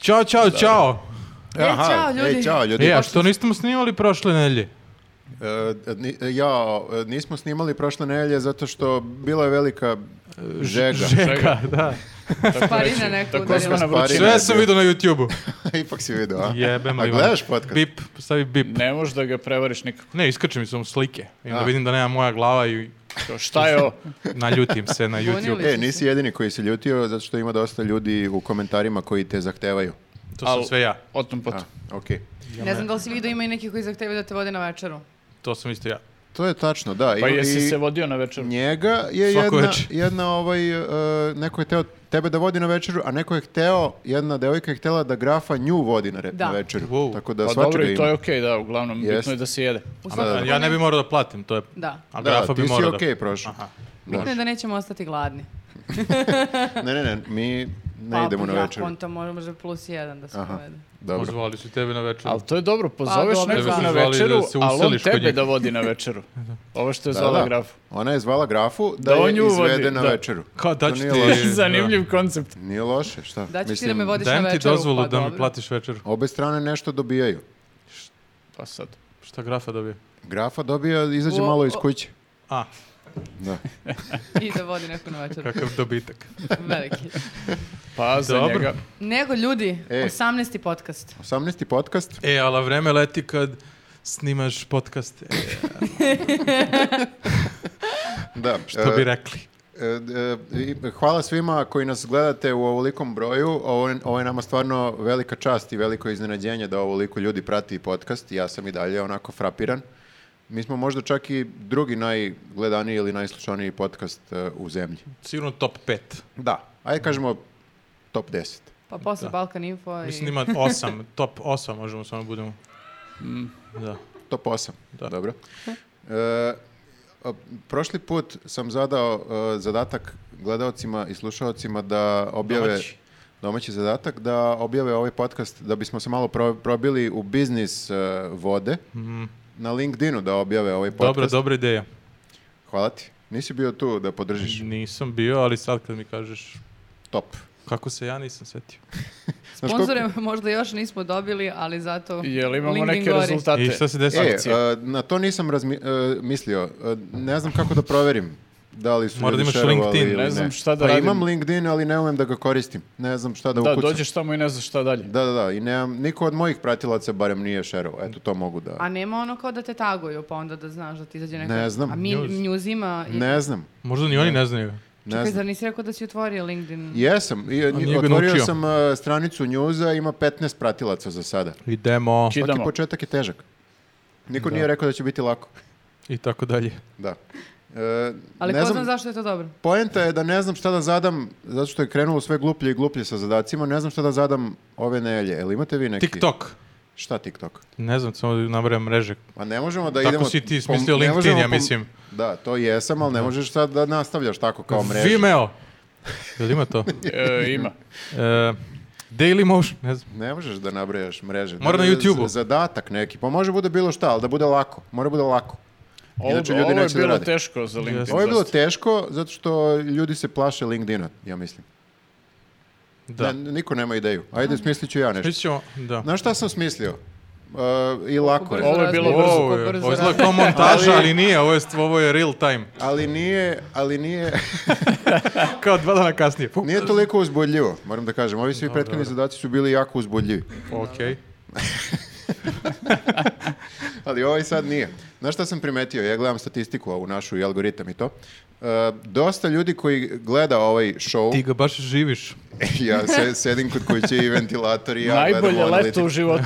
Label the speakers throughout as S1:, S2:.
S1: Ćao, čao, čao.
S2: Aha,
S3: čao, ljudi.
S2: Ej, čao ljudi.
S1: E, a što nismo snimali prošle nelje?
S2: E, ni- ja, e, nismo snimali prošle nedelje zato što bila je velika e, žega.
S1: Žeka, da.
S4: Tako
S3: Sparina
S4: reći,
S3: neka
S4: tako
S3: udarila.
S4: zvana vrućina.
S2: znači. Sparina.
S1: Sve sam vidio na YouTube-u.
S2: Ipak si vidio, a?
S1: Jebem
S2: a
S1: li vam.
S2: gledaš podcast?
S1: Bip, stavi bip.
S4: Ne možeš da ga prevariš nikako.
S1: Ne, iskače mi samo slike. I onda
S2: A.
S1: vidim da nema moja glava i
S4: Kao, Šta je ovo?
S1: naljutim se na YouTube.
S3: Bunili.
S2: E, nisi jedini koji se ljutio zato što ima dosta ljudi u komentarima koji te zahtevaju.
S1: To
S4: Al-
S1: sam sve ja.
S4: O tom potom.
S2: A, okej.
S3: Ne znam da li si vidio, ima i neki koji zahtevaju da te vode na večeru.
S1: To sam isto ja.
S2: To je tačno, da.
S4: Pa
S2: I-
S4: jesi
S2: i
S4: se vodio na večer?
S2: Njega je
S1: Svako
S2: jedna,
S1: večer.
S2: jedna ovaj, e, neko je teo tebe da vodi na večeru, a neko je hteo, jedna devojka je htela da grafa nju vodi na, re,
S3: Da.
S2: na večeru.
S1: Wow.
S2: Tako da
S4: Pa
S2: svačega
S4: dobro, i to
S2: ima.
S4: je okej, da, uglavnom,
S2: Jest.
S4: bitno je da se jede.
S3: U
S1: A,
S3: svakom
S1: ja ne bi morao da platim, to je...
S3: Da.
S1: A
S2: Da,
S1: grafa
S2: ti
S1: bi
S2: si
S1: morao da...
S2: okej prošao.
S1: Aha.
S3: Bitno je da nećemo ostati gladni.
S2: Ne, ne, ne, mi ne
S3: Pa,
S2: idemo na
S3: ja
S2: večeru.
S3: kontam, može plus jedan da se
S2: Aha,
S3: povede.
S2: dobro.
S1: Pozvali su i tebe na večer.
S4: Ali to je dobro, pozoveš
S3: Pa dobro,
S4: nekog
S3: da.
S4: na
S1: Zvali da
S4: večeru,
S1: se
S4: ali on
S1: useliš kod
S4: tebe
S1: njih.
S4: da vodi na večeru. Ovo što je
S2: Da,
S4: zvala
S2: da.
S4: grafu.
S2: Ona je zvala grafu da,
S4: Da on
S2: je
S4: nju vodi,
S2: izvede na
S4: da.
S2: večeru.
S1: Kao da
S2: To
S1: ću
S2: nije
S1: ti-
S2: loše.
S1: Da.
S4: Zanimljiv koncept.
S2: Nije loše, šta?
S3: Da ću ti da me vodiš na
S1: Dajem ti
S3: večeru.
S1: dozvolu
S3: pa
S1: da mi
S3: dobro.
S1: platiš večeru.
S2: Obe strane nešto dobijaju.
S4: Pa sad.
S1: Šta grafa dobije?
S2: Grafa dobija, izađe
S3: O,
S2: malo iz
S3: o.
S2: kuće.
S1: A,
S2: Da.
S3: I da vodi neko na večeru.
S1: kakav dobitak.
S3: Veliki.
S4: Pa za
S1: Dobro.
S4: njega.
S3: Nego ljudi,
S2: E.
S3: 18. podcast.
S2: 18. podcast.
S1: E, ali vreme leti kad snimaš E, podcaste,
S2: Da.
S1: što bi
S2: e,
S1: rekli.
S2: E, e, i Hvala svima koji nas gledate u ovolikom broju. Ovo, je- ovo je nama stvarno velika čast i veliko iznenađenje da ovoliko ljudi prati podcast. Ja sam i dalje onako frapiran. Mi smo možda čak i drugi najgledaniji ili najslušaniji podcast e, u zemlji.
S1: Sigurno top 5.
S2: Da. Ajde kažemo top 10.
S3: Pa posle
S1: Da.
S3: Balkan Info i...
S1: Mislim ima 8, top 8 možemo samo budemo.
S2: Mm.
S1: Da.
S2: Top 8.
S1: Da.
S2: Dobro. E, a, prošli put sam zadao e, zadatak gledaocima i slušaocima da objave
S1: Domaći.
S2: domaći. zadatak da objave ovaj podcast da bismo se malo pro- probili u biznis e, vode. Na LinkedInu da objave ovaj
S1: Mm.
S2: podcast.
S1: Dobra, dobra ideja.
S2: Hvala ti. Nisi bio tu da podržiš.
S1: Nisam bio, ali sad kad mi kažeš
S2: Top.
S1: kako se ja nisam setio.
S2: Znaš
S3: Sponzore možda još nismo dobili, ali zato...
S4: Jel imamo
S3: LinkedIn
S4: neke
S3: gori.
S4: rezultate?
S1: I šta se desilo?
S2: E,
S4: Akcija.
S2: e, na to nisam razmi- e, mislio. E, ne znam kako da proverim da li su
S1: Mora da
S2: ljudi
S1: imaš
S2: šerovali
S1: LinkedIn.
S2: ili
S4: Ne znam šta da
S2: pa
S4: radim.
S2: imam LinkedIn, ali ne umem da ga koristim. Ne znam šta da,
S4: Da,
S2: ukucam.
S4: dođeš tamo i ne znaš šta dalje.
S2: Da, da, da. I nemam, niko od mojih pratilaca barem nije šerovao. Eto, to mogu da...
S3: A nema ono kao da te taguju, pa onda da znaš da ti izađe neka...
S2: Ne znam,
S3: A mi
S1: news.
S3: njuzima... I...
S2: Ne znam.
S1: Možda ni oni ne znaju.
S2: Ne
S3: Čekaj,
S2: znam.
S3: zar nisi rekao da si otvorio LinkedIn?
S2: Jesam. I,
S1: nije ga
S2: otvorio
S1: naučio.
S2: sam e, stranicu njuza, ima 15 pratilaca za sada.
S1: Idemo
S2: Svaki
S4: Čitamo.
S2: početak je težak. Niko nije rekao da će biti lako.
S1: i tako dalje.
S2: Da. E,
S3: Ali
S2: ne
S3: ko
S2: znam,
S3: zna zašto je to dobro?
S2: Poenta je da ne znam šta da zadam, zato što je krenulo sve gluplje i gluplje sa zadacima, ne znam šta da zadam ove nelje. Jel imate vi neki...
S1: TikTok.
S2: Šta TikTok?
S1: Ne znam, samo da nabrajam mreže.
S2: Pa ne možemo da
S1: Tako
S2: idemo...
S1: si ti
S2: po-
S1: smislio
S2: ne
S1: LinkedIn,
S2: možemo
S1: ja
S2: po-
S1: mislim.
S2: Da, to jesam, ali ne možeš sad da nastavljaš tako kao mrežu.
S1: Vimeo. Jel ima to?
S4: E, ima.
S1: E, Daily Motion, ne znam.
S2: Ne možeš da nabrajaš mreže.
S1: Mora na
S2: Da,
S1: YouTubeu.
S2: z- Zadatak neki. Pa može bude bilo šta, ali da bude lako. Mora bude lako.
S4: Ovo,
S2: Inače, ljudi
S4: ovo je
S2: neće da
S4: bilo
S2: rade.
S4: teško za LinkedIn.
S2: Ovo je bilo
S4: dosta.
S2: teško zato što ljudi se plaše LinkedIna, ja mislim.
S1: Da.
S2: Ne, niko nema ideju. Ajde, smislit ću ja nešto.
S1: Mislim, da.
S2: Znaš šta sam smislio? E, I lako je.
S4: Ovo je bilo
S3: razmišljaš,
S4: brzo.
S1: Ovo
S3: kako
S1: je,
S3: brzo
S1: ovo izgleda kao
S3: razmišljaš.
S1: montaža,
S2: Ali-
S1: ali nije, ovo je, ovo je real time.
S2: Ali nije, ali nije,
S1: Kao dva dana kasnije. Pum.
S2: nije toliko uzbudljivo, moram da kažem. Ovi svi prethodni zadaci su bili jako uzbudljivi.
S1: Okej.
S2: Ali ovaj sad nije. Znaš šta sam primetio? Ja gledam statistiku ovu našu i algoritam i to. E, dosta ljudi koji gleda ovaj show...
S1: Ti ga baš živiš.
S2: ja se, sedim kod kuće i ventilator i ja
S4: Najbolje
S2: gledam
S4: leto
S2: leto
S4: u životu.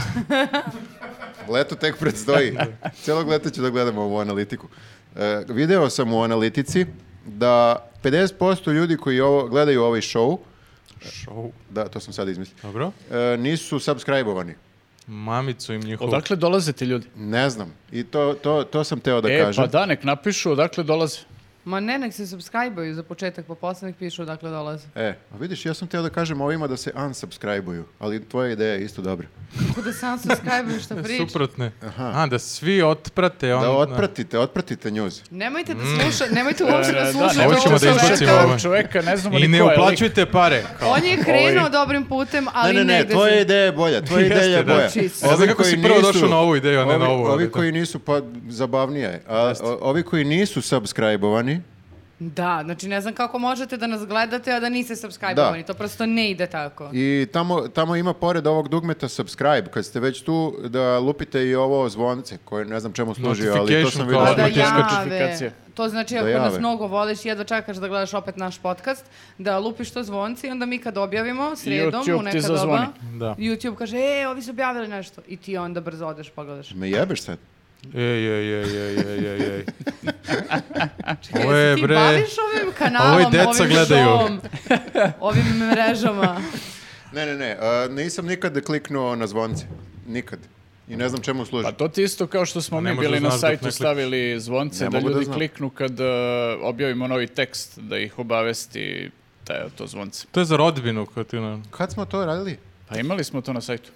S2: Leto tek predstoji. Celog leta ću da gledam ovu analitiku. E, video sam u analitici da 50% ljudi koji ovo, gledaju ovaj show,
S1: Show.
S2: da, to sam sad izmislio,
S1: Dobro.
S2: e, nisu subscribe-ovani.
S1: Mamicu im njihovu.
S4: Odakle dolaze ti ljudi?
S2: Ne znam. I to, to, to sam teo da
S4: e,
S1: pa
S2: kažem.
S4: pa da, nek napišu odakle dolaze.
S3: Ma ne, nek se subscribe-uju za početak, pa posle nek pišu odakle dolaze.
S2: E, a vidiš, ja sam teo da kažem ovima da se unsubscribe-uju, ali tvoja ideja je isto dobra.
S3: Kako da sam subscribe-uju šta priča.
S1: Suprotne. A, da svi otprate. ono- On,
S2: Da otpratite, otpratite njuz.
S3: Nemojte da slušate, nemojte uopšte
S4: Da,
S3: da
S4: E, da,
S3: slušate.
S4: da,
S1: ovo ćemo da
S3: čoveka.
S1: izbacimo ovo.
S4: Čoveka, ne znamo
S1: I
S4: ni
S1: ne
S4: ko je lik.
S1: uplaćujte pare. Kao.
S3: On je krenuo
S4: Ovaj-
S3: dobrim putem,
S2: Ne,
S3: ali
S2: ne, ne,
S3: negde Znači,
S2: tvoja
S3: se-
S2: ideja je bolja, tvoja ideja je
S1: Jeste, da.
S2: bolja.
S3: Čist.
S1: Ne znam kako si prvo došao na ovu ideju, a ne
S2: ovi,
S1: na ovu, ali
S2: Ovi
S1: da.
S2: koji nisu, pa zabavnija je. A, o- ovi koji nisu subscribe-ovani,
S3: Da, znači ne znam kako možete da nas gledate, a da niste subscribe-ovani.
S2: Da.
S3: To prosto ne ide tako.
S2: I tamo, tamo ima pored ovog dugmeta subscribe, kad ste već tu da lupite i ovo zvonce, koje ne znam čemu služi, ali to
S1: Notification
S2: sam vidio.
S1: kao.
S3: Pa
S1: Odmah
S3: da
S1: ti
S3: jave.
S4: notifikacije.
S3: To znači
S2: Da
S3: ako nas
S2: jave.
S3: mnogo voliš, jedva čekaš da gledaš opet naš podcast, da lupiš to zvonci i onda mi kad objavimo sredom
S4: YouTube
S3: u
S4: ti
S3: neka doba,
S4: zazvoni.
S1: Da.
S3: YouTube kaže, e, ovi su objavili nešto. I ti onda brzo odeš pogledaš.
S2: Me jebeš sad?
S1: Ej, ej, ej, ej, ej, ej, ej.
S3: Čekaj,
S1: Ovo je,
S3: se ti
S1: bre,
S3: baviš ovim kanalom,
S1: ovo je deca
S3: ovim
S1: gledaju.
S3: showom, ovim mrežama?
S2: Ne, ne, ne, a, nisam nikad kliknuo na zvonce. Nikad. I ne znam čemu služi.
S4: Pa to ti isto kao što smo
S1: Pa ne
S4: mi
S1: možeš
S4: bili
S1: da
S4: na
S1: znaš dok ne
S4: sajtu
S1: klikneš.
S4: stavili zvonce
S2: Ne
S4: da
S2: mogu da
S4: ljudi
S2: znam.
S4: kliknu kad e, objavimo novi tekst da ih obavesti taj, to zvonce.
S1: To je za rodbinu kao ti ono- na...
S2: Kad smo to radili?
S4: Pa imali smo to na sajtu.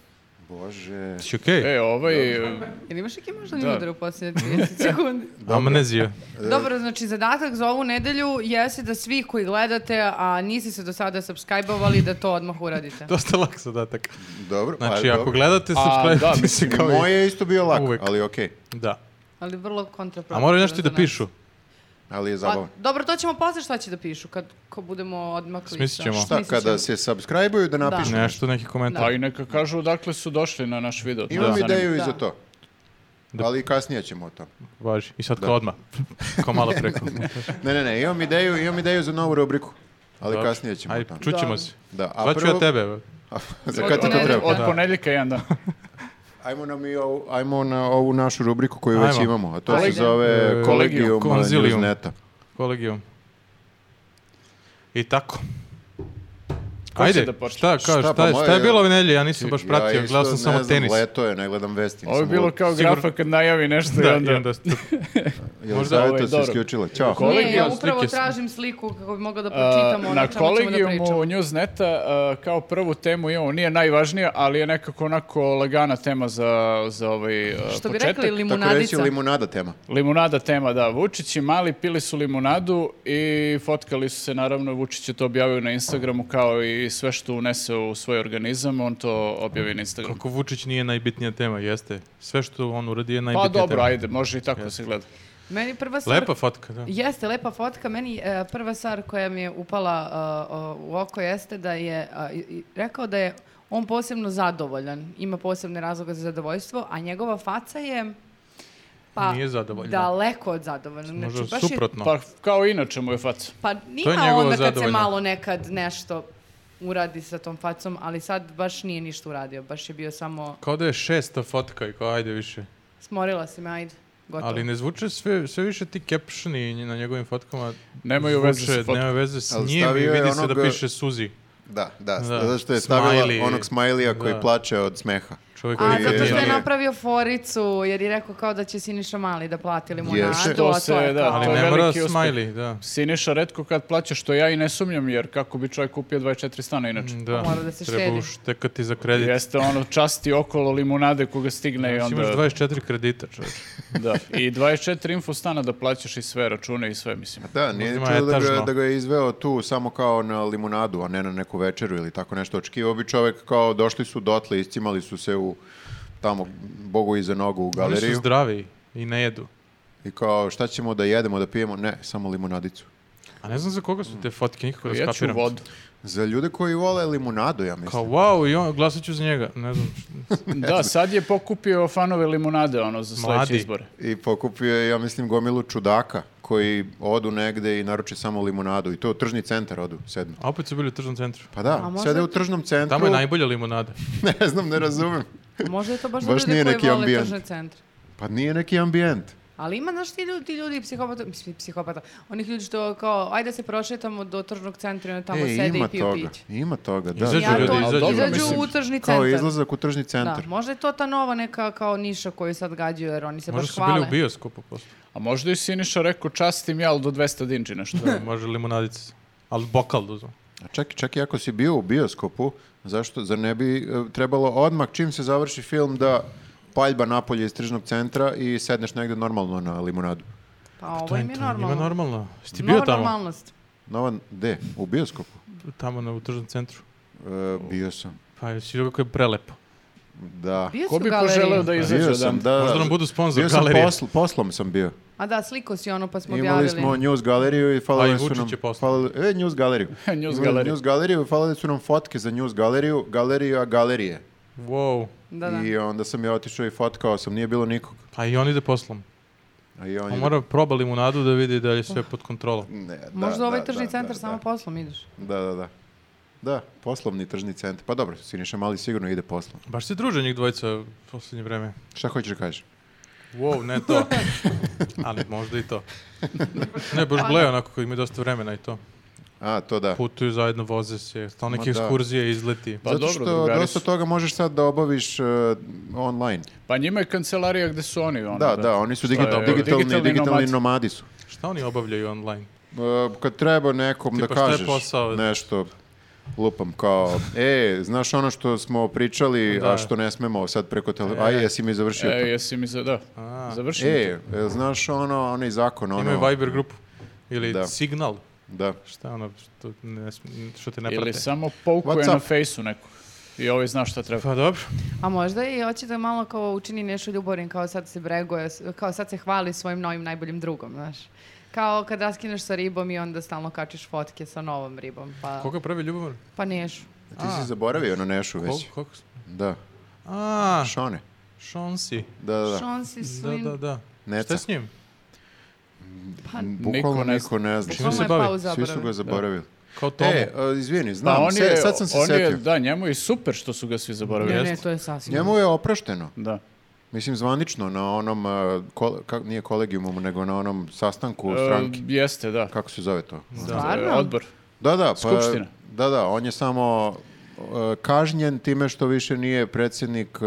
S2: Bože.
S1: Si Znači, okej?
S4: E, ovaj...
S3: Jel imaš neki možda
S4: Da.
S3: ni udar u posljednje 30 sekundi?
S1: Amnezija.
S3: Dobro, znači zadatak za ovu nedelju jeste da svi koji gledate, a niste se do sada subscribe-ovali, da to odmah uradite.
S1: Dosta lak zadatak.
S2: Dobro.
S1: Znači,
S2: pa,
S1: ako
S2: dobro.
S1: gledate,
S4: da,
S1: subscribe-ite se
S4: mislim,
S1: kao i...
S2: Moje je isto bio lako,
S1: Uvek.
S2: ali okej.
S1: Da.
S3: Ali vrlo kontraproduktivno.
S1: A moraju nešto i
S3: za
S1: da
S3: nas.
S1: pišu.
S2: Ali je
S3: Pa,
S2: zabavno.
S3: dobro, to ćemo posle šta će da pišu, kad ko budemo odmakli.
S1: Smislit ćemo.
S2: Šta, kada se subscribe-uju da napišu?
S1: Nešto, neki komentar.
S4: Pa i neka kažu odakle su došli na naš video. to
S2: Imam
S4: nas zanima.
S2: ideju i
S3: Da.
S2: za to.
S1: Da.
S2: Ali kasnije ćemo o tome.
S1: Važi. I sad kao odmah. Kao malo preko.
S2: Ne, ne, ne, imam ideju, imam ideju za novu rubriku. Ali
S1: Dobro.
S2: kasnije ćemo o
S1: Ajde,
S2: tome.
S1: čućemo
S3: Dobro.
S1: se.
S2: Da, a
S1: Zvaću ja
S2: prvo-
S1: tebe.
S2: za
S3: Od
S2: kad ti to
S3: ponedjeljka.
S2: treba?
S4: Od
S1: Da.
S4: ponedjeljka jedan dan.
S2: Ajmo, nam i ovu, ajmo na ovu našu rubriku koju već
S1: Ajmo.
S2: imamo, a to
S3: Ajde.
S2: se zove
S1: E,
S2: Kolegium
S1: Konzilium.
S2: Newsneta.
S1: Kolegijom. I tako.
S4: Ko će
S1: Ajde,
S4: da počne?
S1: šta, kao,
S2: Šta,
S1: šta,
S2: pa
S1: je-
S2: moje-
S1: šta je bilo ove nelje? Ja nisam baš
S2: Ja
S1: pratio,
S2: isto
S1: gledao sam
S2: ne
S1: samo
S2: znam,
S1: tenis.
S2: Leto je, ne gledam vesti.
S4: Ovo je
S2: nisam
S4: bilo
S2: lud.
S4: kao
S1: Sigurno.
S4: grafa kad najavi nešto i
S1: Da,
S4: onda...
S1: i onda ste-
S2: Jelizaveta
S4: ovaj,
S2: se
S4: dobro.
S2: isključila. Ćao.
S4: Ko-
S3: Ne, ja
S4: Kolegijum,
S3: upravo
S1: slike su.
S3: tražim sliku kako bi mogla da
S4: A,
S3: pročitam ono
S4: na
S3: o čemu ćemo da pričamo.
S4: kolegijumu Newsneta a, kao prvu temu imamo, nije najvažnija, ali je nekako onako lagana tema za, za ovaj a,
S3: Što bi
S4: početak.
S3: rekli,
S2: Tako reći
S3: limunadica.
S2: limunada tema.
S4: Limunada tema, da. Vučić i Mali pili su limunadu i fotkali su se, naravno, Vučić je to objavio na Instagramu kao i sve što unese u svoj organizam, on to objavi na Instagramu.
S1: Kako Vučić nije najbitnija tema, jeste. Sve što on uradi je najbitnija
S4: Pa
S1: tema.
S4: dobro, ajde, može i tako da se gleda.
S3: Meni prva stvar...
S1: Lepa fotka, da.
S3: Jeste, lepa fotka. Meni e, prva stvar koja mi je upala e, o, u oko jeste da je a, i- i rekao da je on posebno zadovoljan, ima posebne razloga za zadovoljstvo, a njegova faca je pa
S1: Nije zadovoljna.
S3: daleko od zadovoljna. Znači,
S1: Možda
S3: baš je-
S1: suprotno.
S4: Pa kao inače mu je faca.
S3: pa
S1: To je
S3: nima
S1: njegovo
S3: onda kad se
S1: zadovoljno.
S3: malo nekad nešto uradi sa tom facom, ali sad baš nije ništa uradio, baš je bio samo
S1: Kao da je šesta fotka i kao ajde više.
S3: smorila si me, ajde,
S4: Pa
S3: gotovo.
S1: Ali ne zvuče sve, sve više ti captioni na njegovim fotkama.
S4: Nemaju veze sa
S1: zvuče-
S4: fotkom.
S1: Nema veze s
S2: Ali
S1: njim i
S2: stavio je
S1: vidi se da
S2: onog-
S1: piše Suzi.
S2: Da, da,
S1: Da.
S2: zato što je stavila
S1: Smiley.
S2: onog smajlija koji
S1: Da.
S2: plače od smeha.
S1: Čovjek
S3: A,
S1: koji
S3: zato što je
S2: Nije.
S3: napravio foricu, jer je rekao kao da će Siniša Mali da plati limunadu,
S2: Jeste.
S3: a
S4: To
S3: to
S4: se,
S3: je
S4: da,
S3: kao-
S1: Ali
S4: To je
S1: ne mora
S4: veliki uspeh.
S1: smiley, da.
S4: Siniša redko kad plaća, što ja i ne sumnjam, jer kako bi čovjek kupio 24 stana inače.
S1: Da,
S3: pa Mora da se
S1: treba
S3: štedi.
S1: uštekati za kredit.
S4: Jeste ono časti okolo limunade koga stigne i
S1: Znači,
S4: onda...
S1: Imaš 24 kredita, čovječ.
S4: Da, i 24 info stana da plaćaš i sve račune i sve, mislim.
S2: Da, nije
S1: Uzima
S2: čudo da ga,
S1: etažno.
S2: da ga je izveo tu samo kao na limunadu, a ne na neku večeru ili tako nešto. Očekivao bi čovek kao došli su dotle, iscimali su se u tamo, bogu iza nogu u
S1: Oni su
S2: galeriju.
S1: zdravi i ne jedu.
S2: I kao šta ćemo da jedemo, da pijemo? Ne, samo limunadicu.
S1: A ne znam za koga su te fotke, nikako da
S4: Pa Ja ću
S1: skapiram.
S4: vodu.
S2: Za ljude koji vole limunadu, ja mislim.
S1: Kao, wow, i on, glasat ću za njega. Ne znam,
S4: Da, sad je pokupio fanove limunade ono za sledeće
S1: Mladi.
S4: izbore.
S2: I pokupio je, ja mislim, gomilu čudaka koji odu negde i naruče samo limunadu. I to u tržni centar odu, sedno.
S1: a opet su bili u tržnom centru.
S2: Pa
S3: A
S2: da,
S3: možda
S2: sede u
S3: ti-
S2: tržnom centru.
S1: Tamo je najbolja limonada.
S2: ne znam, ne razumem.
S3: Možda je to baš,
S2: Baš
S3: za
S2: nije
S3: ljude
S2: neki
S3: koji vole
S2: ambijent.
S3: tržne centre.
S2: Pa nije neki ambijent.
S3: Ali ima, znaš, ti ljudi, ti ljudi psihopata, mislim, psihopata, onih ljudi što kao, ajde se prošetamo do tržnog centra i onda tamo
S2: E,
S3: sede
S2: ima
S3: i piju
S2: toga.
S3: piće.
S2: Ima toga, da.
S1: Izađu
S2: da, da.
S1: ljudi,
S3: to-
S1: izađu.
S4: Dobro,
S3: izađu
S4: mislim,
S3: u tržni centar.
S2: Kao izlazak u tržni
S3: Da,
S2: centar.
S3: možda je to ta nova neka kao niša koju sad gađaju, jer oni se
S1: Možda
S3: baš
S1: su
S3: hvale.
S1: bili u bioskopu posle.
S4: A A možda i Siniša rekao častim ja, ali do 200 dinđi nešto.
S1: Da, može limonadica. Ali bokal da uzmem.
S2: A čak, čak i ako si bio u bioskopu, zašto, zar ne bi e, trebalo odmah čim se završi film da paljba napolje iz tržnog centra i sedneš negde normalno na limonadu?
S3: Pa ovo im je normalno.
S1: Ima normalno. Jesi ti bio
S3: Nova
S1: tamo?
S3: normalnost.
S2: Nova, gde? U bioskopu?
S1: Tamo na utržnom centru.
S2: E, bio sam.
S1: Pa jesi vidio kako je prelepo.
S2: Da.
S3: Bio
S4: Ko
S3: si u
S4: bi
S3: galeriji.
S4: poželeo da izađe
S2: Bio
S4: odam?
S2: Pa sam, da.
S1: Možda nam budu sponzor
S2: Bio sam
S1: galerije.
S2: posl- poslom sam bio.
S3: A da, sliko si ono pa smo
S2: Imali
S3: objavili.
S2: smo news galeriju i
S1: A i
S2: falile su
S1: Vučić
S2: nam...
S1: je poslao.
S2: falile- e, news galeriju.
S4: News
S2: Imali
S4: galeriju.
S2: News galeriju i falile su nam fotke za news galeriju, galerija galerije.
S1: Wow.
S3: Da, da.
S2: I onda sam ja otišao i fotkao sam, nije bilo nikog.
S1: Pa i on ide poslom.
S2: A i on
S1: Pa
S2: je-
S1: mora proba limunadu da vidi da je sve pod kontrolom.
S2: Ne, da,
S3: Možda
S2: da,
S3: ovaj
S2: da,
S3: tržni
S2: da,
S3: centar
S2: da,
S3: samo poslom ideš.
S2: Da, da, da. Da, poslovni tržni centar. Pa dobro, Siniša Mali sigurno ide poslom.
S1: Baš se druže njih dvojica u posljednje vreme.
S2: Šta hoćeš da kažeš?
S1: Wow, ne to. Ali možda i to. Ne, baš gle onako koji imaju dosta vremena i to.
S2: A, to da.
S1: Putuju zajedno, voze se, stalno neke
S2: Ma da.
S1: ekskurzije, izleti.
S4: Pa
S2: Zato
S4: dobro,
S2: što
S4: drugari
S2: dosta
S4: su.
S2: toga možeš sad da obaviš e, online.
S4: Pa njima je kancelarija gde su oni. Ono,
S2: Da, da, oni su
S4: Što je,
S2: digital-
S4: e,
S2: digitalni, digitalni,
S4: nomadi.
S2: nomadi su.
S1: Šta oni obavljaju online?
S2: E, kad treba nekom
S1: Tipa,
S2: da
S1: šta je
S2: kažeš
S1: posao?
S2: nešto lupam kao, e, znaš ono što smo pričali,
S1: Da.
S2: a što ne smemo sad preko telefona, aj, jesi mi završio
S4: E,
S2: to?
S4: jesi mi za... Da,
S1: A.
S4: završi mi to.
S2: E, e, znaš ono, onaj zakon, ono...
S1: Imaju Viber grupu. Ili
S2: Da.
S1: Signal.
S2: Da.
S1: Šta je ono što, ne, sm- što te ne prate?
S4: Ili samo poukuje
S2: What's
S4: na
S2: up?
S4: fejsu nekog. I ovaj zna šta treba.
S1: Pa dobro.
S3: A možda i hoće da malo kao učini nešto ljubavnim, kao sad se breguje, s- kao sad se hvali svojim novim najboljim drugom, znaš. Kao kad raskineš sa ribom i onda stalno kačiš fotke sa novom ribom, pa,
S1: Koga pravi ljubavan?
S3: pa nešu.
S2: Ti si zaboravio na Nešu već.
S1: Koga? Koga?
S2: Da.
S1: A,
S2: Šone.
S1: Šonsi.
S2: Da, da, da.
S3: Šonsi
S1: Da,
S3: svin...
S1: da, da. Šta
S2: Neca.
S1: je s njim?
S3: Pa,
S2: Bukvalno
S4: Niko ne
S2: niko ne zna.
S1: Čime
S3: Bukvalno
S1: se
S3: je
S1: bavi?
S3: pao u
S2: Svi su
S3: zaboravi.
S2: ga zaboravili.
S1: Kao Tomu.
S2: E, a, izvini,
S4: Pa
S2: znam,
S4: on
S2: se-
S4: je,
S2: sad sam se
S4: on je-
S2: setio.
S4: da, njemu je super što su ga svi zaboravili.
S3: Ne, ne,
S1: Jest.
S3: to je sasvim.
S2: Njemu je oprašteno.
S4: Da.
S2: Mislim, zvanično na onom, e, kole- ka- nije kolegijumu, nego na onom sastanku
S4: E,
S2: stranke.
S4: jeste, da.
S2: Kako se zove to?
S1: Da.
S3: Stvarno?
S4: E, Odbor.
S2: Da, da, pa,
S4: Skupština.
S2: Da, da, on je samo e, kažnjen time što više nije predsjednik, e,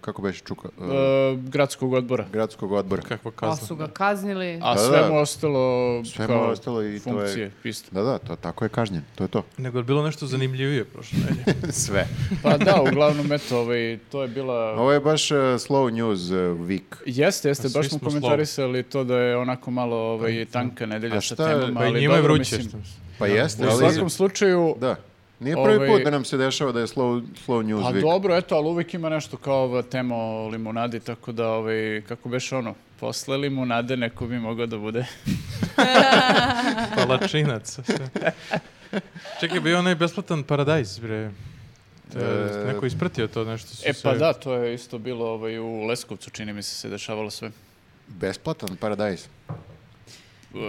S2: kako beše Čuka, e,
S4: E, gradskog odbora.
S2: gradskog odbora.
S1: Kakva
S3: Pa
S1: kazna.
S3: su ga kaznili.
S4: A
S2: Da,
S4: sve
S2: da.
S4: mu ostalo
S2: Sve mu
S4: kao
S2: ostalo i to je-
S4: funkcije, isto.
S2: Da, da, to, tako je kažnjen, to je to.
S1: Nego je bilo nešto zanimljivije prošle nedelje.
S2: Sve.
S4: Pa da, uglavnom, eto, ovaj, to je bila...
S2: Ovo je baš e, slow news e, week.
S4: Jeste, jeste,
S1: Pa Svi
S4: baš smo
S1: smo
S4: komentarisali to da je onako malo ovaj, tanka nedelja
S2: Pa, A
S4: sa
S2: šta je-
S4: temama,
S1: Pa i
S4: ali
S1: njima je
S4: dobro,
S1: vruće.
S4: mislim,
S1: što-
S2: Pa jeste,
S4: U
S2: ali...
S4: svakom slučaju,
S2: Da. Nije prvi
S4: Ovaj-
S2: put da nam se dešava da je slow, slow news
S4: pa
S2: week.
S4: dobro, eto, ali uvijek ima nešto kao ova tema o limunadi, tako da, ovaj, kako beš ono, posle limunade neko bi mogao da bude.
S1: Palačinac. Čekaj, bio onaj besplatan paradajz, bre. To je
S2: E,
S1: neko ispratio to nešto. su
S4: E pa
S1: se-
S4: da, to je isto bilo ovaj, u Leskovcu, čini mi se, se dešavalo sve.
S2: Besplatan paradajz.
S4: E,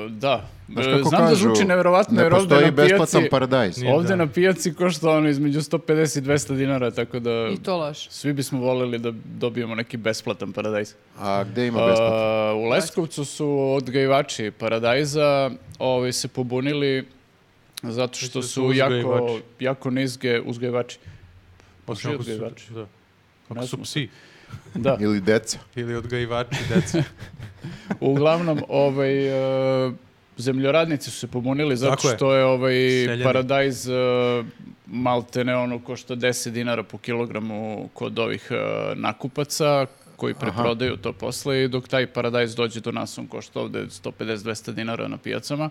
S4: Da,
S2: Znaš
S4: E,
S2: kako
S4: znam da
S2: kažu,
S4: zvuči nevjerovatno
S2: Ne
S4: jer ovde
S2: postoji
S4: na
S2: besplatan
S4: pijaci,
S2: paradajz.
S1: Nije.
S4: ovde
S1: Da.
S4: na pijaci košta ono između 150 i 200 dinara, tako da
S3: I to loš.
S4: svi bismo volili da dobijemo neki besplatan paradajz.
S2: A gde ima besplatan?
S4: A, u Leskovcu su odgajivači paradajza ovaj, se pobunili zato što
S1: Mislim da su
S4: su jako,
S1: uzgajivači.
S4: jako nizge uzgajivači.
S1: Osim ako
S4: pa odgajivači.
S1: su, da. Ako su
S4: Ne znam.
S1: psi
S4: Da.
S2: Ili deca.
S1: ili odgajivači deca.
S4: Uglavnom, ovaj, e, zemljoradnici su se pobunili zato
S1: Tako je.
S4: što je ovaj
S1: Seljani.
S4: paradajz e, maltene ono košta 10 dinara po kilogramu kod ovih e, nakupaca koji preprodaju to posle i dok taj paradajz dođe do nas on košta ovde 150-200 dinara na pijacama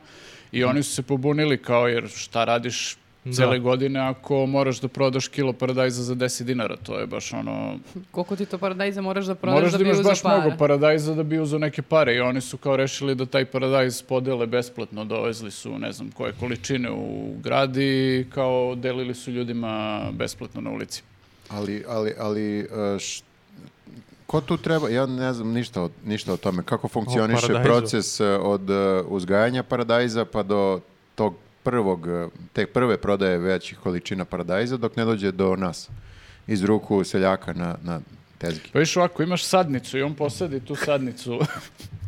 S4: i oni su se pobunili kao jer šta radiš
S1: Mhm. Da.
S4: cele godine ako moraš da prodaš kilo paradajza za 10 dinara, to je baš ono
S3: Koliko ti to paradajza moraš da prodaš
S4: Moraš
S3: da
S4: da
S3: bi
S4: imaš
S3: uzao
S4: baš
S3: para?
S4: mnogo pa- paradajza da bi uzeo neke pare i oni su kao rešili da taj paradajz podele besplatno, dovezli su ne znam koje količine u grad i kao delili su ljudima besplatno na ulici.
S2: Ali, ali, ali... e, š- Ko tu treba? Ja ne znam ništa o, ništa o tome. Kako funkcioniše
S1: paradajzu.
S2: proces e, od e, uzgajanja paradajza pa do tog prvog, e, te prve prodaje većih količina paradajza dok ne dođe do nas iz ruku seljaka na, na tezgi.
S4: Pa viš ovako, imaš sadnicu i on posadi tu sadnicu.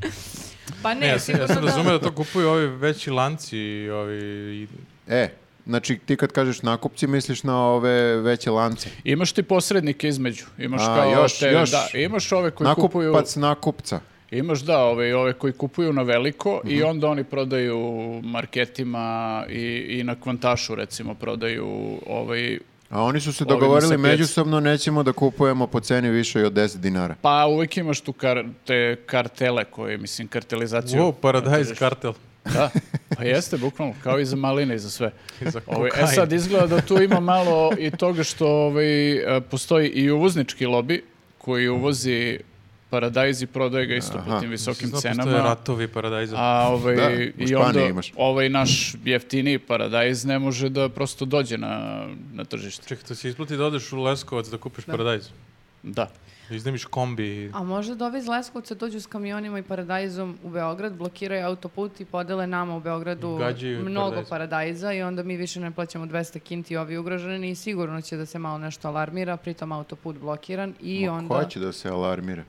S3: Pa ne,
S1: Ne, ja, sam,
S3: sigurno
S1: ja sam
S3: da.
S1: razumeo da to kupuju ovi veći lanci i ovi... i-
S2: E, znači ti kad kažeš nakupci misliš na ove veće lance.
S4: imaš ti posrednike između. Imaš
S2: A,
S4: kao
S2: još-
S4: te,
S2: još.
S4: da, imaš ove koji
S2: Nakupac
S4: kupuju
S2: nakupca.
S4: Imaš da, ove, ove koji kupuju na veliko i
S2: Mhm.
S4: onda oni prodaju u marketima i, i na kvantašu recimo prodaju ovaj,
S2: A oni su se
S4: Ovima
S2: dogovorili
S4: sa pijace.
S2: međusobno nećemo da kupujemo po ceni više i od 10 dinara.
S4: pa uvek imaš tu kar, te kartele koje, mislim, kartelizaciju.
S1: Wow, paradajz
S4: Tržišta.
S1: kartel.
S4: Da, pa jeste, bukvalno, kao i za maline i za sve.
S1: I za
S4: Ovaj, e
S1: kokain.
S4: sad izgleda da tu ima malo i toga što ovaj, e, postoji i uvoznički lobi koji uvozi paradajz i prodaje ga isto po tim visokim
S1: Znao postoje
S4: cenama.
S1: ratovi paradajza.
S4: A ovaj,
S2: Da, u
S4: i
S2: Španiji
S4: onda
S2: imaš.
S4: ovaj naš jeftiniji paradajz ne može da prosto dođe na, na tržište.
S1: Čekaj, to se isplati da odeš u Leskovac da kupiš paradajz.
S4: Da.
S1: Da iznemiš kombi. i-
S3: A možda da ovi iz Leskovca dođu s kamionima i paradajzom u Beograd, blokiraju autoput i podele nama u Beogradu
S1: Gađaju
S3: mnogo
S1: paradajz.
S3: paradajza i onda mi više ne plaćamo 200 kinti ovi ugroženi i sigurno će da se malo nešto alarmira, pritom autoput blokiran i
S2: Ma,
S3: onda...
S2: Ko će da se alarmira?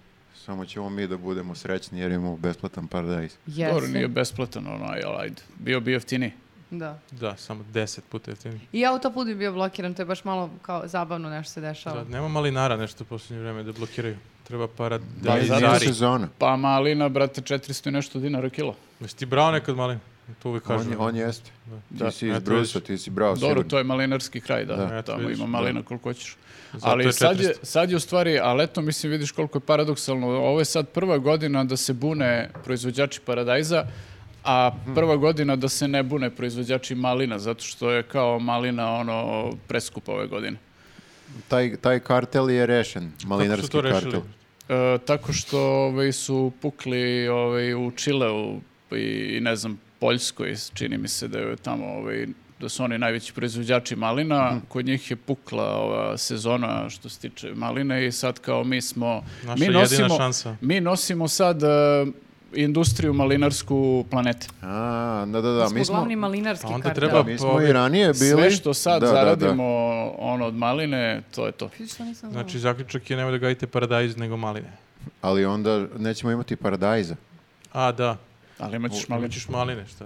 S2: Samo ćemo mi da budemo srećni jer imamo besplatan paradajz.
S3: Jeste.
S4: Dobro, nije besplatan, ono, aj, al, ajde. Bio bi jeftiniji.
S3: Da.
S1: Da, samo deset puta jeftinije.
S3: I autoput bi bio blokiran, to je baš malo kao zabavno nešto se dešava.
S1: Da, nema malinara nešto u posljednje vreme da blokiraju. Treba
S2: Da,
S1: paradajzari.
S2: i
S4: zato-
S2: nije sezona.
S4: Pa malina, brate, 400 i nešto dinara kilo.
S1: Jesi ti brao nekad malin? To uvijek
S2: On,
S1: kažu.
S2: on jeste.
S4: Da.
S2: Ti si iz
S1: Eto,
S2: Brusa,
S1: vidiš.
S2: ti si brao
S4: Dobro,
S2: sigurno.
S4: to je malinarski kraj, da.
S1: Eto,
S4: Tamo
S1: vidiš,
S4: ima malina koliko hoćeš.
S1: Zato
S4: Ali
S1: je
S4: sad je,
S1: 400.
S4: sad je u stvari, a leto mislim vidiš koliko je paradoksalno, ovo je sad prva godina da se bune proizvođači paradajza, a prva godina da se ne bune proizvođači malina, zato što je kao malina ono preskupa ove godine.
S2: Taj, taj kartel je rešen,
S1: Kako su
S2: malinarski
S1: to rešili?
S2: kartel.
S4: E, tako što ovaj, su pukli ovaj, u Čileu i, i ne znam, Poljskoj, čini mi se da je tamo ovaj, da su oni najveći proizvođači malina,
S2: Mhm.
S4: kod njih je pukla ova sezona što se tiče maline i sad kao mi smo...
S1: Naša
S4: mi
S1: jedina šansa.
S4: Mi nosimo sad e, industriju malinarsku planete.
S2: A, da, da, da.
S3: Mi smo, glavni malinarski
S1: A onda
S3: kartel.
S1: treba-
S2: mi smo
S1: Pa,
S2: i ranije bili.
S4: Sve što sad
S2: Da, da, da.
S4: zaradimo ono od maline, to je to.
S3: Vidi što nisam znala.
S1: Znači, zaključak je nemoj da gajite paradajz nego maline.
S2: Ali onda nećemo imati paradajza.
S1: A, da.
S4: Ali imat ćeš
S1: maline.
S4: maline.
S1: Ćeš maline, šta?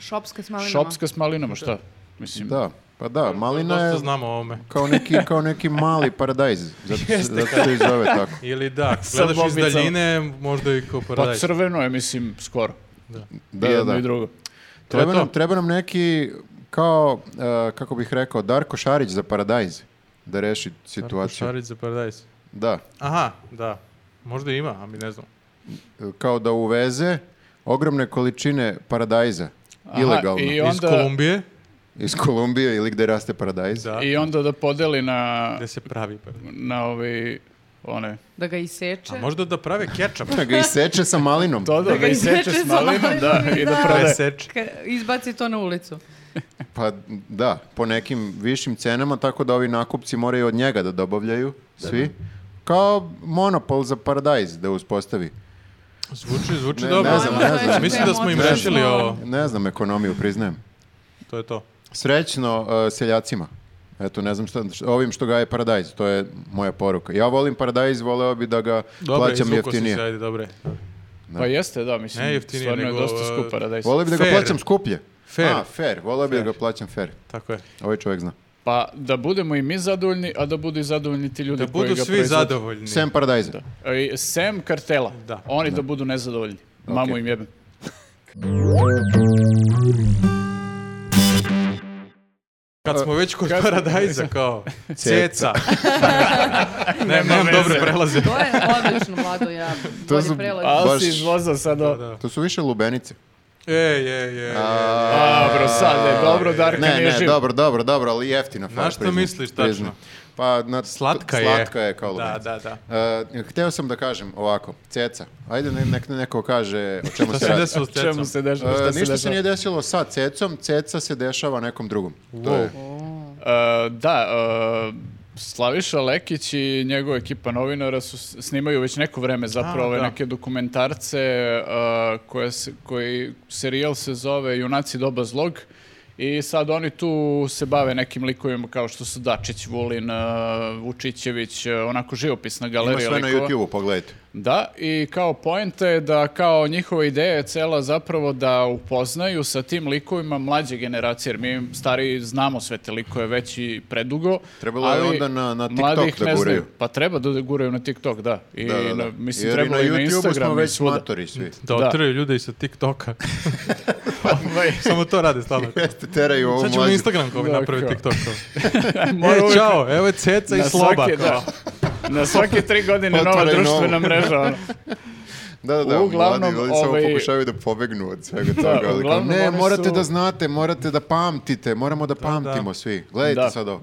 S3: Šopska s malinama.
S4: Šopska s malinama, šta? Mislim,
S2: Da, pa da, malina
S1: Dosta
S2: je
S1: znamo o ovome.
S2: kao neki, kao neki mali paradajz. Zato, se- zato se i zove tako.
S1: Ili da, ako
S4: Sa
S1: gledaš iz
S4: bobicom.
S1: daljine, možda i kao
S4: pa
S1: paradajz.
S4: crveno je, mislim, skoro.
S2: Da,
S4: I
S2: da,
S4: jedno
S2: da.
S4: i drugo.
S1: To je
S2: Treba, nam,
S1: to.
S2: treba nam neki, kao, e, kako bih rekao, Darko Šarić za paradajz. Da reši situaciju.
S1: Šarić za paradajz.
S2: Da,
S1: Aha, da. Možda ima, a mi ne znamo.
S2: E, kao da uveze ogromne količine paradajza.
S4: Aha,
S2: ilegalno.
S4: I
S1: Iz
S4: onda,
S1: Kolumbije,
S2: Iz Kolumbije ili gde raste paradajz.
S1: da.
S4: I onda da podeli na,
S1: Gde se pravi paradajz.
S4: na ovi, one,
S3: Da ga iseče.
S1: A možda da prave kečap.
S2: Da ga iseče sa malinom.
S4: to da,
S3: Da
S4: ga
S3: ga
S4: iseče
S3: iseče
S4: s
S3: sa
S4: malinom, da,
S3: malinom,
S4: i da
S3: da.
S4: prodaje.
S1: Preseč.
S3: Ka- Izbaci to na ulicu.
S2: Pa da, po nekim višim cenama, tako da ovi nakupci moraju od njega da dobavljaju, svi. Kao monopol za paradajz da uspostavi.
S1: Zvuči, zvuči
S2: Ne-
S1: dobro.
S2: ne znam, ne znam.
S1: Mislim da smo im
S3: Ne znam.
S1: rešili ovo.
S2: Ne znam ekonomiju, priznajem.
S1: To je to.
S2: Srećno e, seljacima. Eto, ne znam šta, ovim što ga je paradajz, to je moja poruka. Ja volim paradajz, voleo bi da ga
S1: Dobre,
S2: plaćam
S1: izvukao si se,
S2: jeftinije.
S1: ajde, dobre.
S4: Pa jeste, da, mislim,
S1: Ne jeftinije,
S4: stvarno
S1: nego,
S4: je dosta
S1: e,
S4: skup paradajz.
S2: Voleo bi da ga
S1: Fair.
S2: plaćam skuplje.
S1: Fair.
S2: A, fair. Voleo bi da
S1: Fair.
S2: ga plaćam fair.
S1: Tako je.
S2: Ovaj čovjek zna.
S4: Pa da budemo i mi zadovoljni, a da budu i zadovoljni ti ljudi
S1: Da
S4: koji ga
S1: budu svi
S4: proizvode.
S1: zadovoljni.
S2: Sem paradajza.
S4: E, Sem kartela,
S1: Da.
S4: oni da budu nezadovoljni. Mamu im jebem.
S1: Kad smo već kod
S4: Kad smo-
S1: paradajza, kao
S2: Ceca.
S1: ceca. ne, nemam
S4: veze.
S1: dobre prelaze.
S3: To je odlično, Vlado, ja.
S2: To
S3: Bolje
S2: su-
S3: prelaz.
S4: A
S2: Baš-
S4: si izvozao sad ovo.
S1: Da, da. E,
S2: To su više lubenice.
S1: Ej, ej, ej. ej.
S4: A, bro, sad je dobro, Darka
S2: Ne,
S4: nije
S2: ne,
S4: živ.
S2: dobro, dobro, dobro, ali jeftino.
S1: Na šta misliš tačno?
S2: Pa, na,
S1: Slatka je.
S2: Slatka je kao
S1: Da,
S2: lubenica.
S1: da, da.
S2: E, hteo sam da kažem ovako, ceca. Ajde, ne- nek neko kaže o čemu
S1: Šta
S2: se
S1: se
S2: radi.
S1: desilo s
S4: Čemu
S1: cecom?
S4: se dešava?
S2: E,
S4: Šta se
S2: ništa se
S4: dešava?
S2: nije desilo sa cecom, ceca se dešava nekom drugom. To
S1: Wow.
S2: je,
S4: E, da, e, Slaviša Lekić i njegova ekipa novinara su, s- snimaju već neko vreme zapravo
S1: A,
S4: ove
S1: da.
S4: neke dokumentarce e, koje se, koji serijal se zove Junaci doba zlog i sad oni tu se bave nekim likovima kao što su Dačić, Vulin, e, Vučićević, e, onako živopisna
S2: ima
S4: galerija
S2: sve na
S4: likova.
S2: YouTube-u, pogledajte.
S4: Da, i kao poenta je da kao njihova ideja je cela zapravo da upoznaju sa tim likovima mlađe generacije, jer mi stari znamo sve te likove već i predugo.
S2: Trebalo je
S4: ali
S2: onda na- na TikTok
S4: mladi ih
S2: da
S4: ne znaju.
S2: guraju.
S4: Pa treba da guraju na TikTok, da. I
S2: Da, da, da.
S4: na- mislim,
S2: Jer i
S4: trebalo i na
S2: YouTubeu
S4: Instagram
S2: smo
S4: i
S2: već
S4: svuda.
S2: matori svi.
S1: Da
S4: Da.
S1: otraju ljude i sa TikToka.
S4: Ovaj,
S1: Samo to rade stalno.
S2: Jeste, teraju ovu
S1: Sad ćemo na
S2: mlađu.
S1: Instagram ko mi
S4: Da,
S1: napravi
S4: kao.
S1: TikTok. kao.
S4: Mora
S1: E,
S4: uvek
S1: čao, evo je Ceca i Sloba.
S4: svake,
S1: kao.
S4: da. Na svake tri godine nova
S2: Otvaraj
S4: društvena
S2: novu.
S4: mreža. ono.
S2: Da, da, da,
S4: Uglavnom,
S2: mladi ljudi samo
S4: ovaj-
S2: pokušavaju da pobegnu od svega toga. ali kao,
S4: uglavnom
S2: ne,
S4: oni
S2: morate
S4: su-
S2: da znate, morate da pamtite, moramo da pamtimo svi. Gledajte
S4: Da.
S2: sad ovo.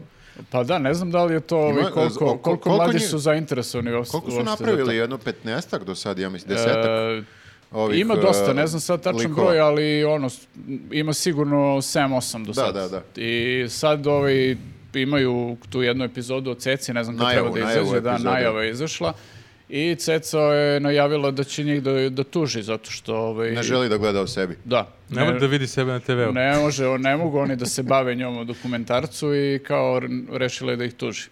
S4: Pa da, ne znam da li je to
S2: Ima-
S4: ovaj, koliko,
S2: koliko-
S4: koliko,
S2: koliko
S4: mladi
S2: njih-
S4: su zainteresovani uopšte-
S2: Koliko su
S4: uopšte za to.
S2: napravili? Jedno petnestak do sad, ja mislim, desetak.
S4: E,
S2: ovih,
S4: ima dosta,
S2: e,
S4: ne znam sad tačan
S2: likova.
S4: broj, ali ono, s- ima sigurno 7-8 do
S2: Da,
S4: sad.
S2: da, da.
S4: I sad ovaj, imaju tu jednu epizodu o Ceci, ne znam kad
S2: Najavu,
S4: treba da
S2: najavu
S4: izađe, da
S2: epizodu.
S4: najava je izašla. I Ceca je najavila da će njih da, da tuži, zato što... Ovaj,
S2: Ne želi da gleda o sebi.
S4: Da.
S1: Ne moram da vidi sebe na TV-u.
S4: ne može, on- ne mogu oni da se bave njom u dokumentarcu i kao r- rešila je da ih tuži.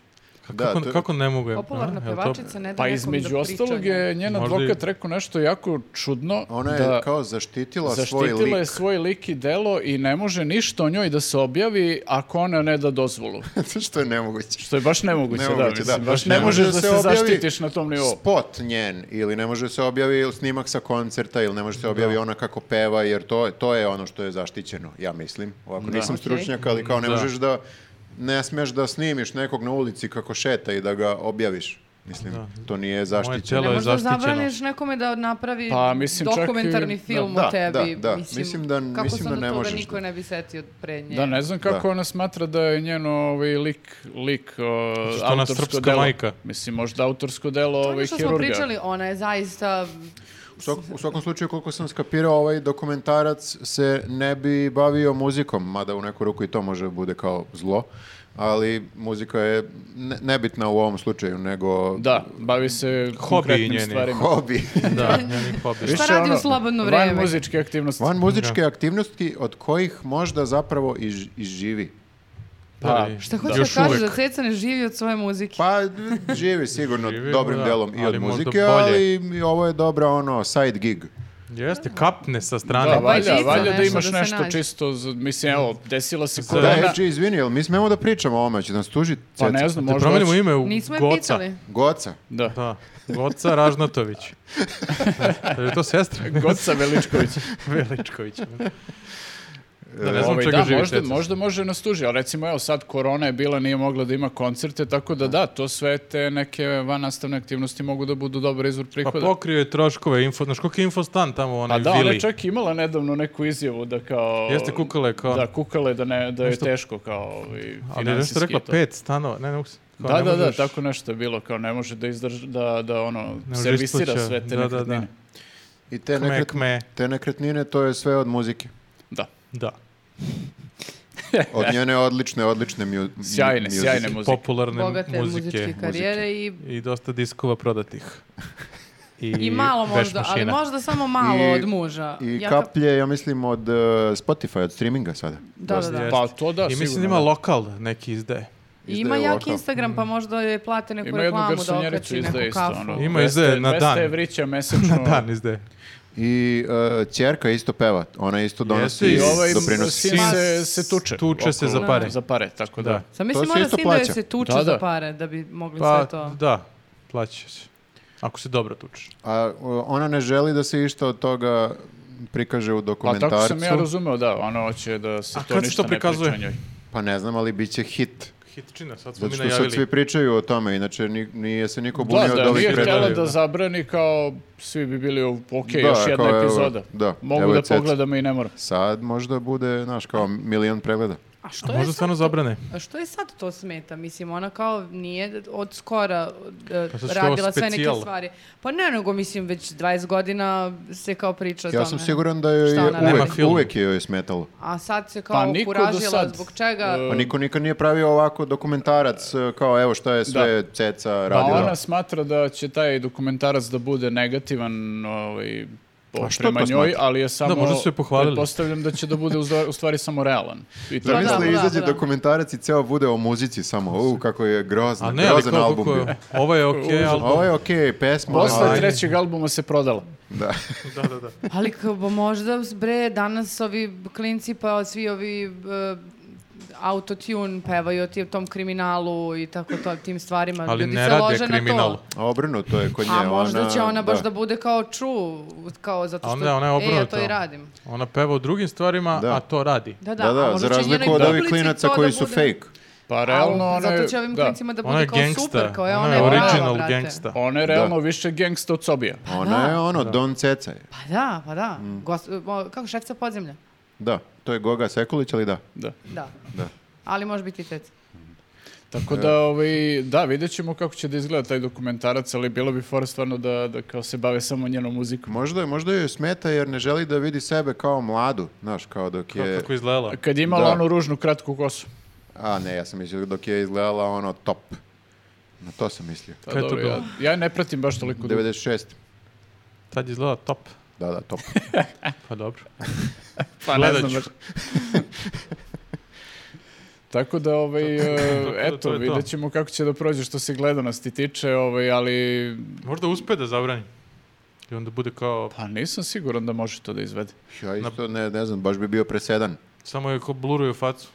S1: Kako,
S2: Da, to-
S1: kako ne mogu? je-
S3: Popularna
S1: a, jel to-
S3: pevačica ne da
S4: Pa
S3: nekom
S4: između
S3: da
S4: ostalog
S3: priča o njoj.
S4: je njen
S1: Možda i-
S4: advokat rekao nešto jako čudno.
S2: Ona je
S4: da
S2: kao zaštitila, svoj
S4: zaštitila je
S2: lik.
S4: svoj lik i delo i ne može ništa o njoj da se objavi ako ona ne da dozvolu.
S2: što je nemoguće.
S4: Što je baš nemoguće, da,
S2: Nemoguće,
S4: mislim,
S2: da.
S4: baš ne, možeš da se,
S2: objavi
S4: zaštitiš na tom nivou.
S2: Spot njen, ili ne može da se objavi snimak sa koncerta, ili ne može da se objavi ona kako peva, jer to, je- to je ono što je zaštićeno, ja mislim. Ovako, nisam
S3: Okej.
S2: stručnjak, ali kao ne
S1: Da.
S2: možeš da ne smeš da snimiš nekog na ulici kako šeta i da ga objaviš. Mislim, to nije
S1: Moje telo
S2: zaštićeno.
S3: Ne
S1: je
S3: možda
S1: zaštićeno.
S3: zabraniš nekome da napravi
S4: Pa, mislim, čak i-
S3: dokumentarni
S4: da.
S3: film
S2: Da,
S3: o tebi.
S2: da, da. Mislim da-
S3: kako
S2: mislim
S3: sad
S2: da ne
S3: to
S2: možeš
S3: da niko
S2: da-
S3: ne bi setio pre nje.
S4: Da, ne znam kako
S2: Da.
S4: ona smatra da je njeno ovaj, lik, lik o,
S1: što Znači, ona
S4: autorsko
S1: srpska
S4: delo.
S1: majka.
S4: Mislim, možda autorsko delo
S3: To je ono
S4: ovaj,
S3: što
S4: hirurga.
S3: smo pričali, ona je zaista...
S2: U, svak- u svakom slučaju, koliko sam skapirao, ovaj dokumentarac se ne bi bavio muzikom, mada u neku ruku i to može da bude kao zlo, ali muzika je ne- nebitna u ovom slučaju, nego
S4: Da, bavi se konkretnim
S1: njeni.
S4: stvarima.
S2: hobi.
S1: Da, njeni hobi.
S4: Više
S3: radi u
S4: ono,
S3: slobodno vreme?
S4: Van muzičke aktivnosti.
S2: Van muzičke aktivnosti od kojih možda zapravo i, ž- i živi.
S4: Pa,
S1: i-
S3: Šta hoće da
S1: još
S3: kaže
S1: uvek.
S3: da Ceca ne živi od svoje muzike?
S2: Pa d- živi sigurno
S1: Živi,
S2: dobrim
S1: da,
S2: delom i
S1: ali
S2: od
S1: možda
S2: muzike,
S1: bolje.
S2: ali i ovo je dobra ono side gig.
S1: Jeste, kapne sa strane.
S4: Da,
S3: pa i
S4: valja,
S3: čisto
S4: valja da
S3: nešto
S4: imaš
S3: da se
S4: nešto
S3: nađe.
S4: čisto, z- mislim, evo, desila se
S1: Da,
S2: Da,
S1: ona-
S4: korona,
S2: znači, izvini, jel mi smemo da pričamo o ovome, će nas tužit
S4: pa
S2: Ceca?
S4: ne znam,
S1: Da
S4: možda...
S1: promenimo
S4: hoće-
S1: ime u
S3: Nismo je
S1: Goca.
S3: pitali.
S2: Goca.
S4: Da.
S1: Da, Goca Ražnatović. Da, je to sestra?
S4: Goca Veličković.
S1: Veličković. Da ne znam
S4: Ovaj,
S1: čega
S4: da,
S1: živi
S4: možda,
S1: Ceca.
S4: možda može nas tuži, ali recimo evo sad korona je bila, nije mogla da ima koncerte, tako da da, to sve te neke vanastavne aktivnosti mogu da budu dobar izvor
S1: Pa
S4: prihoda.
S1: pokrio je troškove, info, znaš koliko je infostan tamo u onoj
S4: Pa da, ona
S1: vili.
S4: je čak imala nedavno neku izjavu da kao...
S1: Jeste kukala je kao-
S4: Da, kukale da, ne, da je
S1: Nešto-
S4: teško kao ovaj,
S1: Ali je
S4: finansijski
S1: nešto rekla,
S4: i to.
S1: pet stanova, ne, ne mogu se- kao
S4: Da,
S1: ne
S4: da, da,
S1: možeš-
S4: tako nešto je bilo, kao ne može da izdrži, da, da ono,
S1: može
S4: servisira
S1: isplaća.
S4: sve te
S1: Da, da, da.
S4: nekretnine. Da,
S2: I te,
S1: Kme,
S2: nekret-
S1: kme.
S2: te nekretnine, to je sve od muzike.
S1: Da.
S2: Od njene odlične, odlične mju, mju-
S4: Sjajne,
S2: muzike.
S4: sjajne muzike.
S1: Popularne
S3: Bogate
S1: muzike.
S3: muzičke karijere i...
S1: I dosta diskova prodatih. I,
S3: I malo
S1: veš
S3: možda, ali
S1: mašina.
S3: možda samo malo
S2: I-
S3: od muža.
S2: I
S3: Ja kap-
S2: kaplje, ja mislim, od e, Spotify, od streaminga sada.
S3: Da, da, da.
S1: Jeste.
S4: Pa to da,
S1: I mislim da
S4: sigurno,
S1: ima
S4: da.
S1: lokal neki izdaje.
S3: I Ima
S2: Izdaje
S3: jak
S2: lokal.
S3: Instagram, pa možda joj plate neku
S4: Ima jednu
S3: reklamu da
S4: garsonjericu
S3: okači neku
S4: izdaje isto.
S3: kafu.
S4: Ono,
S1: Ima izdaje na
S4: 200
S1: dan.
S4: evrića mesečno.
S1: Na dan izdaje.
S2: I e, ćerka isto peva, ona isto donosi
S1: Jeste,
S4: I ovaj
S2: doprinosi.
S4: sin
S1: Sin
S4: se, se tuče.
S1: tuče se
S4: oko-
S1: za pare.
S4: Za pare, tako da.
S1: Da.
S3: Sam
S2: To
S3: mislim,
S2: se
S3: mora
S2: isto
S3: sin da joj
S2: plaća.
S3: se tuče
S4: Da, da.
S3: za pare, da bi mogli
S1: Pa,
S3: sve to...
S1: da, plaćaš. Ako se dobro tučeš.
S2: A o, ona ne želi da se išta od toga prikaže u
S4: Pa
S2: dokumentarcu.
S4: tako sam ja razumeo, da, ona hoće da se
S1: A
S4: to
S1: kad se
S4: ništa
S1: to
S4: ne priča
S1: prikazuje?
S4: o njoj.
S2: Pa ne znam, ali bit će hit.
S1: Hitčina, sad smo
S2: Zato
S1: mi
S2: što sad svi
S1: najavili.
S2: pričaju o tome, inače ni- nije se niko bunio
S4: Da,
S2: od
S4: da,
S2: ovih
S4: nije
S2: predloga.
S4: htjela da
S1: da.
S4: zabrani kao svi bi bili u, ok, još
S2: Da,
S4: jedna
S2: kao, evo,
S4: epizoda.
S2: da, evo
S4: Mogu
S2: je
S4: da
S2: Ceca.
S4: pogledamo i ne moram.
S2: Sad možda bude, znaš, kao milion pregleda.
S3: A što
S1: A
S3: je
S1: možda
S3: sad
S1: stvarno
S3: to-
S1: zabrane.
S3: A što je sad to smeta? Mislim, ona kao nije od skora e,
S1: Pa zato što je ovo
S3: radila sve neke
S1: specijal.
S3: stvari. Pa ne, nego mislim, već 20 godina se kao priča o tome.
S2: Ja sam siguran da joj
S3: Šta
S2: je
S3: ona radi?
S2: uvek,
S1: Nema film.
S2: uvek je joj smetalo.
S3: A sad se
S4: Pa
S3: kao
S4: niko do
S3: kuražila
S4: sad. E.
S3: zbog čega...
S2: Pa niko nikad nije pravio ovako dokumentarac e, kao evo šta je sve Ceca
S4: Pa
S2: radila.
S4: ona smatra da će taj dokumentarac da bude negativan, ovaj, po,
S2: A što
S4: prema
S2: to
S4: njoj,
S2: smatra?
S4: ali je samo...
S1: Da, možda su je pohvalili.
S4: Pretpostavljam da će da bude u stvari- u stvari samo realan. I to je
S3: da,
S2: Zamisli,
S3: da,
S2: izađe
S3: da.
S2: dokumentarac i ceo bude o muzici samo. U, kako je grozno,
S1: A ne, ali
S2: grozan
S1: kao
S2: album
S1: koliko
S2: bio.
S1: je, ovo je okej album.
S2: Ovo je okej, pesma. ovaj,
S4: Posle
S1: Ovaj.
S2: ali-
S4: trećeg albuma se prodala.
S2: Da.
S1: Da, da, da.
S3: Ali kao ba možda, bre, danas ovi klinci pa svi ovi e, autotune pevaju o ti- tom kriminalu i tako to, tim stvarima.
S1: Ali
S3: Ljudi
S1: ne
S3: se
S1: rade
S3: lože na to.
S1: kriminal.
S2: A obrnuto je kod nje.
S3: A možda će ona baš da, bude kao true, kao zato
S1: A
S3: što,
S1: onda ona je
S3: e, ja
S1: obrnuta.
S3: to i radim.
S1: Ona peva o drugim stvarima,
S2: Da.
S1: a to radi.
S3: Da, da,
S2: Da, da,
S3: a
S2: za
S3: možda će
S2: razliku
S3: njenoj
S2: od ovih
S3: publici
S2: klinaca
S3: to
S2: koji
S3: da
S2: su
S3: bude-
S2: fake.
S4: Pa
S3: A,
S4: realno ona je...
S3: Zato će ovim
S4: da.
S3: klincima da
S1: Ona
S3: bude
S1: je
S3: kao
S1: gangsta.
S3: super, kao je
S1: ona je
S3: prava,
S1: original
S3: brate.
S1: gangsta.
S4: Ona je realno više gangsta od Sobija.
S2: Ona je ono, Don Ceca je.
S3: Pa da, pa da.
S2: Mm.
S3: Gost- o, kako šefica podzemlja?
S2: Da, to je Goga Sekulić, ali da.
S4: Da.
S3: Da.
S2: Da.
S3: Ali može biti i tec.
S4: Tako da, ovaj, da, vidjet ćemo kako će da izgleda taj dokumentarac, ali bilo bi fora stvarno da, da kao se bave samo njenom muzikom.
S2: Možda, možda joj smeta jer ne želi da vidi sebe kao mladu, znaš, kao dok
S1: Kao
S2: je...
S1: Kako izgledala.
S4: Kad je imala
S2: Da.
S4: onu ružnu kratku kosu.
S2: A ne, ja sam mislio dok je izgledala ono top. Na to sam mislio.
S4: Pa
S1: Kaj je to
S4: dobro, ja,
S1: bilo?
S4: ja je ne pratim baš toliko. dugo.
S2: 96.
S1: Tad je izgledala top.
S2: Da, da, top.
S1: Pa dobro.
S4: Pa ne
S1: Gledat
S4: znam
S1: ću.
S4: baš. Tako da, ovaj, e,
S1: Tako da to
S4: eto,
S1: je to.
S4: vidjet ćemo kako će da prođe što se gledanosti tiče, ovaj, ali
S1: Možda uspe da zabrani. I onda bude kao,
S4: pa nisam siguran da može to da izvede.
S2: Ja isto ne, ne znam, baš bi bio presedan.
S1: samo je ko bluruju facu.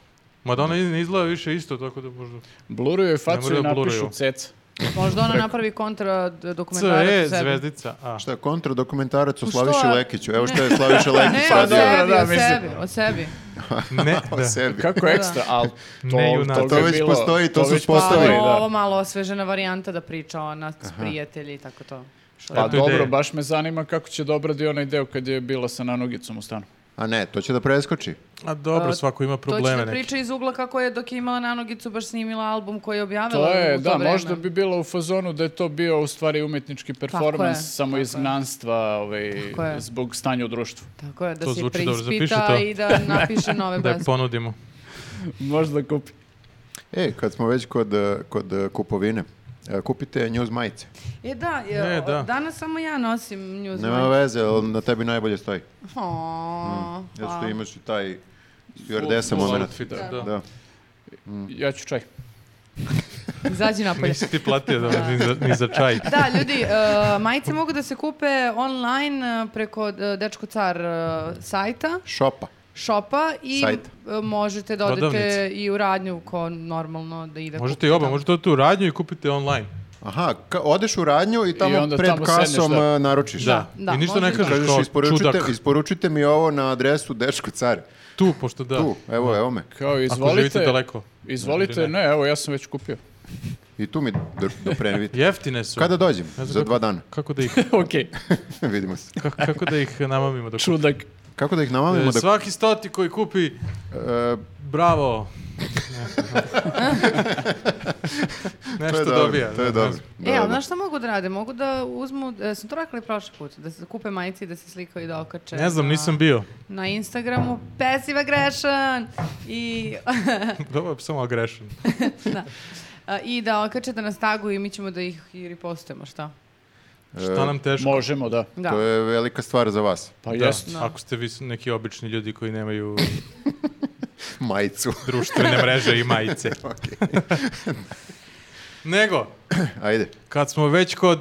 S1: Mada ona ne izgleda više isto, tako da možda...
S4: Bluruju je facu
S1: mora da
S4: i napišu
S1: bluruju.
S4: ceca.
S3: Možda ona napravi kontra d- dokumentarac.
S1: CE,
S3: o sebi.
S1: E zvezdica, a.
S2: Šta je kontradokumentarac o
S3: što,
S2: Slaviši
S3: a-
S2: Lekiću? Evo što je Slaviša Lekić
S3: Ne, o
S4: Pa
S2: radio.
S4: dobro,
S3: sebi, o
S4: da, mislim.
S3: sebi, o sebi.
S1: Ne,
S2: O
S1: da.
S2: sebi.
S4: Kako ekstra, ali to,
S1: Ne junak.
S4: toga
S2: To
S4: je
S2: već
S4: bilo-
S2: postoji, to su
S4: već
S3: Pa
S2: Postavi,
S4: postoji,
S3: ovo,
S4: da.
S3: ovo malo osvežena varijanta da priča ona s prijatelji i tako to. Što
S4: Pa
S1: Eto
S4: dobro,
S1: ideje.
S4: baš me zanima kako će da obradi onaj deo kad je bila sa nanogicom u stanu.
S2: A ne, to će da preskoči.
S1: A dobro, svako ima
S3: to će
S1: probleme
S3: da
S1: neke.
S3: priča iz ugla kako je dok je imala nanogicu baš snimila album koji je objavila
S4: To je,
S3: u to
S4: da,
S3: vreme.
S4: možda bi bilo u fazonu da je to bio u stvari umetnički performans, samo
S3: tako
S4: iz
S3: je.
S4: gnanstva ovaj,
S3: Tako je.
S4: zbog stanja u društvu.
S3: Tako je, da
S1: To
S3: se
S1: zvuči dobro,
S3: preispita
S1: zapiši to.
S3: i da napiše nove
S1: Da je
S3: pesme.
S1: ponudimo.
S4: Možda kupi.
S2: E, kad smo već kod, eh, kod eh, kupovine, eh, kupite news majice.
S3: E da, je,
S1: E, da.
S3: danas samo ja nosim news
S2: Nema veze, ali na tebi najbolje stoji.
S4: Mm,
S3: Aw,
S2: Zato što
S3: hvala.
S2: imaš i taj stewardesa moment.
S1: Outfit, da.
S2: Da.
S4: Ja ću čaj.
S3: Izađi napolje.
S1: Nisi ti platio da, ni, za, ni za čaj.
S3: Da, ljudi, e, majice mogu da se kupe online e, preko e, Dečko Car e, sajta,
S2: Šopa.
S3: šopa i
S2: Sajta.
S3: e, možete da odete
S1: Prodavnice.
S3: i u radnju ko normalno da ide.
S1: Možete
S3: kupiti
S1: i oba,
S3: tamo.
S1: možete odete u radnju i kupite online.
S2: Aha, ka- odeš u radnju i tamo
S4: onda
S2: pred
S4: tamo sedneš,
S2: kasom
S4: da.
S2: eh, naručiš.
S1: Da.
S3: Da,
S1: I ništa
S3: može
S1: ne
S3: i
S1: kažeš
S2: Kažeš,
S1: kao čudak.
S2: isporučite, isporučite mi ovo na adresu Dečko Care.
S1: Tu, pošto da.
S2: Tu, evo, evo me.
S4: Kao
S1: Ako živite
S4: izvolite,
S1: daleko.
S4: izvolite,
S1: Ili
S4: ne, evo ja sam već kupio.
S2: I tu mi do- dopremite.
S1: Jeftine su.
S2: Kada dođem?
S1: Ne znam
S2: Za
S1: kako-
S2: dva dana.
S1: Kako da ih,
S4: Okej,
S2: Vidimo se.
S1: kako, kako da ih namamimo da
S4: čudak.
S2: Kako da ih namamimo
S1: E,
S2: da...
S1: Svaki stoti koji kupi,
S2: e,
S1: bravo. Nešto
S2: to je dobro,
S1: dobija.
S2: To je
S1: ne
S2: dobro.
S1: znam.
S2: Da,
S3: E,
S2: da,
S3: ali
S2: da.
S3: znaš šta mogu da rade? Mogu da uzmu, e, smo to rekli prošli put, da se kupe majice i da se slikaju i da okače.
S1: Ne znam,
S3: na-
S1: nisam bio.
S3: Na Instagramu, pesiva grešan! I,
S1: Dobro, samo agrešan.
S3: a, I da okačete nas tagu i mi ćemo da ih i repostujemo, šta?
S2: E,
S1: Šta nam teško?
S4: Možemo, da.
S3: Da.
S2: To je velika stvar za vas.
S4: Pa
S1: Da,
S4: jest.
S3: Da.
S1: Ako ste vi s- neki obični ljudi koji nemaju
S2: Majicu.
S1: društvene mreže i majice. Nego,
S2: Ajde.
S1: kad smo već kod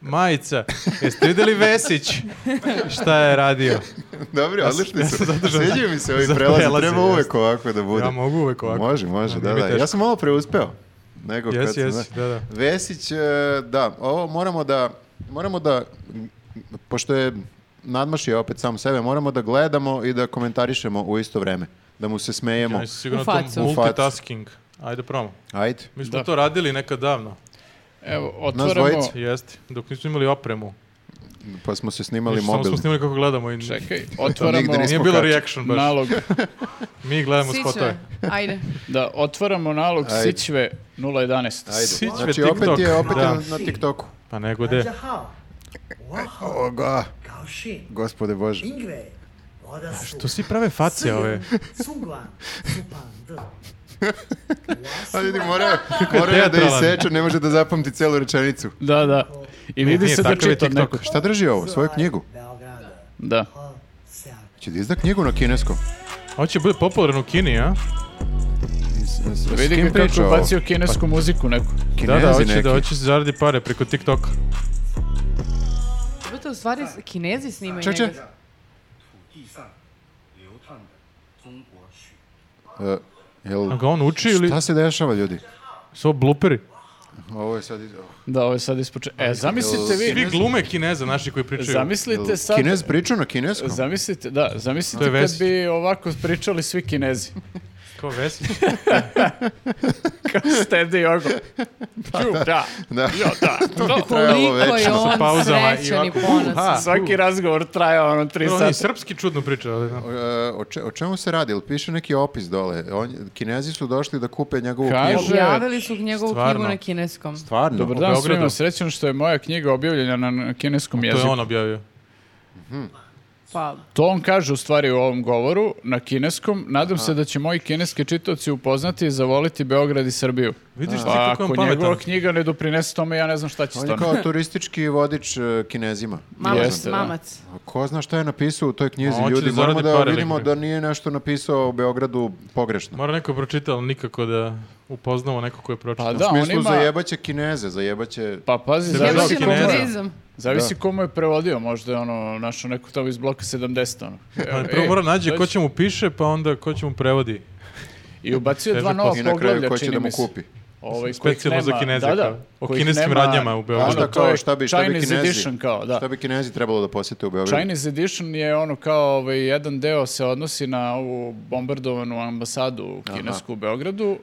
S1: majica, jeste videli Vesić šta je radio?
S2: Dobro,
S1: Ja sam-
S2: odlišni
S1: ja
S2: su.
S1: sam zadržan.
S2: Sviđaju mi se ovi
S1: Za
S2: prelazi.
S1: prelaze,
S2: Treba
S1: jeste.
S2: uvek ovako da bude.
S1: Ja mogu uvek ovako.
S2: Može, može,
S1: A,
S2: da,
S1: nije mi
S2: da. Ja
S1: teško.
S2: sam malo preuspeo. Nego kad
S1: Jesi,
S2: sam,
S1: jesi, da, da.
S2: Vesić, e, da, ovo moramo da, moramo da, m, pošto je nadmašio opet sam sebe, moramo da gledamo i da komentarišemo u isto vreme. Da mu se smejemo.
S1: Ja sam sigurno
S3: U
S1: to
S3: facu.
S2: U facu.
S1: multitasking. Ajde, promo.
S2: Ajde.
S1: Mi smo
S4: Da.
S1: to radili nekad davno.
S4: Evo,
S2: Nas
S4: otvaramo...
S2: dvojica.
S1: Jeste, dok nismo imali opremu.
S2: Pa smo se snimali
S1: Ništa, samo
S2: mobil.
S1: smo snimali kako gledamo i
S4: Čekaj,
S2: nigde
S4: otvaramo
S2: nismo
S1: nije bilo
S2: kačili.
S1: reaction baš.
S4: nalog.
S1: Mi gledamo
S3: Sićve,
S1: spotove.
S3: ajde.
S4: Da, otvaramo nalog
S2: Ajde.
S4: Sićve 011.
S2: Ajde.
S1: Sićve
S2: Znači,
S1: TikTok.
S2: opet je, opet je
S1: Da.
S2: na TikToku.
S1: Pa nego
S5: 大
S1: de.
S5: 家好，我好，
S2: Oga,
S5: 高兴，
S2: gospode Bože.
S5: 因为我的
S1: To
S5: 属
S1: svi prave face ove.
S5: 主管是板凳。
S2: A ljudi, mora, mora da
S1: teatralan.
S2: iseče, ne može da zapamti celu rečenicu.
S4: Da, da. I vidi
S1: nije,
S4: se da
S1: takav je
S4: čita
S1: TikTok.
S4: neko.
S2: Šta drži ovo? Svoju knjigu?
S5: 不要干的，
S4: Da.
S5: ho seak.
S2: Će da izda knjigu na kineskom?
S1: Ovo će biti popularan u Kini, a?
S2: S, s,
S4: Vidi
S2: s kim
S4: ga kako
S2: priča
S4: je
S2: ovo?
S4: bacio
S1: Pa-
S4: kinesku muziku neku.
S1: da,
S2: Kinezi
S1: da, hoće
S2: neki.
S1: da hoće da zaradi pare preko TikToka.
S3: Zato u stvari s- kinezi snimaju
S2: Ček, ček.
S3: njega.
S5: 地上流淌的中国血。
S2: E, jel,
S1: A ga on uči ili
S2: šta se dešava, ljudi?
S1: su ovo bluperi?
S2: Ovo je sad... iz-
S4: Da, ovo je sad ispoče... E, zamislite vi...
S1: Svi glume kineza naši koji pričaju.
S4: Zamislite sad...
S2: Kinez priča na kineskom?
S4: Zamislite, da,
S1: To
S4: zamislite
S1: je
S4: kad
S1: Vesić.
S4: bi ovako pričali svi kinezi.
S1: Kao Vesić.
S4: Kao Steady Jogo.
S1: Pa
S4: Ću, da.
S2: Da.
S4: Jo, da. To.
S2: Trebalo
S3: Koliko je
S2: večno.
S1: ono, Sa
S3: on
S1: pauzama i
S3: srećan i
S1: ovako,
S3: ponosan.
S1: uha.
S4: Svaki razgovor traja ono tri
S1: On i
S4: sata.
S1: srpski čudno priča, ali da.
S2: O, e, o, če- o čemu se radi? Jel piše neki opis dole? On, kinezi su došli da kupe njegovu
S4: Kaže-
S2: knjigu.
S3: Objavili su njegovu
S1: Stvarno.
S3: knjigu na kineskom.
S2: Stvarno?
S4: Dobar
S1: u
S4: dan,
S1: Beogradu.
S4: svima srećan što je moja knjiga objavljena na- na kineskom
S1: To je
S4: jeziku.
S1: on objavio.
S3: Pa,
S4: To on kaže u stvari u ovom govoru na kineskom. Nadam se da će moji kineski čitavci upoznati i zavoliti Beograd i Srbiju.
S1: Vidiš ti
S4: Pa
S1: kako je on
S4: ako njegova
S1: pametan.
S4: knjiga ne doprinese tome, ja ne znam šta će
S2: On je
S4: stvarno.
S2: kao turistički vodič e, kinezima.
S3: mamac,
S4: Jeste, da.
S3: mamac.
S2: A Ko zna šta je napisao u toj knjizi?
S1: A on će
S2: Ljudi,
S1: da zaradi
S2: moramo da
S1: pare
S2: vidimo
S1: nekako.
S2: da nije nešto napisao o Beogradu pogrešno.
S1: Mora neko pročitati, ali nikako da upoznamo neko ko je
S4: Pa
S1: pročitao.
S4: da,
S2: u
S4: on
S2: smislu
S4: ima...
S2: zajebaće kineze, zajebaće...
S4: Pa pazi,
S1: Sebe
S4: zavisi
S1: Zavisi
S3: Jebate
S1: dok Kineza.
S3: komunizam.
S4: Zavisi komu je prevodio, možda je ono našao neko tamo iz bloka 70, ono.
S1: Ali
S4: E,
S1: Pa prvo mora
S4: ej,
S1: nađe ko
S4: dođi.
S1: će mu piše, pa onda ko će mu prevodi.
S4: I ubacio je dva
S1: Težak
S4: nova
S2: I
S1: posao.
S4: Pa, poglavlja,
S2: na kraju ko će
S4: čini
S2: da mu
S4: mi se.
S2: kupi.
S4: Ovaj,
S1: Specijalno
S4: kojih nema-
S1: za Kineze,
S4: da,
S1: kao.
S4: da,
S1: O
S4: kojih
S1: kineskim
S4: nema-
S1: radnjama u Beogradu.
S4: Ono,
S2: Znaš da
S4: to
S2: kao,
S4: je
S2: šta bi, šta bi
S4: Chinese
S2: kinezi...
S4: edition, kao, da.
S2: Šta bi kinezi trebalo da posete u Beogradu?
S4: Chinese edition je ono kao ovaj, jedan deo se odnosi na ovu bombardovanu ambasadu kinesku u Beogradu,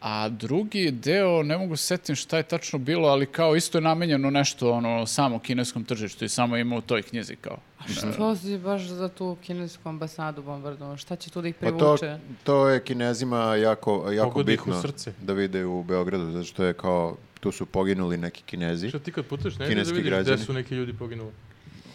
S4: a drugi deo, ne mogu se setim šta je tačno bilo, ali kao isto je namenjeno nešto ono samo kineskom tržištu i samo ima u toj knjizi kao.
S3: Što si baš za tu kinesku ambasadu bombardovan? Šta će tu da ih
S2: Pa to,
S3: privuče?
S2: to je kinezima jako, jako
S1: Pogodi ih u
S2: bitno
S1: srce.
S2: da vide u Beogradu, zato što je kao, tu su poginuli neki kinezi,
S1: Što ti kad putuješ negdje da
S2: Kineski
S1: vidiš
S2: građani.
S1: gde su neki ljudi poginuli.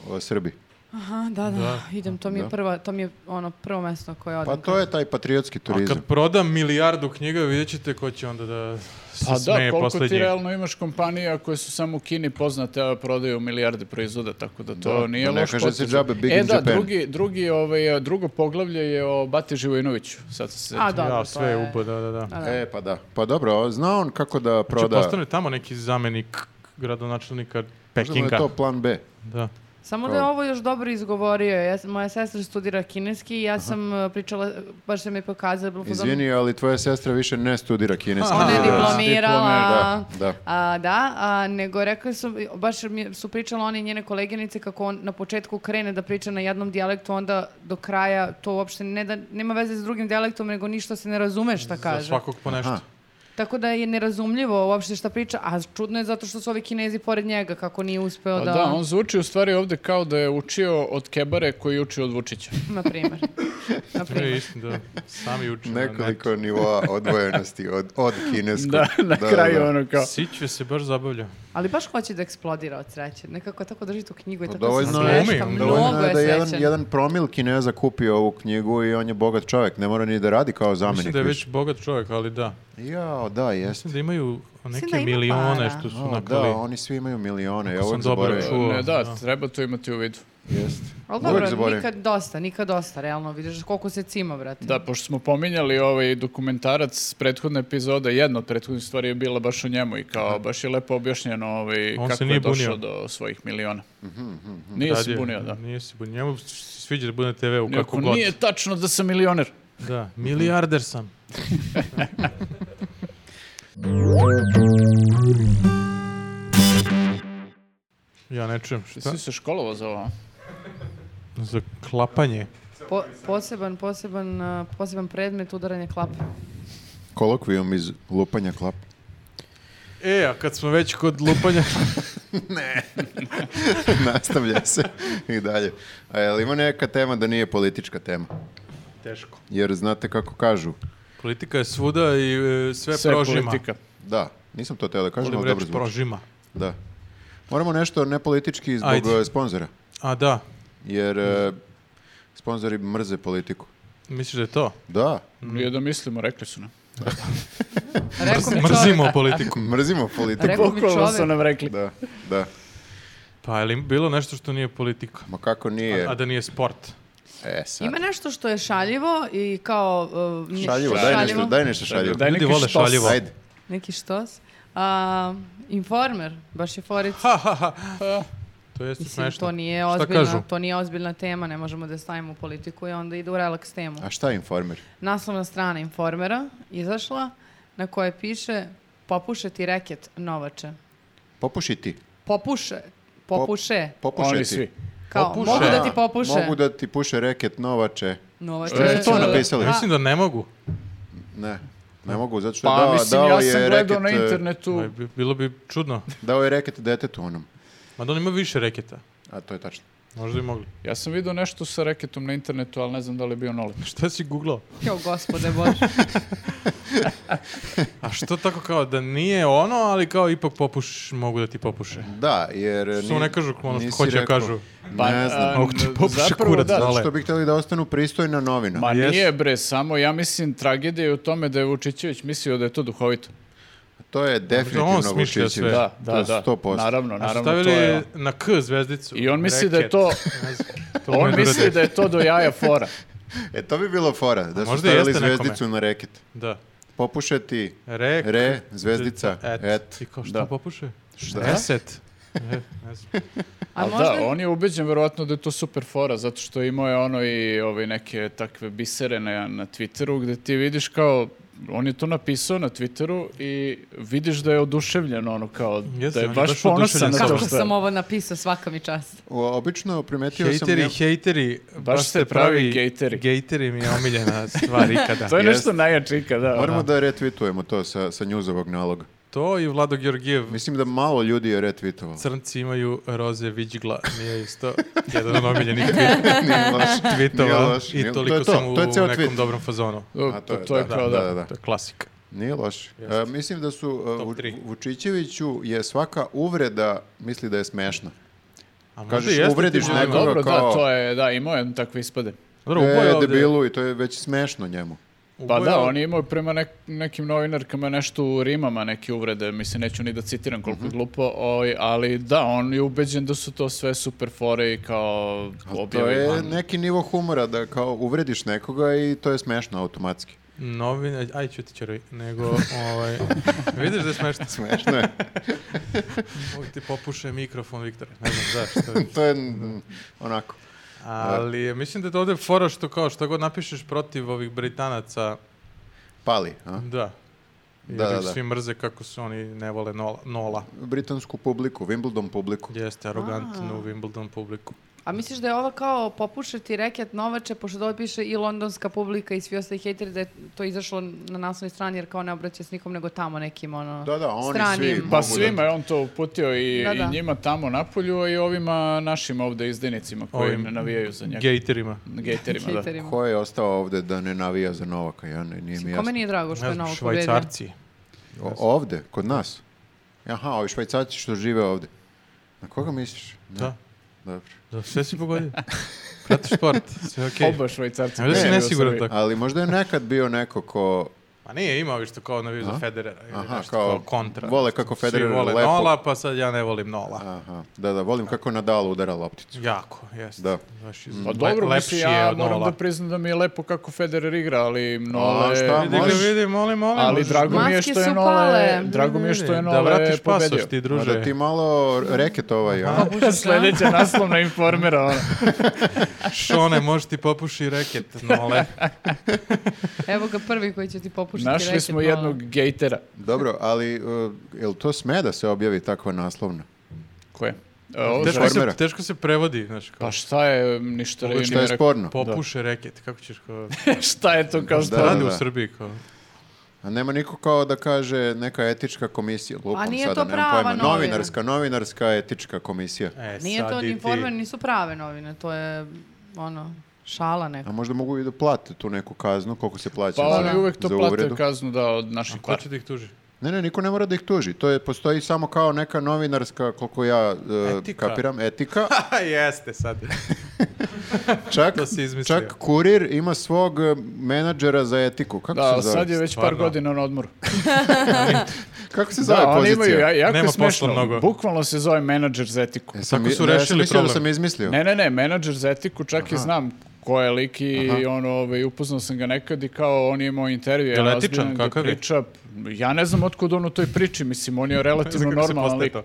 S2: o, Srbi.
S3: Aha, da, da,
S1: Da.
S3: idem, to mi je
S2: Da.
S3: prva, to mi je ono prvo mesto koje odem.
S2: Pa to je taj patriotski
S1: A
S2: turizam.
S1: kad prodam milijardu knjiga, vidjet ćete ko će onda da se
S4: Pa da,
S1: smeje
S4: koliko
S1: posle
S4: ti
S1: njih.
S4: realno imaš kompanija koje su samo u Kini poznate, a prodaju milijarde proizvoda, tako da to
S2: Da,
S4: nije
S2: da ne
S4: loš
S2: kaže se
S4: potez.
S2: džabe Big
S4: E
S2: in
S4: da,
S2: Japan.
S4: drugi, drugi, ovaj, drugo poglavlje je o Bati Živojinoviću. Sad sam se
S3: A, dobro,
S1: Ja,
S3: to
S1: sve je ubo, da, da, Znači, da. Znači,
S2: E, pa da. Pa dobro, zna on kako da proda...
S1: postane tamo neki zamenik gradonačelnika
S2: Možda mu je
S1: Pekinga. Pa
S2: to plan B.
S1: Da.
S3: Samo da je ovo još dobro izgovorio. Ja, sam- moja sestra studira kineski i ja sam uh, pričala, baš se mi pokazala.
S1: pa
S3: bilo fazon-
S2: Izvini, ali tvoja sestra više ne studira kineski.
S3: Ona je
S1: A,
S3: diplomirala.
S2: Da, da.
S3: A, da, a, nego rekli su, baš mi su pričala one i njene koleginice kako on na početku krene da priča na jednom dijalektu, onda do kraja to uopšte ne da, nema veze s drugim dijalektom, nego ništa se ne razume šta
S1: Za
S3: kaže.
S1: svakog po nešto.
S2: Aha.
S3: Tako da je nerazumljivo uopšte šta priča, a čudno je zato što su ovi kinezi pored njega, kako nije uspeo
S4: Pa
S3: da,
S4: da, on zvuči u stvari ovde kao da je učio od Kebare koji je učio od Vučića.
S3: na primjer. na
S1: To je
S3: primjer.
S1: isto, da. Sami uče. na
S2: Nekoliko nivoa odvojenosti od, od kineskog.
S4: Da, na kraju
S2: da.
S4: ono kao...
S1: netu. Sićve se baš zabavlja.
S3: Ali baš hoće da eksplodira od sreće. Nekako tako drži tu knjigu i
S2: Pa
S3: tako
S2: Dovoljno
S3: se
S1: je-
S3: smeška,
S1: Glumi, on
S3: mnogo
S2: Dovoljno je
S3: je
S2: da jedan,
S3: srećan.
S2: jedan promil kineza kupi ovu knjigu i on je bogat čovjek. Ne mora ni da radi kao
S1: Mislim
S2: zamenik.
S1: da je
S2: više.
S1: već bogat čovjek, ali da.
S2: Jao, da, jeste.
S1: Mislim da imaju neke
S3: Mislim da ima
S1: milione
S3: para.
S1: što su
S2: O, da,
S1: naklali.
S2: oni svi imaju milione. Ja
S1: Ako sam
S2: uvijek
S1: dobro
S2: zaboravim.
S1: čuo.
S4: Ne, da,
S1: da.
S4: treba to imati u vidu.
S2: Jeste.
S3: Ali
S2: Uvijek
S3: dobro,
S2: zaboravim.
S3: nikad dosta, nikad dosta, realno. Vidiš koliko se cima, brate.
S4: Da, pošto smo pominjali ovaj dokumentarac s prethodne epizode, jedna od prethodnih stvari je bila baš o njemu i kao baš je lepo objašnjeno ovaj,
S1: On se
S4: kako je
S1: nije
S4: došao
S1: bunio.
S4: do svojih miliona. Nije se
S1: Radio-
S4: bunio, da.
S1: Nije se bunio. Njemu s- sviđa da bude na TV u kako
S4: Iako
S1: god.
S4: nije tačno da sam milioner.
S1: Da, milijarder sam. ja ne čujem
S4: Ti
S1: šta.
S4: si se školovao za ovo? a?
S1: Za klapanje.
S3: Po- poseban, poseban, uh, poseban predmet udaranje klapa.
S2: Kolokvijum iz lupanja klapa.
S1: E, a kad smo već kod lupanja,
S2: Nastavlja se i dalje. A jel ima neka tema da nije politička tema?
S1: teško.
S2: Jer znate kako kažu.
S1: Politika je svuda i e, sve,
S4: Sve je
S1: prožima.
S4: politika.
S2: Da, nisam to teo da kažem,
S1: Volim
S2: ali
S1: reč
S2: dobro zvuči.
S1: prožima.
S2: Da. Moramo nešto nepolitički zbog
S1: Ajde.
S2: eh, sponzora.
S1: A da,
S2: Jer eh, sponzori mrze politiku.
S1: misliš da je to?
S2: Da,
S4: Nije da mislimo, rekli su nam.
S3: Rekao mi čovjek,
S1: Mrzimo politiku.
S2: mrzimo politiku.
S3: rekao mi
S4: Bukvalno su
S3: čovjek,
S4: nam rekli.
S2: Da, da.
S1: Pa je li bilo nešto što nije politika?
S2: Ma kako nije?
S1: A, a da nije sport?
S2: E, sad.
S3: Ima nešto što je šaljivo i kao... uh, ne-
S2: Šaljivo, daj nešto, daj nešto šaljivo.
S4: Daj
S1: Ljudi
S4: neki
S1: vole
S4: štos.
S1: šaljivo.
S2: Ajde.
S3: Neki štos. A, informer, baš je forica.
S1: To jeste
S3: Mislim,
S1: smešno.
S3: to nije
S1: Šta
S3: ozbiljna,
S1: kažu?
S3: to nije ozbiljna tema, ne možemo da je stavimo u politiku i onda ide u relax temu.
S2: A šta je informer?
S3: Naslovna strana Informera izašla na kojoj piše popušeti reket Novače.
S2: Popuši ti.
S3: Popuše, popuše,
S2: Popušaj
S4: Oni
S2: ti.
S4: svi.
S3: kao
S1: popuše.
S3: mogu da
S2: A,
S3: ti popuše.
S2: Mogu da ti puše reket Novače.
S3: Novače.
S4: Šta su to
S3: e,
S2: napisali?
S3: da,
S1: Mislim da ne mogu.
S2: Ne, ne mogu, zato što
S4: Pa
S2: je dao,
S4: mislim,
S2: dao
S4: ja sam
S2: je
S4: gledao
S2: reket,
S4: na
S2: e,
S1: Ma,
S4: internetu.
S1: bi- Bilo bi čudno.
S2: dao je reket detetu onom.
S1: Mada on ima više reketa.
S2: A to je tačno.
S1: Možda i mogli.
S4: Ja sam vidio nešto sa reketom na internetu, ali ne znam da li je bio nolet.
S1: Šta si googlao?
S3: Jo, gospode Bože.
S1: A što tako kao da nije ono, ali kao ipak popuš, mogu da ti popuše.
S2: Da, jer...
S1: Što
S2: ni-
S1: ne kažu ono što
S2: nisi
S1: hoće da
S2: rekao.
S1: kažu.
S4: Pa,
S2: ne znam.
S4: a,
S1: Mogu ti popuše
S4: zapravo
S1: kurac,
S4: da,
S1: dale.
S2: Što bi htjeli da ostanu pristojna novina.
S4: Ma
S1: Jes.
S4: nije bre, samo ja mislim tragedija je u tome da je Vučićević mislio da je to duhovito.
S2: To je definitivno
S1: on smišlja
S2: Vučićević.
S1: sve.
S4: Da, da,
S2: To je
S4: da.
S2: 100%.
S4: Naravno,
S1: A
S4: naravno.
S1: stavili
S4: to je
S1: je
S4: on.
S1: na K zvezdicu.
S4: I on misli da je
S1: Reket.
S4: to-
S1: Ne znam. To
S4: On
S1: umeju da
S4: misli
S1: urade.
S4: da je to do jaja fora.
S2: E, to bi bilo fora, da su
S1: možda
S2: stavili
S1: jeste nekome.
S2: zvezdicu na reket.
S1: Da.
S2: Popušati
S1: Re,
S2: re, zvezdica, et.
S1: et. I kao šta
S4: Da.
S1: popuše?
S2: Šta?
S1: Reset. E, ne znam.
S3: A
S4: Ali
S3: možda,
S4: da, on je ubeđen verovatno da je to super fora, zato što imao je ono i ovaj, neke takve bisere na, na Twitteru gde ti vidiš kao, on je to napisao na Twitteru i vidiš da je oduševljen ono kao,
S1: Jeste,
S4: da je
S1: on je
S4: baš
S1: baš
S4: ponosan
S1: oduševljen
S4: na to
S3: kako
S4: što je.
S3: sam ovo napisao, svaka mi čast.
S2: O, obično primetio sam...
S1: Hejteri,
S2: njemu-
S1: hejteri.
S4: Baš se pravi gejteri.
S1: Gejteri mi je omiljena stvar ikada.
S4: To je
S2: Jest.
S4: nešto najjače ikada.
S2: Moramo da retvitujemo to sa, sa njuzovog naloga.
S1: To i Vlado Georgijev.
S2: Mislim da malo ljudi je retvitovalo.
S1: Crnci imaju roze viđgla. Nije isto jedan od omiljenih twi-
S2: Nije loš. Nije
S1: tweetova.
S2: loš, nije-
S1: I
S2: to
S1: toliko
S2: je to,
S1: sam u
S2: to je
S1: nekom
S2: ceo tweet.
S1: dobrom fazonu.
S4: Da,
S2: A
S4: to, to je
S2: da,
S4: kao da.
S2: da, da, da.
S1: To je klasika.
S2: Nije loš.
S1: Jeste.
S2: E, mislim da su e,
S1: Top
S2: Vu-
S1: tri.
S2: Vučićeviću je svaka uvreda misli da je smešna.
S1: A možda
S2: Kažeš,
S1: jeste
S2: uvrediš
S1: tim
S4: A,
S1: ljudima.
S2: nekoga
S4: dobro,
S2: kao-
S4: da, to je, da, imao je takve ispade.
S1: Dobro, ubo je
S2: E,
S1: ovde-
S2: debilu i to je već smešno njemu.
S1: ubo
S4: Pa
S1: je
S4: da,
S1: ovde-
S4: on je imao prema nek- nekim novinarkama nešto u rimama, neke uvrede, mislim, neću ni da citiram koliko je glupo, ovaj, ali da, on je ubeđen da su to sve super fore i kao
S2: Ali to
S4: objave
S2: je
S4: van.
S2: neki nivo humora da kao uvrediš nekoga i to je smešno automatski.
S1: Novine, aj ćuti čeroj, nego ovaj, vidiš da je smešno.
S2: Smešno je.
S1: Mogu ti popuše mikrofon, Viktore, ne znam zašto.
S2: to je mm, onako.
S1: Ali je- mislim da je to ovde fora što kao šta god napišeš protiv ovih Britanaca,
S2: Pali, a?
S1: da. Jer
S2: Da, da,
S1: ih
S2: da.
S1: Svi mrze kako su oni ne vole nola. nola.
S2: Britansku publiku, Wimbledon publiku.
S1: Jeste arogantnu Wimbledon publiku.
S3: A misliš da je ovo kao popušati reket Novače, pošto dole piše i londonska publika i svi ostali hejteri, da je to izašlo na naslovnoj strani, jer kao ne obraća s nikom, nego tamo nekim, ono,
S2: Da, da, oni
S3: stranim.
S2: svi.
S4: Pa
S2: Mogu
S4: svima je on to uputio i,
S3: Da, da.
S4: i njima tamo napolju, a i ovima našim ovde izdajnicima koji
S1: Ovim
S4: im navijaju za njega.
S1: Gejterima.
S4: Gejterima, da.
S3: hejterima.
S2: Ko je ostao ovde da ne navija za Novaka? Ja ne, nije mi
S3: Mislim, Kome
S2: jasno.
S3: nije drago što
S1: Ne
S3: je
S1: znam,
S3: Novak pobedio?
S1: švajcarci.
S2: O- ovde, kod nas. Aha, ovi švajcarci što žive ovde. Na koga misliš? Ne,
S1: Da,
S2: Dobro.
S1: da, sve si pogodio. Pratiš sport, sve okej.
S4: Oba švajcarci.
S1: Ne, da si
S4: pobedio u
S1: nesiguran
S4: Srbiji.
S1: tako.
S2: Ali možda je nekad bio neko ko...
S1: Pa nije imao više kao naviju za
S2: A?
S1: Federera ili
S2: Aha,
S1: nešto
S2: kao
S1: kao, kontra.
S2: vole kako
S1: Svi
S2: Federer
S1: vole
S2: lepo-
S1: nola, pa sad ja ne volim nola.
S2: Aha, da, da, volim kako Nadal udara lopticu.
S1: Jako, jeste.
S2: Da.
S1: Baš iz-
S4: Pa
S1: le-
S4: dobro,
S1: lepši
S4: mislim,
S1: je
S4: ja
S1: od
S4: moram
S1: nola.
S4: da priznam da mi je lepo kako Federer igra, ali
S2: A,
S4: Nole...
S2: šta,
S1: Vidi, ga,
S2: Možeš-
S1: vidi, molim, molim.
S4: Ali
S1: možeš-
S4: drago mi je
S3: Maske
S4: što je
S3: su
S4: Nole,
S3: pale.
S4: drago mi je što
S1: Da
S4: je Nole
S1: vratiš
S4: pobedio. Pa,
S1: pasoš ti, druže.
S2: Možda ti malo reket ovaj, a?
S4: Sledeća naslovna informera. ono.
S1: Šone, možeš ti popuši reket, nole.
S3: Evo ga prvi koji će ti pa- popušiti reket.
S4: Našli smo
S3: malo.
S4: jednog gejtera.
S2: Dobro, ali uh, jel to sme da se objavi takva naslovna?
S4: Ko je? E, ovo
S1: teško,
S4: za-
S2: Transformera.
S1: se, teško se prevodi, znaš, kao,
S4: Pa šta je, ništa li
S2: Šta je sporno?
S1: popuše reket, kako ćeš kao,
S4: Šta je to kao
S2: Da,
S4: šta?
S1: da, radi
S2: da,
S1: u
S2: da.
S1: Srbiji, kao,
S2: A nema niko kao da kaže neka etička komisija. Lupam
S3: A nije
S2: sada,
S3: to
S2: nemam
S3: prava
S2: pojma.
S3: novina.
S2: Novinarska, novinarska etička komisija.
S1: e,
S3: Nije
S1: sad
S3: to
S1: i
S3: ni
S1: ti.
S3: informer, nisu prave novine, to je, ono, šala neka.
S2: A možda mogu i da plate tu neku kaznu, koliko se plaća
S4: Pa
S2: za,
S4: oni uvek to
S2: za
S4: plate
S2: uvredu.
S4: kaznu da od naših
S1: Ko
S4: para.
S1: će da ih tuži?
S2: Ne, ne, niko ne mora da ih tuži. To je, postoji samo kao neka novinarska, koliko ja e,
S1: Etika.
S2: kapiram, etika.
S1: Ha, jeste sad.
S2: Čak,
S1: To si izmislio.
S2: čak kurir ima svog eh, menadžera za etiku. Kako
S4: Da,
S2: se zove?
S4: sad je već par
S1: Stvarno.
S4: godina na odmoru.
S2: Kako se zove
S4: Da, oni
S2: pozicija?
S4: imaju, ja- jako
S1: Nema
S4: je
S1: posla
S4: smešno.
S1: mnogo.
S4: Bukvalno se zove menadžer za etiku.
S2: E, Sam,
S1: Tako su
S2: da, ja sam
S1: rešili
S2: mislio da
S1: problem.
S2: sam izmislio.
S4: Ne, ne, ne, menadžer za etiku, čak i znam ko je lik i
S2: Aha.
S4: ono, ovaj, upoznao sam ga nekad i kao on je imao intervju.
S1: Jel
S4: jedan
S1: etičan,
S4: ozbiljan gde
S1: kakav je?
S4: priča, ja ne znam otkud on u toj priči, mislim, on je relativno
S1: Kako se
S4: normalan
S1: postaje
S4: lik.
S1: to?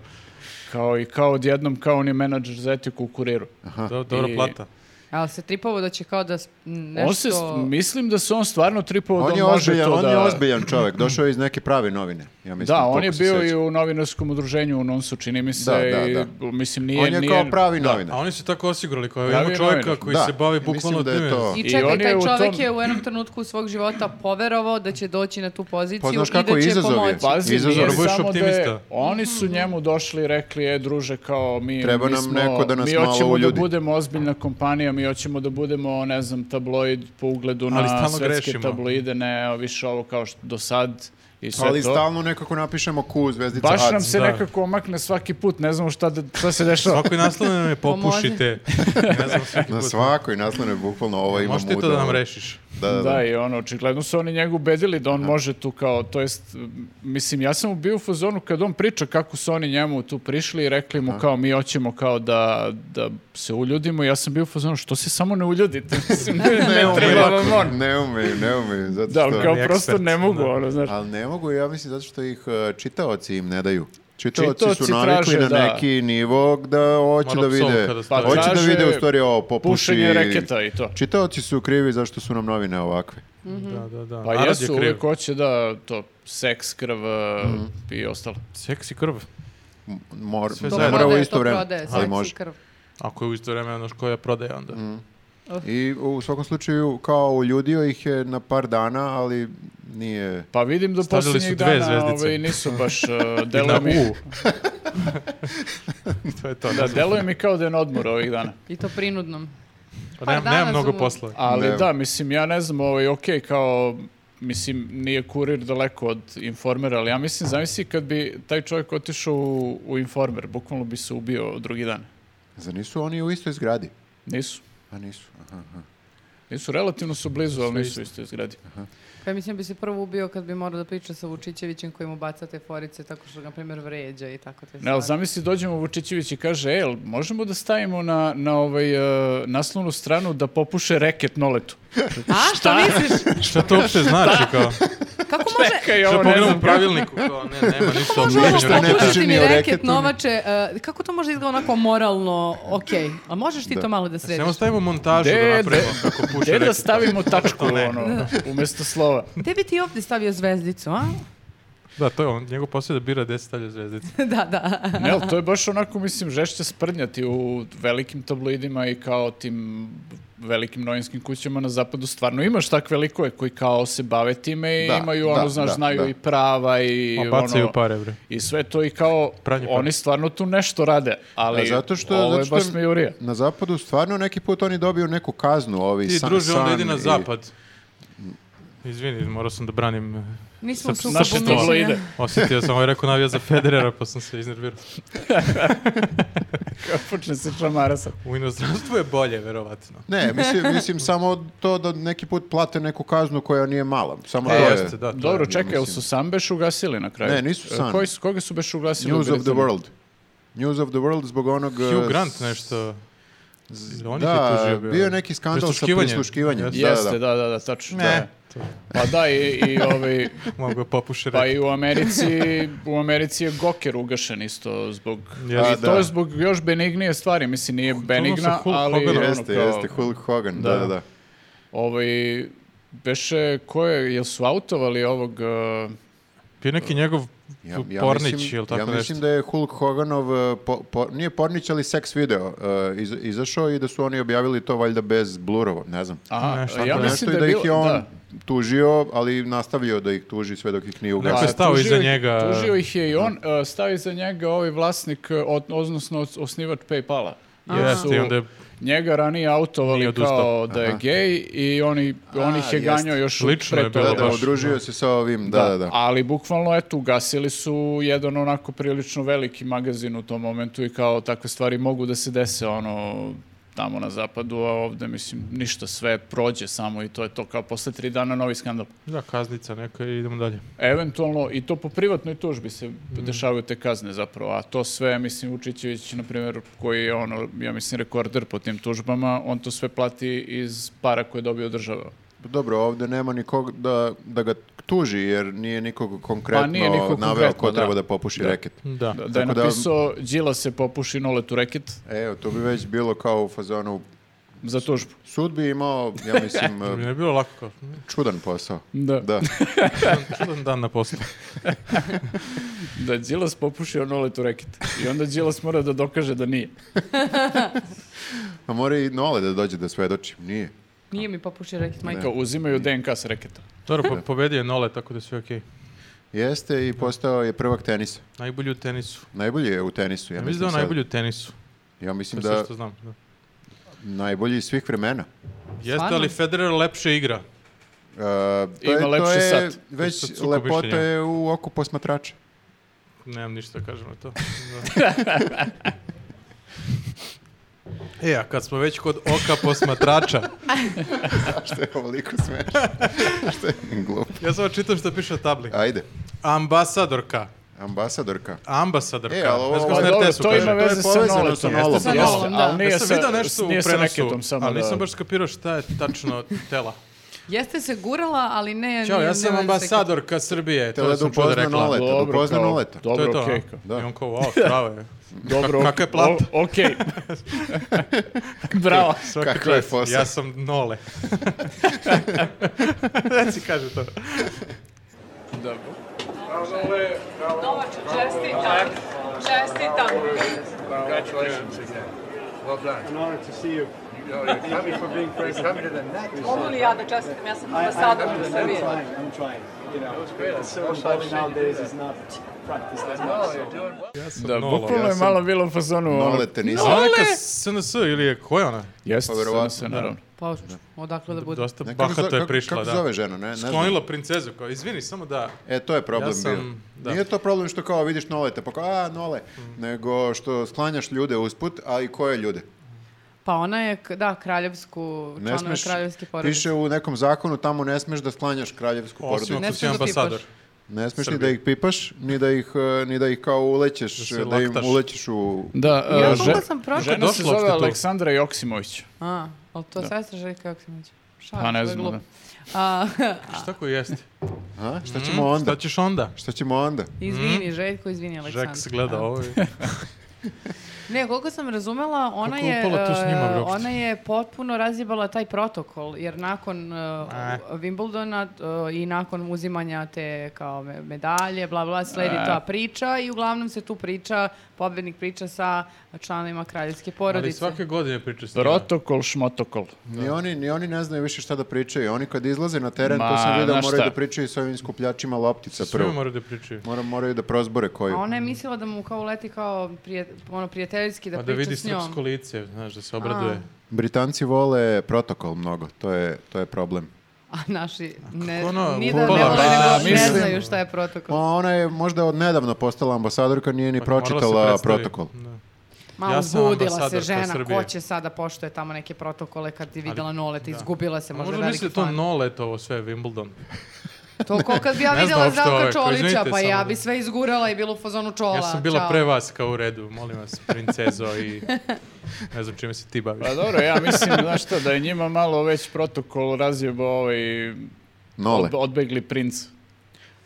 S4: Kao i kao odjednom, kao on je menadžer za etiku u kuriru.
S1: Do, dobra
S4: I-
S1: plata.
S3: Ali se tripovo da će kao da s- m, nešto...
S4: On se, mislim da se on stvarno tripovao
S2: On
S4: da
S2: je,
S4: može
S2: ozbiljan,
S4: to
S2: on
S4: da...
S2: je ozbiljan čovek, došao je iz neke prave novine. Ja mislim,
S4: Da, on
S2: koliko
S4: je
S2: se
S4: bio i
S2: sećam.
S4: u novinarskom udruženju u Nonsu, čini mi se.
S2: Da, da,
S4: i,
S2: da.
S4: Mislim, nije,
S2: On je
S4: nije...
S2: kao pravi novinar.
S1: A oni su tako osigurali, kao
S4: Pravi
S1: imamo čovjeka
S4: novinar.
S1: koji
S2: Da,
S1: se bavi
S2: mislim
S1: bukvalno
S2: da je
S1: time.
S2: to.
S3: I
S4: I
S3: čekaj,
S4: on je
S3: taj
S4: u
S3: čovek
S4: tom-
S3: je u jednom trenutku svog života poverovao da će doći na tu poziciju
S2: Pa, znaš
S3: i
S2: kako
S3: da će
S2: izazov je? Pa
S3: pomoći.
S4: Pazi,
S2: Izazov
S4: nije
S2: je
S1: budeš
S4: samo da je-
S1: optimista.
S4: oni su njemu došli i rekli, e, druže, kao mi,
S2: Treba
S4: mi
S2: nam
S4: smo,
S2: neko da nas
S4: mi
S2: malo
S4: hoćemo
S2: uljudi.
S4: da budemo ozbiljna kompanija, mi hoćemo da budemo, ne znam, tabloid po ugledu
S1: Ali
S4: na
S1: stalno
S4: svetske
S1: grešimo.
S4: tabloide, ne više ovo kao što do sad i sve
S2: Ali
S4: to.
S2: stalno nekako napišemo Q, zvezdica
S4: Baš
S2: Baš
S4: nam se
S1: da.
S4: nekako omakne svaki put, ne znamo šta, da, šta se dešava.
S1: Svako je naslovno nam je popušite. ne znam svaki
S2: Na
S1: put.
S2: svakoj naslovnoj bukvalno ovo ima
S1: Možeš ti to
S2: muda,
S1: da nam
S2: ovo.
S1: rešiš?
S2: Da, da, da.
S4: Da, i ono, očigledno su oni njega ubedili da on može tu kao, to jest, mislim, ja sam mu bio u fazonu kad on priča kako su oni njemu tu prišli i rekli mu kao, mi hoćemo kao da, da se uljudimo, ja sam bio u fazonu, što se samo ne uljudite, mislim, ne, ne,
S2: Ne umeju,
S4: treba vam on.
S2: ne umeju, ne umeju, zato
S4: Da,
S2: što...
S4: ali kao
S1: Oni
S4: prosto
S1: ekspert,
S4: ne mogu,
S1: da.
S4: ono, znaš.
S2: Ali ne mogu, ja mislim, zato što ih e, čitaoci im ne daju. Čitaoci,
S4: Čitaoci
S2: su navikli
S4: traže,
S2: na
S4: da. Pa
S2: neki nivo da hoće
S1: Mora
S2: da
S1: psovka
S2: vide,
S1: da stavi.
S2: hoće da
S4: Traže
S2: vide u stvari ovo popuši.
S4: Pušenje reketa i to.
S2: Čitaoci su krivi zašto su nam novine ovakve.
S1: Da, da, da.
S4: Pa
S1: Arad je
S4: jesu,
S1: kriv.
S4: uvijek hoće da to seks, krv uh,
S2: Mhm.
S4: i ostalo.
S1: Seksi krv.
S2: M- Mor,
S1: Sve
S2: ne
S1: zajedno.
S2: mora u
S3: prodaje,
S2: isto
S3: to
S2: vreme,
S3: prodaje, znači.
S2: ali
S3: seksi
S2: može.
S3: krv.
S1: Ako je u isto vreme ono koja prodaje onda.
S4: Mm.
S2: Mm. I u svakom slučaju, kao uljudio ih je na par dana, ali nije...
S4: Pa vidim da
S1: Stavili su
S4: posljednjih
S1: dve
S4: dana
S1: zvezdice.
S4: ovaj, nisu baš, uh,
S1: I na
S4: deluje mi,
S1: U. to je to.
S4: da,
S1: Da,
S4: deluje mi kao da je na odmoru ovih dana.
S3: I to prinudnom.
S1: pa
S3: par
S1: nemam,
S3: dana
S1: nemam
S3: su
S1: mnogo
S3: mu-
S1: posla.
S4: Ali
S2: Ne.
S4: da, mislim, ja ne znam, ovaj, ok, kao, mislim, nije kurir daleko od informera, ali ja mislim, zamisli kad bi taj čovjek otišao u, u informer, bukvalno bi se ubio drugi dan.
S2: Zar nisu oni u istoj zgradi?
S4: Nisu.
S2: A nisu, aha.
S4: Nisu, relativno su blizu, ali
S1: Sve
S4: nisu
S1: isto.
S4: isto izgradi.
S3: Pa ja mislim bi se prvo ubio kad bi morao da priča sa Vučićevićem koji mu baca te forice tako što ga, na primjer, vređa i tako te
S4: Ne, ali zamisli, dođemo Vučićević i kaže, e, jel možemo da stavimo na, na ovaj, e, naslovnu stranu da popuše reket noletu.
S3: A, što misliš?
S1: Šta to uopšte znači kao?
S3: Kako može...
S4: Čekaj,
S1: Šta
S4: ovo ne
S1: pogledam u
S4: znam.
S1: pravilniku? Kao, ne, nema ništa o
S3: Može ovo
S1: mušenju
S2: što ne
S1: reketa.
S2: piše ni
S3: popušiti mi
S2: o
S3: reket,
S2: reketu, ni-
S3: novače, e, kako to može izgleda onako moralno, okej. A možeš ti to malo da
S1: Znači, Samo
S3: središ?
S1: stavimo montažu da
S4: De-
S1: napravimo
S4: de-
S1: kako puše
S4: Gde
S1: reketa.
S4: da stavimo tačku,
S1: ne.
S4: ono, umjesto slova?
S3: Gde bi ti ovdje stavio zvezdicu, a?
S1: Da, to je on. Njegov posao je da bira gde se stavlja zvezdica.
S3: da, da.
S4: Ne, ali to je baš onako, mislim, žešće sprnjati u velikim tabloidima i kao tim velikim novinskim kućama na zapadu. Stvarno imaš takve likove koji kao se bave time i
S2: Da,
S4: imaju,
S2: da,
S4: ono, znaš,
S2: da,
S4: znaju
S2: da.
S4: i prava i
S1: Pa bacaju
S4: ono,
S1: pare, bre.
S4: i sve to i kao
S1: Pranje pa. para.
S4: oni stvarno tu nešto rade, ali
S2: Da, zato što,
S4: ovo je
S2: zato što
S4: baš smejurija.
S2: na zapadu stvarno neki put oni dobiju neku kaznu, ovi
S1: Ti,
S2: san-
S1: druže, onda
S2: san
S1: idi na
S2: i-
S1: zapad. Izvini, morao sam da branim. eh,
S3: Nismo u sukobu
S4: Naše
S1: Pobomišljenja.
S4: tabloide.
S3: mišljenja.
S1: Osjetio sam, ovaj rekao navija za Federera, pa sam se iznervirao.
S4: Kao počne se čamara sad.
S1: U inostranstvu je bolje, verovatno.
S2: Ne, mislim, mislim samo to da neki put plate neku kaznu koja nije mala. Samo
S1: E,
S2: to je.
S1: jeste, da, to
S4: Dobro,
S1: je.
S4: čekaj, jel su sam beš ugasili na kraju?
S2: Ne, nisu
S4: E,
S2: Sun.
S4: Koji su, koga su beš ugasili? u
S2: News of the
S4: Britaniji?
S2: World. News of the World zbog onog...
S1: Hugh
S2: eh,
S1: Grant
S2: s-
S1: nešto... Z... On ih je
S2: Da,
S1: tužio bio.
S2: bio je neki skandal sa
S1: Prisluškivanje.
S2: prisluškivanjem. Da, da,
S4: Jeste,
S2: da.
S4: da, da, da, tačno.
S1: Ne.
S4: da je. Pa da, i, i ovaj,
S1: Mogu je popuši
S4: Pa
S1: pa
S4: i u Americi, u Americi je Goker ugašen isto zbog...
S1: Jeste.
S4: I
S2: A, da.
S4: to je zbog još benignije stvari, mislim nije benigna,
S1: sa Hulk
S4: ali
S1: Hoganom.
S4: ono
S2: Jeste,
S4: kao,
S2: jeste, Hulk Hogan, da,
S4: Da.
S2: da, da.
S4: Ovaj, beše, ko je, jel su autovali ovog... uh,
S1: Bio neki njegov
S2: Ja, ja
S1: Pornić
S2: mislim,
S1: ili tako
S2: ja
S1: nešto.
S2: mislim da je Hulk Hoganov, eh, po- po- nije Pornić, ali seks video eh, iz- izašao i da su oni objavili to valjda bez blurovo, ne znam.
S4: aha,
S1: Nešto
S4: ja
S1: tako
S4: mislim
S2: Nešto
S4: da
S2: i
S4: je
S2: da ih
S4: bilo-
S2: je on
S4: da.
S2: tužio, ali nastavio da ih tuži sve dok ih nije
S1: Neko je
S2: ugasio.
S4: Pa,
S1: stao
S4: tužio
S1: iza
S4: ih-
S1: njega.
S4: Tužio ih je i on, uh, stao iza njega ovaj vlasnik, uh, od, odnosno os- osnivač Paypala. Jer
S1: Jeste, i
S4: su
S1: onda je
S4: Njega ranije
S1: Nije
S4: autovali
S1: odustao.
S4: kao da je gej i oni, on ih je
S2: jeste.
S4: ganjao još
S1: Slično je
S4: pre
S1: bilo
S4: toga.
S2: Da, da,
S1: baš,
S2: udružio se sa ovim, da, da, da.
S4: Ali bukvalno, eto, ugasili su jedan onako prilično veliki magazin u tom momentu i kao takve stvari mogu da se dese, ono, tamo na zapadu, a ovde, mislim, ništa, sve prođe samo i to je to kao posle tri dana novi skandal.
S1: Da, kaznica neka i idemo dalje.
S4: Eventualno, i to po privatnoj tužbi se
S2: Mhm.
S4: dešavaju te kazne zapravo, a to sve, mislim, Vučićević, na primjer, koji je ono, ja mislim, rekorder po tim tužbama, on to sve plati iz para koje je dobio od država.
S2: Dobro, ovde nema nikog da, da ga tuži, jer nije nikog konkretno
S4: niko
S2: naveo
S4: Pa konkretno,
S2: ko treba
S4: da.
S2: da popuši
S4: Da.
S2: reket.
S1: Da.
S4: Da, da je
S2: Tako da-
S4: napisao, Đila se popuši noletu reket
S2: E, Evo, to bi već bilo kao u fazonu
S4: za tužbu.
S2: Sud bi imao, ja mislim,
S1: To bi
S2: eh,
S1: ne bilo lako kao, mm,
S2: čudan posao.
S4: Da.
S2: Da.
S1: čudan- čudan dan na poslu.
S4: Da Đilas popušio noletu reket. I onda Đilas mora da dokaže da nije.
S2: A Pa mora i Nole da dođe da svedoči. Nije.
S3: Nije mi popušio reket, majka.
S4: Kao uzimaju DNK s reketa.
S1: Dobro, po, pobedio je Nole, tako da sve okej.
S2: Jeste i postao je prvak tenisa.
S1: Najbolji u tenisu.
S2: Najbolji je u tenisu, ja,
S1: Ja mislim da
S2: mislim
S1: je
S2: sad.
S1: najbolji u tenisu.
S2: Ja
S1: To
S2: mislim
S1: je sve
S2: da
S1: što znam. Da.
S2: najbolji svih vremena.
S1: Jeste, ali Federer lepše igra.
S2: Uh, to
S4: Ima
S2: je, to
S4: lepši
S2: je
S4: sat.
S1: To je
S2: Već
S1: sukob
S2: lepota
S1: mišljenja.
S2: je u oku posmatrača.
S1: Nemam ništa da kažem na to. Da. E, a kad smo već kod oka posmatrača,
S2: što je ovoliko smešno. što je glupo.
S1: ja samo čitam što piše na tabli.
S2: Ajde,
S1: Ambasadorka.
S2: ambasadorka.
S1: ambasadorka.
S2: E, ali ovo-
S1: Znaš kako se na
S2: Pa
S4: Pa dobro,
S1: RTS-u
S4: to
S1: kaže?
S4: ima veze
S2: To
S4: sa
S2: je povezano
S4: noletom.
S2: sa nolom.
S4: Jeste, sa
S3: Jeste,
S4: nolom,
S3: da.
S4: ali nije
S1: Ja sam vidio
S4: sa,
S1: nešto u
S4: nije sa
S1: prenosu,
S4: reketom samo.
S1: ali
S4: da.
S1: nisam baš skapirao šta je tačno tela.
S3: Jeste se gurala, ali ne...
S1: Ćao,
S3: ne-
S1: ja
S3: ne
S1: sam
S3: valja se
S1: ambasadorka Srbije,
S2: Tela
S1: to
S2: da
S1: sam čuo da
S2: upozna
S1: rekla.
S2: Nole. Eto,
S4: Dobro,
S2: upozna
S4: kao,
S2: noleta.
S1: To
S4: Dobro,
S1: je to,
S4: okej.
S1: a?
S4: kao.
S2: Da.
S1: I on kao, wow, pravo je.
S4: Dobro,
S1: Kako je plat?
S4: o- Okej. Bravo.
S1: Svaka
S2: Kakva je
S1: čast,
S2: fosa?
S1: Ja sam Nole. Reci, kaže to.
S4: Dobro.
S3: Novaču, čestitam. Čestitam.
S5: Congratulations again. Well done. An honor to see you. know, You're coming for being president. Coming to the next.
S3: Mogu li ja da čestitam? Ja sam ambasador u Srbiji.
S6: I'm trying. You know,
S5: was great.
S6: It's so
S5: I'm so
S6: important
S5: glad you did
S6: nowadays
S5: that.
S6: is not practiced as
S5: Oh,
S6: much.
S5: you're doing well.
S1: Ja sam
S4: Da,
S1: Nole.
S4: bukvalno je malo bilo u fazonu. ono,
S2: Nole tenisa.
S1: Ona neka SNS ili je, ko je ona?
S4: Jeste,
S2: Pa verovatno,
S4: se naravno.
S3: Pa, odakle da bude?
S1: Dosta
S2: Ne, kako
S1: bahato
S2: zove-
S1: je
S2: kako-
S1: prišla,
S2: kako
S1: da.
S2: zove žena, ne? ne znam.
S1: Sklonila princezu, kao, izvini, samo da...
S2: E, to je problem
S1: Ja sam-
S2: bio.
S1: da. Mm.
S2: Nije to problem što kao vidiš noleta, pa kao, a, nole, nego što sklanjaš ljude usput, a i koje ljude?
S3: Pa ona je, k- da, kraljevsku,
S2: Ne
S3: članove
S2: smeš,
S3: kraljevske porodice.
S2: piše u nekom zakonu, tamo ne smeš da sklanjaš kraljevsku
S1: Osim
S2: porodicu.
S1: ako
S3: Ne
S1: si
S3: smeš da
S1: ambasador.
S3: tipaš.
S2: Ne smeš ni
S1: Srbije.
S2: da ih pipaš, ni da ih, eh, ni da ih kao ulećeš,
S1: Da
S2: da,
S1: se
S2: im
S1: laktaš.
S2: ulećeš u...
S4: Da,
S3: Ja
S4: e,
S3: koliko
S4: že-
S3: sam prošla?
S4: žena se
S1: došla uopšte
S4: zove
S1: tu?
S4: Aleksandra Joksimović.
S3: A, ali to je sestra Željka Joksimovića. Šalim
S4: Pa ne
S3: se, to je
S4: znam, da.
S3: glupo. A,
S1: Šta ko jeste?
S2: A? Šta ćemo onda?
S1: Mhm. Šta ćeš onda?
S2: Šta ćemo onda?
S3: izvini, Željko, izvini, Aleksandar.
S1: Žeks Mhm. gleda ovaj.
S3: A.
S1: ovo i...
S3: Ne, koliko sam razumela, ona
S1: Kako
S3: je,
S1: upala tu s njima,
S3: e,
S1: bre, uopšte?
S3: ona je potpuno razjebala taj protokol, jer nakon e, Wimbledona e, i nakon uzimanja te kao me- medalje, bla bla, sledi
S4: E.
S3: ta priča i uglavnom se tu priča, pobednik priča sa članovima kraljevske
S1: Ali
S3: porodice.
S1: svake godine priča s njima.
S4: Protokol, šmotokol.
S2: Ni oni, ni oni ne znaju više šta da pričaju. Oni kad izlaze na teren,
S4: Ma,
S2: to sam vidio,
S4: znaš
S2: moraju
S4: šta?
S2: da pričaju sa ovim skupljačima loptica
S1: Svima
S2: prvo.
S1: moraju da pričaju.
S2: Mora, moraju da prozbore koju.
S3: A ona je mislila da mu kao leti kao prije, ono, prijateljski da
S1: Pa da
S3: priča
S1: vidi
S3: s njom.
S1: srpsko lice, znaš, da se obraduje. Pa
S2: Britanci vole protokol mnogo, to je, to je problem.
S3: A naši ne,
S1: kako ono,
S3: ni da ne
S1: upala?
S3: vole,
S4: Pa,
S3: nego ne
S4: mislim-
S3: znaju šta je protokol.
S2: Ma ona je možda od nedavno postala ambasadorka, nije ni
S1: Pa morala se
S2: pročitala
S1: predstavi.
S2: protokol.
S1: Da.
S3: Malo
S1: Ja sam
S3: budila se
S1: ambasadorka
S3: žena,
S1: Srbije.
S3: ko će sada poštuje tamo neke protokole kad je videla noleta, izgubila se, možda,
S1: Možda
S3: možda
S1: misli
S3: veliki
S1: da to
S3: fan.
S1: nolet ovo sve, Wimbledon.
S3: To ko kad bi ja
S1: Ne znam
S3: videla
S1: uopšte ove,
S3: Zdravka
S1: ko-
S3: Čolića,
S1: izvinite
S3: pa
S1: samo
S3: ja
S1: da-
S3: bi sve izgurala i bilo u fazonu čola.
S1: Ja sam bila
S3: čao.
S1: pre vas kao u redu, molim vas, princezo i ne znam čime se ti baviš.
S4: Pa dobro, ja mislim, znaš šta, da je njima malo već protokol razjebao ovaj
S2: Nole.
S4: od- odbegli princ.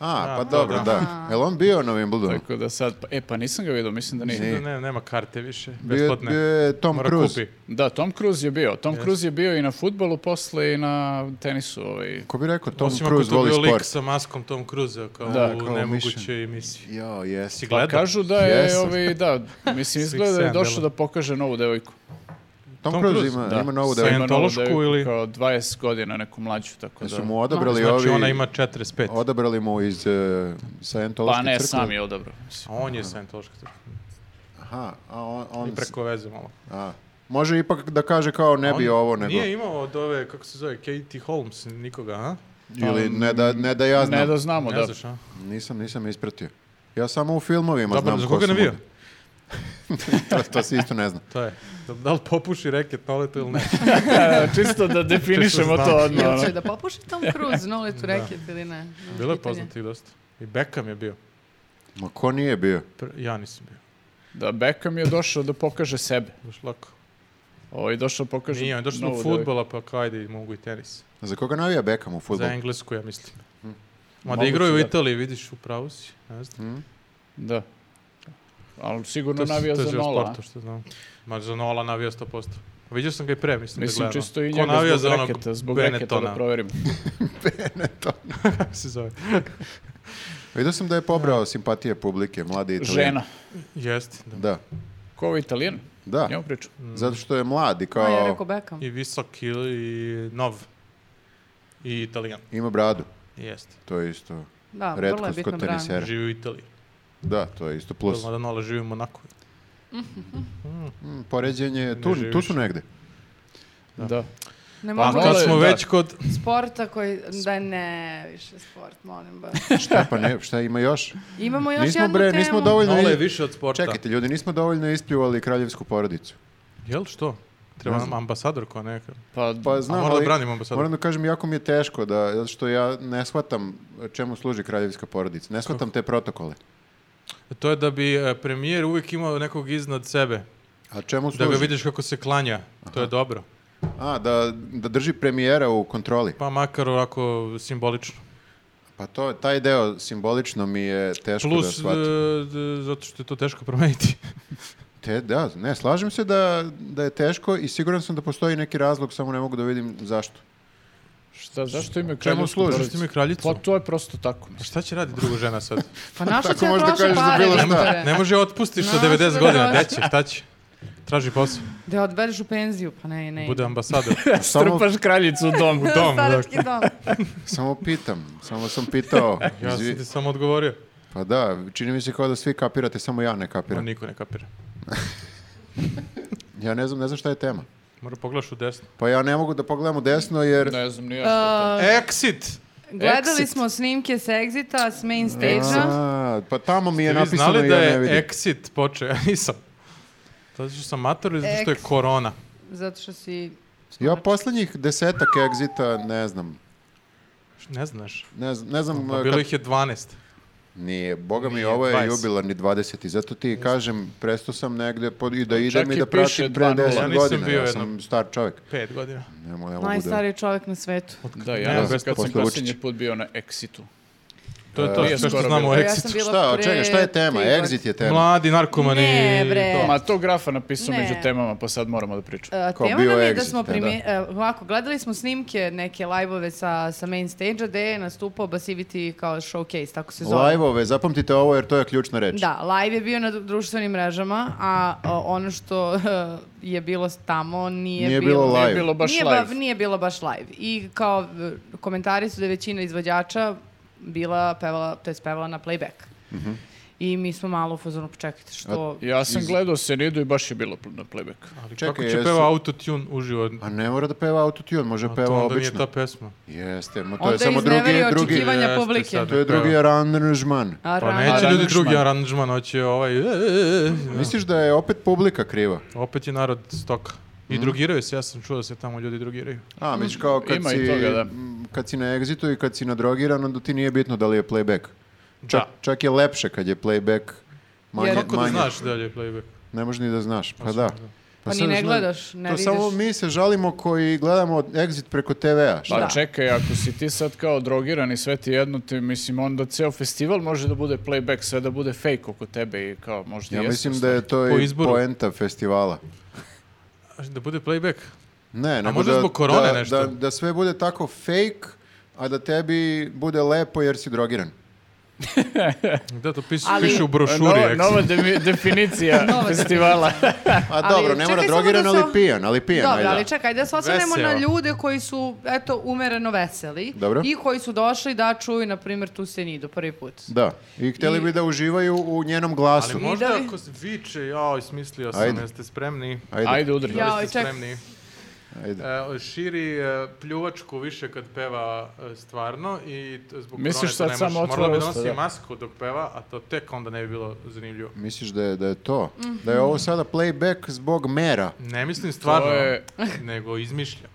S2: A,
S1: A,
S2: pa
S1: da,
S2: dobro,
S1: da.
S2: da. Jel on bio na Wimbledonu?
S4: Tako da sad, pa- e pa nisam ga vidio, mislim da nije.
S1: Mislim da ne, nema karte više,
S2: Bio, je-
S1: besplatne.
S2: bio je Tom
S1: Mora
S2: Cruise.
S1: kupi.
S4: Da, Tom Cruise je bio. Tom Cruise je bio i na futbolu posle i na tenisu. Ovaj.
S2: Ko bi rekao, Tom
S1: Osim
S2: Cruise
S1: ako to
S2: voli
S1: bio lik
S2: sport.
S1: sa maskom Tom Cruise kao
S4: Da,
S1: u
S2: kao
S1: nemogućoj emisiji.
S2: Jo, jes.
S1: Si gledao?
S4: Pa Kažu da je,
S2: Jesam.
S4: ovaj, da, mislim, izgleda da je
S1: Seven,
S4: došao
S1: delo.
S4: da pokaže novu devojku.
S2: Tom,
S1: Tom
S2: Cruise
S1: Cruise,
S2: ima,
S4: Da,
S2: Pa ima novu
S4: sad ima
S2: devojku.
S4: novu
S1: Scientološku
S4: devojku,
S1: ili-
S4: Kao 20 godina, neku mlađu, tako da.
S2: Su mu odabrali
S1: Znači
S2: ovi...
S1: ona ima 45.
S2: Odabrali mu iz uh, Scientološke
S4: Pa ne,
S2: crkve.
S4: sam je odabrao. mislim.
S1: A on je Scientološka crkva.
S2: Aha, a on... on
S1: I preko veze malo.
S2: a, može ipak da kaže kao ne bi
S1: On
S2: ovo, nego...
S1: Nije imao od ove, kako se zove, Katie Holmes, nikoga, a?
S2: Ili ne da, ne da ja znam.
S4: Pa Ne da znamo,
S1: Ne
S4: da.
S1: znaš, a?
S2: Nisam, nisam ispratio. Ja samo u filmovima
S1: Dobro,
S2: znam
S1: za
S2: ko
S1: koga
S2: su
S1: navija?
S2: mu- to, to se isto ne zna.
S1: To je. Da li popuši reket noletu ili ne?
S4: Čisto da definišemo
S1: znam.
S4: to odmah.
S3: Jel
S4: ono.
S3: će da popuši Tom Cruise noletu reket ili ne?
S1: Bilo je
S3: Pitanje.
S1: poznatih dosta. I Beckham je bio.
S2: Ma ko nije bio?
S1: Pr- ja nisam bio.
S4: Da Beckham je došao da pokaže sebe.
S1: Baš lako.
S4: Ovo je Ovaj, došao da pokaže...
S1: Nije, on je došao do
S4: novu devojku.
S1: futbola, pa kao ajde, mogu i tenis.
S2: Za koga navija Beckham u futbolu?
S1: Za Englesku, ja mislim.
S2: Hm.
S1: Mada
S4: Moguće,
S1: igraju u
S4: da.
S1: Italiji, vidiš, u pravu si. Ne znam.
S2: Hm?
S4: Da. Ali sigurno
S1: To si-
S4: navija
S1: to
S4: za
S1: si od
S4: nola.
S1: sporta, što znam. Ma za Nola navija 100%. Vidio sam ga i pre, mislim, da
S4: Mislim,
S1: gledam.
S4: čisto i
S1: Ko
S4: njega
S1: navija
S4: zbog
S1: za onog
S4: reketa, zbog reketa da
S1: Benetona,
S4: proverim.
S1: se zove.
S2: Vidio sam da je pobrao simpatije publike, mlade Italijan.
S4: Žena.
S1: Jeste, da.
S2: Da,
S4: Ko je ovo italijan?
S2: da.
S4: Njemu priču.
S2: Zato što je mlad i
S3: Pa je
S2: kao
S3: rekao Beckham.
S1: I visok, i, i nov. I italijan.
S2: ima bradu.
S1: Jeste.
S2: To je isto.
S3: Da, vrlo je
S2: Redkost
S3: bitno
S2: kod
S3: branje.
S2: tenisera.
S1: Živi u Italiji.
S2: Da, to je isto plus.
S1: Mada Nola živi u Monaku.
S2: Mm, Poređenje, je tu, tu
S1: živiš.
S2: su negde.
S4: Da.
S3: Ne
S1: A
S3: mogu
S4: Nole-
S1: kad smo
S4: da.
S1: već kod...
S3: sporta koji... Da ne, više sport, molim vas.
S2: Šta pa ne, šta ima još?
S3: Imamo još
S2: nismo
S3: jednu
S2: bre,
S3: temu.
S2: nismo dovoljno...
S1: Nola je
S2: i-
S1: više od sporta.
S2: Čekajte, ljudi, nismo dovoljno ispljuvali kraljevsku porodicu.
S1: Jel što? Treba
S2: Ne
S1: nam ambasador kao neka.
S4: Pa,
S2: Pa znam,
S1: moram da
S2: ali
S1: branimo ambasadora.
S2: moram da kažem, jako mi je teško, da, zato što ja ne shvatam čemu služi kraljevska porodica. Ne shvatam te protokole.
S1: To je da bi e, premijer uvijek imao nekog iznad sebe.
S2: A čemu
S1: Da
S2: služi?
S1: ga vidiš kako se klanja. To je dobro.
S2: A, da, da drži premijera u kontroli.
S1: Pa makar ovako simbolično.
S2: Pa to, taj deo simbolično mi je teško da
S1: Plus,
S2: shvatim.
S1: e, d- zato što je to teško promeniti.
S2: Te, da, ne, slažem se da, da je teško i siguran sam da postoji neki razlog, samo ne mogu da vidim zašto.
S4: šta, zašto imaju kraljevsku
S2: služi?
S4: porodicu?
S1: Zašto imaju kraljicu?
S4: Pa to je prosto tako. mislim.
S1: Šta će radi druga žena sad?
S3: Pa našo
S2: Tako
S3: će
S2: možda
S3: prošle
S2: kažeš za
S3: pare,
S2: bilo šta.
S3: doktore.
S1: Ne može je otpustiš sa
S3: Znaš,
S1: 90
S3: da
S1: godina.
S3: dođe.
S1: Gde će? Šta će? Traži posao.
S3: Da je odbereš u penziju, pa ne, ne.
S1: Bude ambasador.
S2: Samo,
S4: Strpaš kraljicu u dom.
S1: dom,
S3: Starački dom.
S2: samo pitam, samo sam pitao.
S1: Ja sam ti
S2: Izvi-
S1: samo odgovorio.
S2: Pa da, čini mi se kao da svi kapirate, samo ja ne
S1: Ma
S2: kapiram.
S1: niko ne kapira.
S2: Ja ne znam, ne znam šta je tema.
S1: Mora pogledaš u desno.
S2: Pa ja ne mogu da pogledam u desno jer...
S4: Ne znam, nije što to.
S1: Exit!
S3: Uh, Gledali
S4: Exit.
S3: smo snimke s Exita, s main stage-a.
S2: A, pa tamo mi je
S1: Vi
S2: napisano
S1: znali
S2: i
S1: da
S2: ja ne
S1: je
S2: vidim.
S1: exit počeo? Ja nisam. Zato što sam mator ili zato što je
S3: Ex-
S1: korona?
S3: Zato što si... ono,
S2: Ja pa poslednjih desetak egzita ne znam.
S1: Ne znaš.
S2: Ne, znam- ne znam...
S1: Pa
S2: e,
S1: bilo
S2: kad-
S1: ih je 12.
S2: Nije, boga mi,
S1: Nije,
S2: ovo je
S1: 20.
S2: jubilarni 20. Zato ti kažem, presto sam negde pod, i da idem
S4: čak
S2: i
S4: i
S2: da
S4: piše
S2: pratim pre
S4: 2:0.
S2: 10
S1: Ja nisam
S2: godina.
S1: bio
S2: Ja
S1: jednom.
S2: sam star čovek.
S1: Pet godina.
S2: Ne mogu, ne mogu da...
S3: Najstariji čovjek na svetu.
S4: Da, ja
S1: Ne,
S4: ne,
S1: bez
S4: znam kad sam
S2: posle
S4: posljednji
S2: Vučića.
S4: put bio na Exitu.
S1: To je
S4: E,
S1: to
S4: nije
S1: sve što
S4: skoro
S1: znamo o
S4: bilo.
S3: Ja sam
S1: exitu.
S3: bila
S2: Šta,
S3: pre
S2: čekaj, šta je
S3: tri
S2: tema?
S3: godine.
S2: Exit je tema.
S1: Mladi narkomani.
S3: Ne, bre.
S1: to.
S4: Ma to grafa napisao
S3: E. Ne.
S4: među temama, pa sad moramo da pričamo.
S3: E,
S2: Kao
S3: tema
S2: bio
S3: nam je da
S2: Exit,
S3: smo
S2: da,
S3: primi... e, ovako, gledali smo snimke, neke live-ove sa, sa main stage-a, gde je nastupao Basivity kao showcase, tako se zove.
S2: Live-ove, zapamtite ovo jer to je ključna reč.
S3: Da, live je bio na dru- društvenim mrežama, a o, ono što e, je bilo tamo nije,
S2: Nije bilo live.
S4: Nije bilo baš
S3: nije, ba-
S4: live.
S3: nije bilo baš live. I kao e, komentari su da je većina izvođača bila pevala, to jest pevala na playback. I mi smo malo u fazonu, počekajte, što...
S4: Ja sam gledao Senidu i baš je bilo na playback.
S1: Ali
S2: Čekaj,
S1: kako će
S2: jesu-
S1: peva autotune uživo?
S2: A Pa ne mora da peva autotune, može
S1: A Pa to
S2: peva
S1: onda nije
S2: obično.
S1: ta pesma.
S2: Jeste, ma to
S3: Onda
S2: je samo drugi,
S3: izneveri
S2: drugi,
S3: očekivanja
S1: Jeste,
S3: publike.
S1: sad.
S2: to je drugi aranžman.
S3: A
S1: Pa
S3: rano-
S1: neće ljudi
S4: Aranžman.
S1: drugi aranžman, hoće ovaj... e, e, e.
S2: Misliš da je opet publika kriva?
S1: Opet je narod stoka. I
S4: Mhm.
S1: drogiraju se, ja sam čuo da se tamo ljudi drogiraju.
S2: A, misliš kao kad
S4: Ima i
S2: si,
S4: toga, da.
S2: m, kad si na egzitu i kad si nadrogiran, onda ti nije bitno da li je playback. Čak, čak je lepše kad je playback manje.
S3: Jer-
S1: Kako da
S2: manje.
S1: znaš da li je playback?
S2: Ne možeš ni da znaš, pa da.
S3: Pa ni
S2: sad
S3: ne
S2: zna-
S3: gledaš, ne
S2: to
S3: vidiš.
S2: samo mi se žalimo koji gledamo exit preko TV-a.
S4: Pa
S2: Šta?
S4: čekaj, ako si ti sad kao drogiran i sve ti jedno, ti, mislim, onda ceo festival može da bude playback, sve da bude fake oko tebe i kao možda
S2: Ja
S4: jeste
S2: mislim
S4: u
S2: da je to
S1: Pa, Po
S2: i
S1: izboru.
S2: poenta festivala.
S1: Da bude playback?
S2: Ne, nego
S1: možda
S2: da,
S1: zbog korone
S2: da,
S1: nešto?
S2: Da, da sve bude tako fake, a da tebi bude lepo jer si drogiran.
S1: Da, to piše,
S3: Ali-
S1: piše u
S4: stvari.
S1: brošuri.
S4: Nova,
S1: rekli.
S4: nova de- definicija
S3: Nova
S4: festivala.
S2: A
S3: Ali
S2: dobro, ne mora
S3: čekaj samo
S2: drogiran,
S3: da se-
S2: ali pijan, ali pijan.
S3: Dobro,
S2: ajde.
S3: ali čekaj, da se osvrnemo na
S1: Veselo.
S3: ljude koji su, eto, umereno veseli.
S2: Dobro.
S3: I koji su došli da čuju, na primjer, tu se nidu prvi put.
S2: Da, i hteli
S3: I-
S2: bi da uživaju u njenom glasu.
S1: Ali možda
S3: Videli?
S1: ako se viče, jao, smislio sam,
S2: Ajde.
S1: jeste spremni?
S2: Ajde.
S4: Ajde, udri.
S3: Ja.
S1: Da li
S3: Jao,
S1: ste
S3: ček.
S1: spremni?
S2: Ajde.
S1: E, širi e, pljuvačku više kad peva e, stvarno i t- zbog korone
S4: Misliš
S1: to
S4: sad
S1: ne
S4: samo
S1: može.
S4: otvara
S1: Morala bi da
S4: usta,
S1: nosi
S4: da.
S1: masku dok peva, a to tek onda ne bi bilo zanimljivo.
S2: Misliš da je, da je to?
S3: Mhm.
S2: Da je ovo sada playback zbog mera,
S1: Ne mislim
S4: To
S1: stvarno,
S4: je...
S1: nego izmišljam.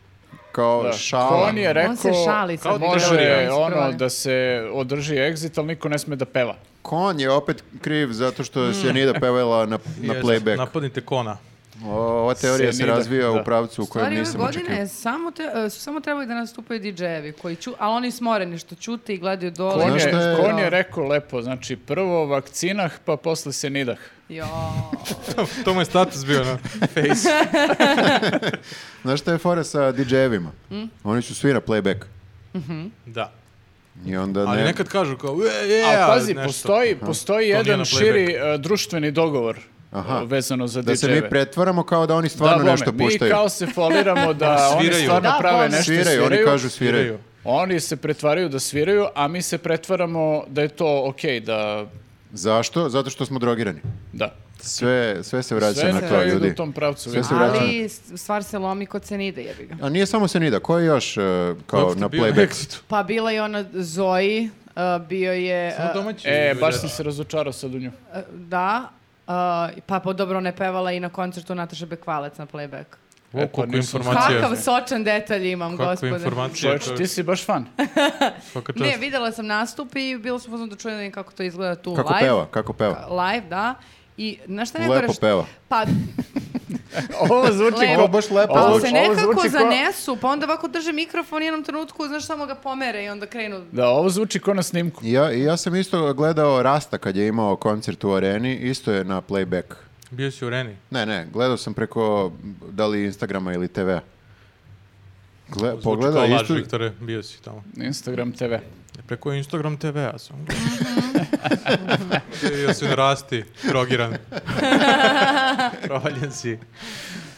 S2: kao
S4: Da.
S2: šala.
S4: On je rekao...
S3: On se šali sad.
S1: Kao
S3: bi
S1: može,
S3: trebali
S4: Može
S1: teorija.
S3: da
S4: ono
S3: isprave.
S4: da se održi exit, ali niko ne sme da peva.
S2: Kon je opet kriv zato
S3: Mhm.
S2: što je Sjenida pevala na, na
S1: Jest,
S2: playback.
S1: Napadnite kona.
S2: O, ova teorija se
S4: Sjenida,
S2: razvija
S4: da.
S2: u pravcu u kojem
S3: Stvari ove
S2: nisam
S3: godine
S2: očekio.
S3: je samo te, e, su samo trebali da nastupaju DJ-evi, koji ču, ali oni smoreni što čute i gledaju dole.
S4: Kon
S2: Znaš
S4: je,
S2: šta je-
S4: kon je rekao lepo, znači prvo vakcinah, pa posle se nidah.
S3: Jo.
S1: to mu je status bio na face.
S2: Znaš šta je fora sa DJ-evima?
S3: Mhm.
S2: Oni su svi na playback.
S1: Da.
S2: I onda
S1: Ali
S2: ne...
S1: nekad kažu kao, "E, je,
S4: Ali pazi,
S1: nešto."
S4: postoji, postoji
S1: To nije
S4: jedan
S1: na playback.
S4: širi e, društveni dogovoror
S2: Aha.
S4: e, vezano za
S2: Da se mi
S4: DJ-eve.
S2: pretvaramo kao da oni
S4: Da,
S2: stvarno
S4: bome,
S2: nešto
S4: Pa Mi
S2: puštaju.
S4: kao se foliramo da oni
S1: Sviraju.
S4: stvarno
S3: Da,
S4: prave
S3: bome.
S4: nešto i
S2: sviraju, oni kažu sviraju.
S1: Sviraju.
S4: Oni se pretvaraju da sviraju, a mi se pretvaramo da je to okej, da...
S2: Zašto? Zato što smo drogirani.
S4: Da.
S2: Sve, sve se vraća
S4: Sve
S2: na
S4: na
S2: to,
S4: kraju ide
S2: ljudi.
S4: u tom pravcu.
S2: Sve
S4: vidiš.
S2: se vraća.
S3: ali s- stvar se lomi kod se nide, jebi ga.
S2: A nije samo Senida, ko je još e, kao
S1: Dok ste
S2: na
S1: bio na
S2: playback?
S1: Exitu.
S3: Pa bila je ona Zoji, e, bio je...
S1: Samo
S3: e,
S1: domaći
S4: E, baš
S1: izvođači.
S4: sam se razočarao sad u nju.
S3: e, da, e, pa po dobro ona je pevala i na koncertu Nataše Bekvalec na playback.
S1: O, koliko
S4: nisam-
S1: informacija.
S3: Kakav sočan detalj imam,
S1: Kako
S3: gospode.
S1: informacija.
S4: Čovječe, ti si baš fan.
S1: Svaka čast.
S3: Ne, videla sam nastup i bilo sam pozvano da čujem kako to izgleda tu
S2: Kako
S3: live.
S2: peva, kako peva.
S3: Live, da. I, znaš šta
S2: Lepo
S3: najgore što-
S2: peva.
S3: Pa,
S4: Ovo zvuči
S3: Lepo.
S4: kao...
S3: Ovo
S2: baš lepo
S4: Ovo-
S3: ali se nekako
S4: zvuči kao-
S3: zanesu, pa onda ovako drže mikrofon i u jednom trenutku, znaš, samo ga pomere i onda krenu.
S4: Da, ovo zvuči kao na snimku.
S2: Ja, ja sam isto gledao Rasta kad je imao koncert u areni, isto je na playback.
S1: Bio si u Reni.
S2: Ne, ne, gledao sam preko da li Instagrama ili TV-a. Gle,
S1: Zvuči
S2: pogledao
S1: kao laž,
S2: isto...
S1: Viktore, bio si tamo. E,
S4: Instagram TV.
S1: Preko Instagram TV-a sam.
S4: Mhm.
S1: Bio si narasti, drogiran. Provaljen si.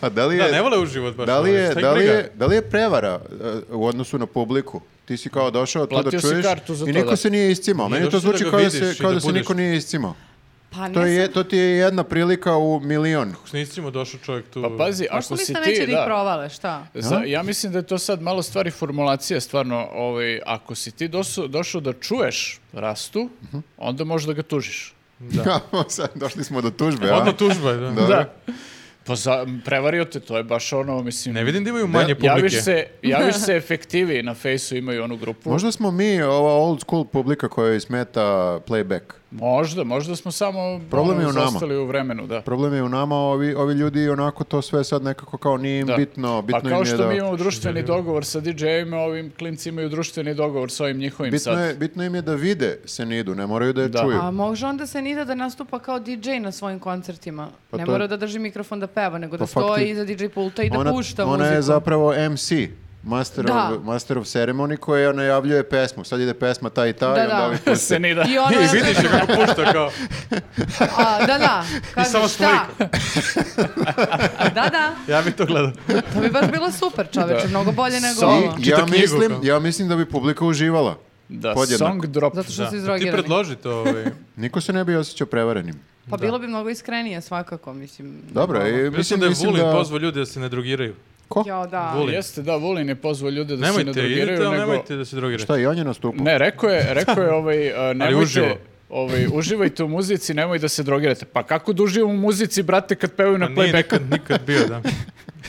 S2: Pa da li je,
S1: Da, ne vole u život baš.
S2: da li
S1: ono,
S2: je,
S1: šta ih
S2: da li
S1: briga?
S2: je, da li je prevara e, u odnosu na publiku? Ti si kao došao tu da
S4: Platio si
S2: čuješ
S4: kartu za
S2: i
S4: to,
S2: niko
S4: da.
S2: se nije iscimao.
S1: Nije
S2: Meni to
S1: došao da
S2: zvuči
S1: ga
S2: kao da
S1: vidiš
S2: se,
S1: i
S2: kao
S1: da
S2: da se
S1: budeš-
S2: niko nije iscimao.
S3: Pa ne
S2: To, je, to ti je jedna prilika u milion.
S1: S nisimo došao čovjek tu.
S4: Pa pazi, ako
S3: Možda
S4: si
S3: ništa
S4: ti,
S3: neće da ih
S4: da,
S3: provale, šta?
S4: za- ja mislim da je to sad malo stvari formulacije, stvarno, ovaj, ako si ti dosu- došao da čuješ rastu,
S2: Mhm.
S4: onda možeš da ga tužiš.
S2: Sad došli smo do tužbe, a?
S1: Odmah tužba, je, da.
S2: Da.
S4: Da. Pa za, prevario te, to je baš ono, mislim...
S1: Ne vidim da imaju manje publike.
S4: Javiš se, javiš se efektiviji na fejsu, imaju onu grupu.
S2: Možda smo mi ova old school publika kojoj smeta playback.
S4: Možda, možda smo samo
S2: Problem je
S4: ono,
S2: u nama.
S4: zaostali u vremenu, da.
S2: Problem je u nama, ovi, ovi ljudi onako to sve sad nekako kao nije im
S4: Da.
S2: bitno, bitno
S4: pa kao
S2: im je
S4: što
S2: da...
S4: mi imamo društveni dogovor sa DJ-ima, ovim klinci imaju društveni dogovor sa ovim njihovim
S2: Bitno,
S4: sad.
S2: je, bitno im je da vide Senidu, ne moraju da je
S4: Da.
S2: čuju.
S3: A može onda se Nida da nastupa kao DJ na svojim koncertima.
S2: Pa
S3: ne
S2: to je-
S3: mora da drži mikrofon da peva, nego da
S2: Pa
S3: stoji
S2: fakti-
S3: iza DJ pulta i da
S2: ona,
S3: pušta
S2: ona
S3: muziku.
S2: je zapravo MC, Master,
S3: Da.
S2: of, master of Ceremony koja najavljuje pesmu. Sad ide pesma ta i ta
S3: Da,
S2: i onda
S3: da.
S2: ovi puste.
S4: Se ni da.
S3: I ona
S1: I
S3: je na
S1: vidiš je
S3: kraju-
S1: kako pušta kao.
S3: A, da, da. Kaže,
S1: samo
S3: šta? da, da.
S1: Ja bi to gledao.
S3: To bi baš bilo super, čoveče. Mnogo bolje nego
S4: Song-
S3: ovo.
S2: I, ja,
S1: knjigu,
S2: mislim,
S1: kao.
S2: ja mislim da bi publika uživala.
S4: Da,
S2: Podjednako.
S4: song drop.
S3: Zato što
S1: Da.
S3: su
S1: Ti
S3: izrogirani.
S1: predloži to. Ovaj.
S2: Niko se ne bi osjećao prevarenim.
S3: Pa bilo bi mnogo iskrenije svakako, mislim.
S2: Dobro, i
S1: Mislim
S2: mislim,
S1: da je
S2: mislim
S1: Vulin
S2: da-
S1: pozvao ljudi da se ne drogiraju.
S2: Ko?
S3: Jao, da.
S1: Voli.
S4: Jeste, da, Vulin je pozvao ljude da se ne
S1: Nemojte,
S4: drogiraju,
S1: idite, ali
S4: nego...
S1: nemojte da se drogiraju.
S2: Šta, i on je nastupao?
S4: Ne, rekao je, rekao je ovaj, a, nemojte...
S1: uživo.
S4: Ovaj, uživajte u muzici, nemoj da se drogirate. Pa kako da uživam u muzici, brate, kad pevaju na
S1: Pa nije
S4: playbacku?
S1: nikad, nikad bio, da.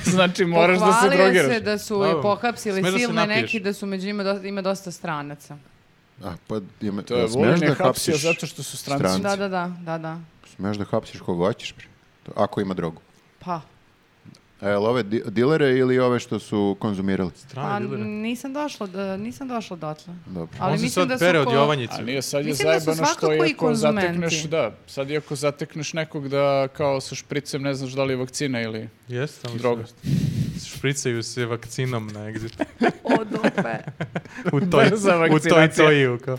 S4: Znači, moraš da se
S3: Pohvalio
S4: drogiraš.
S3: se da su
S1: Dobro.
S3: je pohapsili
S1: Smeš da se
S3: silne
S1: napiješ.
S3: neki, da su među njima dosta, ima dosta stranaca.
S2: A, pa, je, me-
S4: To je,
S2: smeš
S4: Vulin
S2: da
S4: je hapsio
S2: hapsiš,
S4: zato što su stranci.
S2: stranci.
S3: Da, da, da, da, da.
S2: smeš da hapsiš koga hoćeš, bre. To- ako ima drogu.
S3: Pa,
S2: A jel ove di- dilere ili ove što su konzumirali?
S3: pa
S1: Strani ljudi.
S3: nisam došla, da, nisam došla dotle.
S2: Dobro.
S3: Ali
S1: On se
S3: mislim
S1: sad
S3: da su
S1: pere od
S3: ko-
S1: Jovanjice.
S4: A nije, sad je
S3: Mislim da su
S4: zajebano što
S3: svakako i
S4: je ako
S3: konzumenti.
S4: zatekneš, da, sad i ako zatekneš nekog da kao sa špricem ne znaš da li je vakcina ili...
S1: Jeste, tamo su
S4: Droga.
S1: nešto. Špricaju se vakcinom na exit.
S3: O, dope.
S1: U toj,
S4: Brza
S1: u toj,
S4: vakcinacija.
S1: toj, u kao.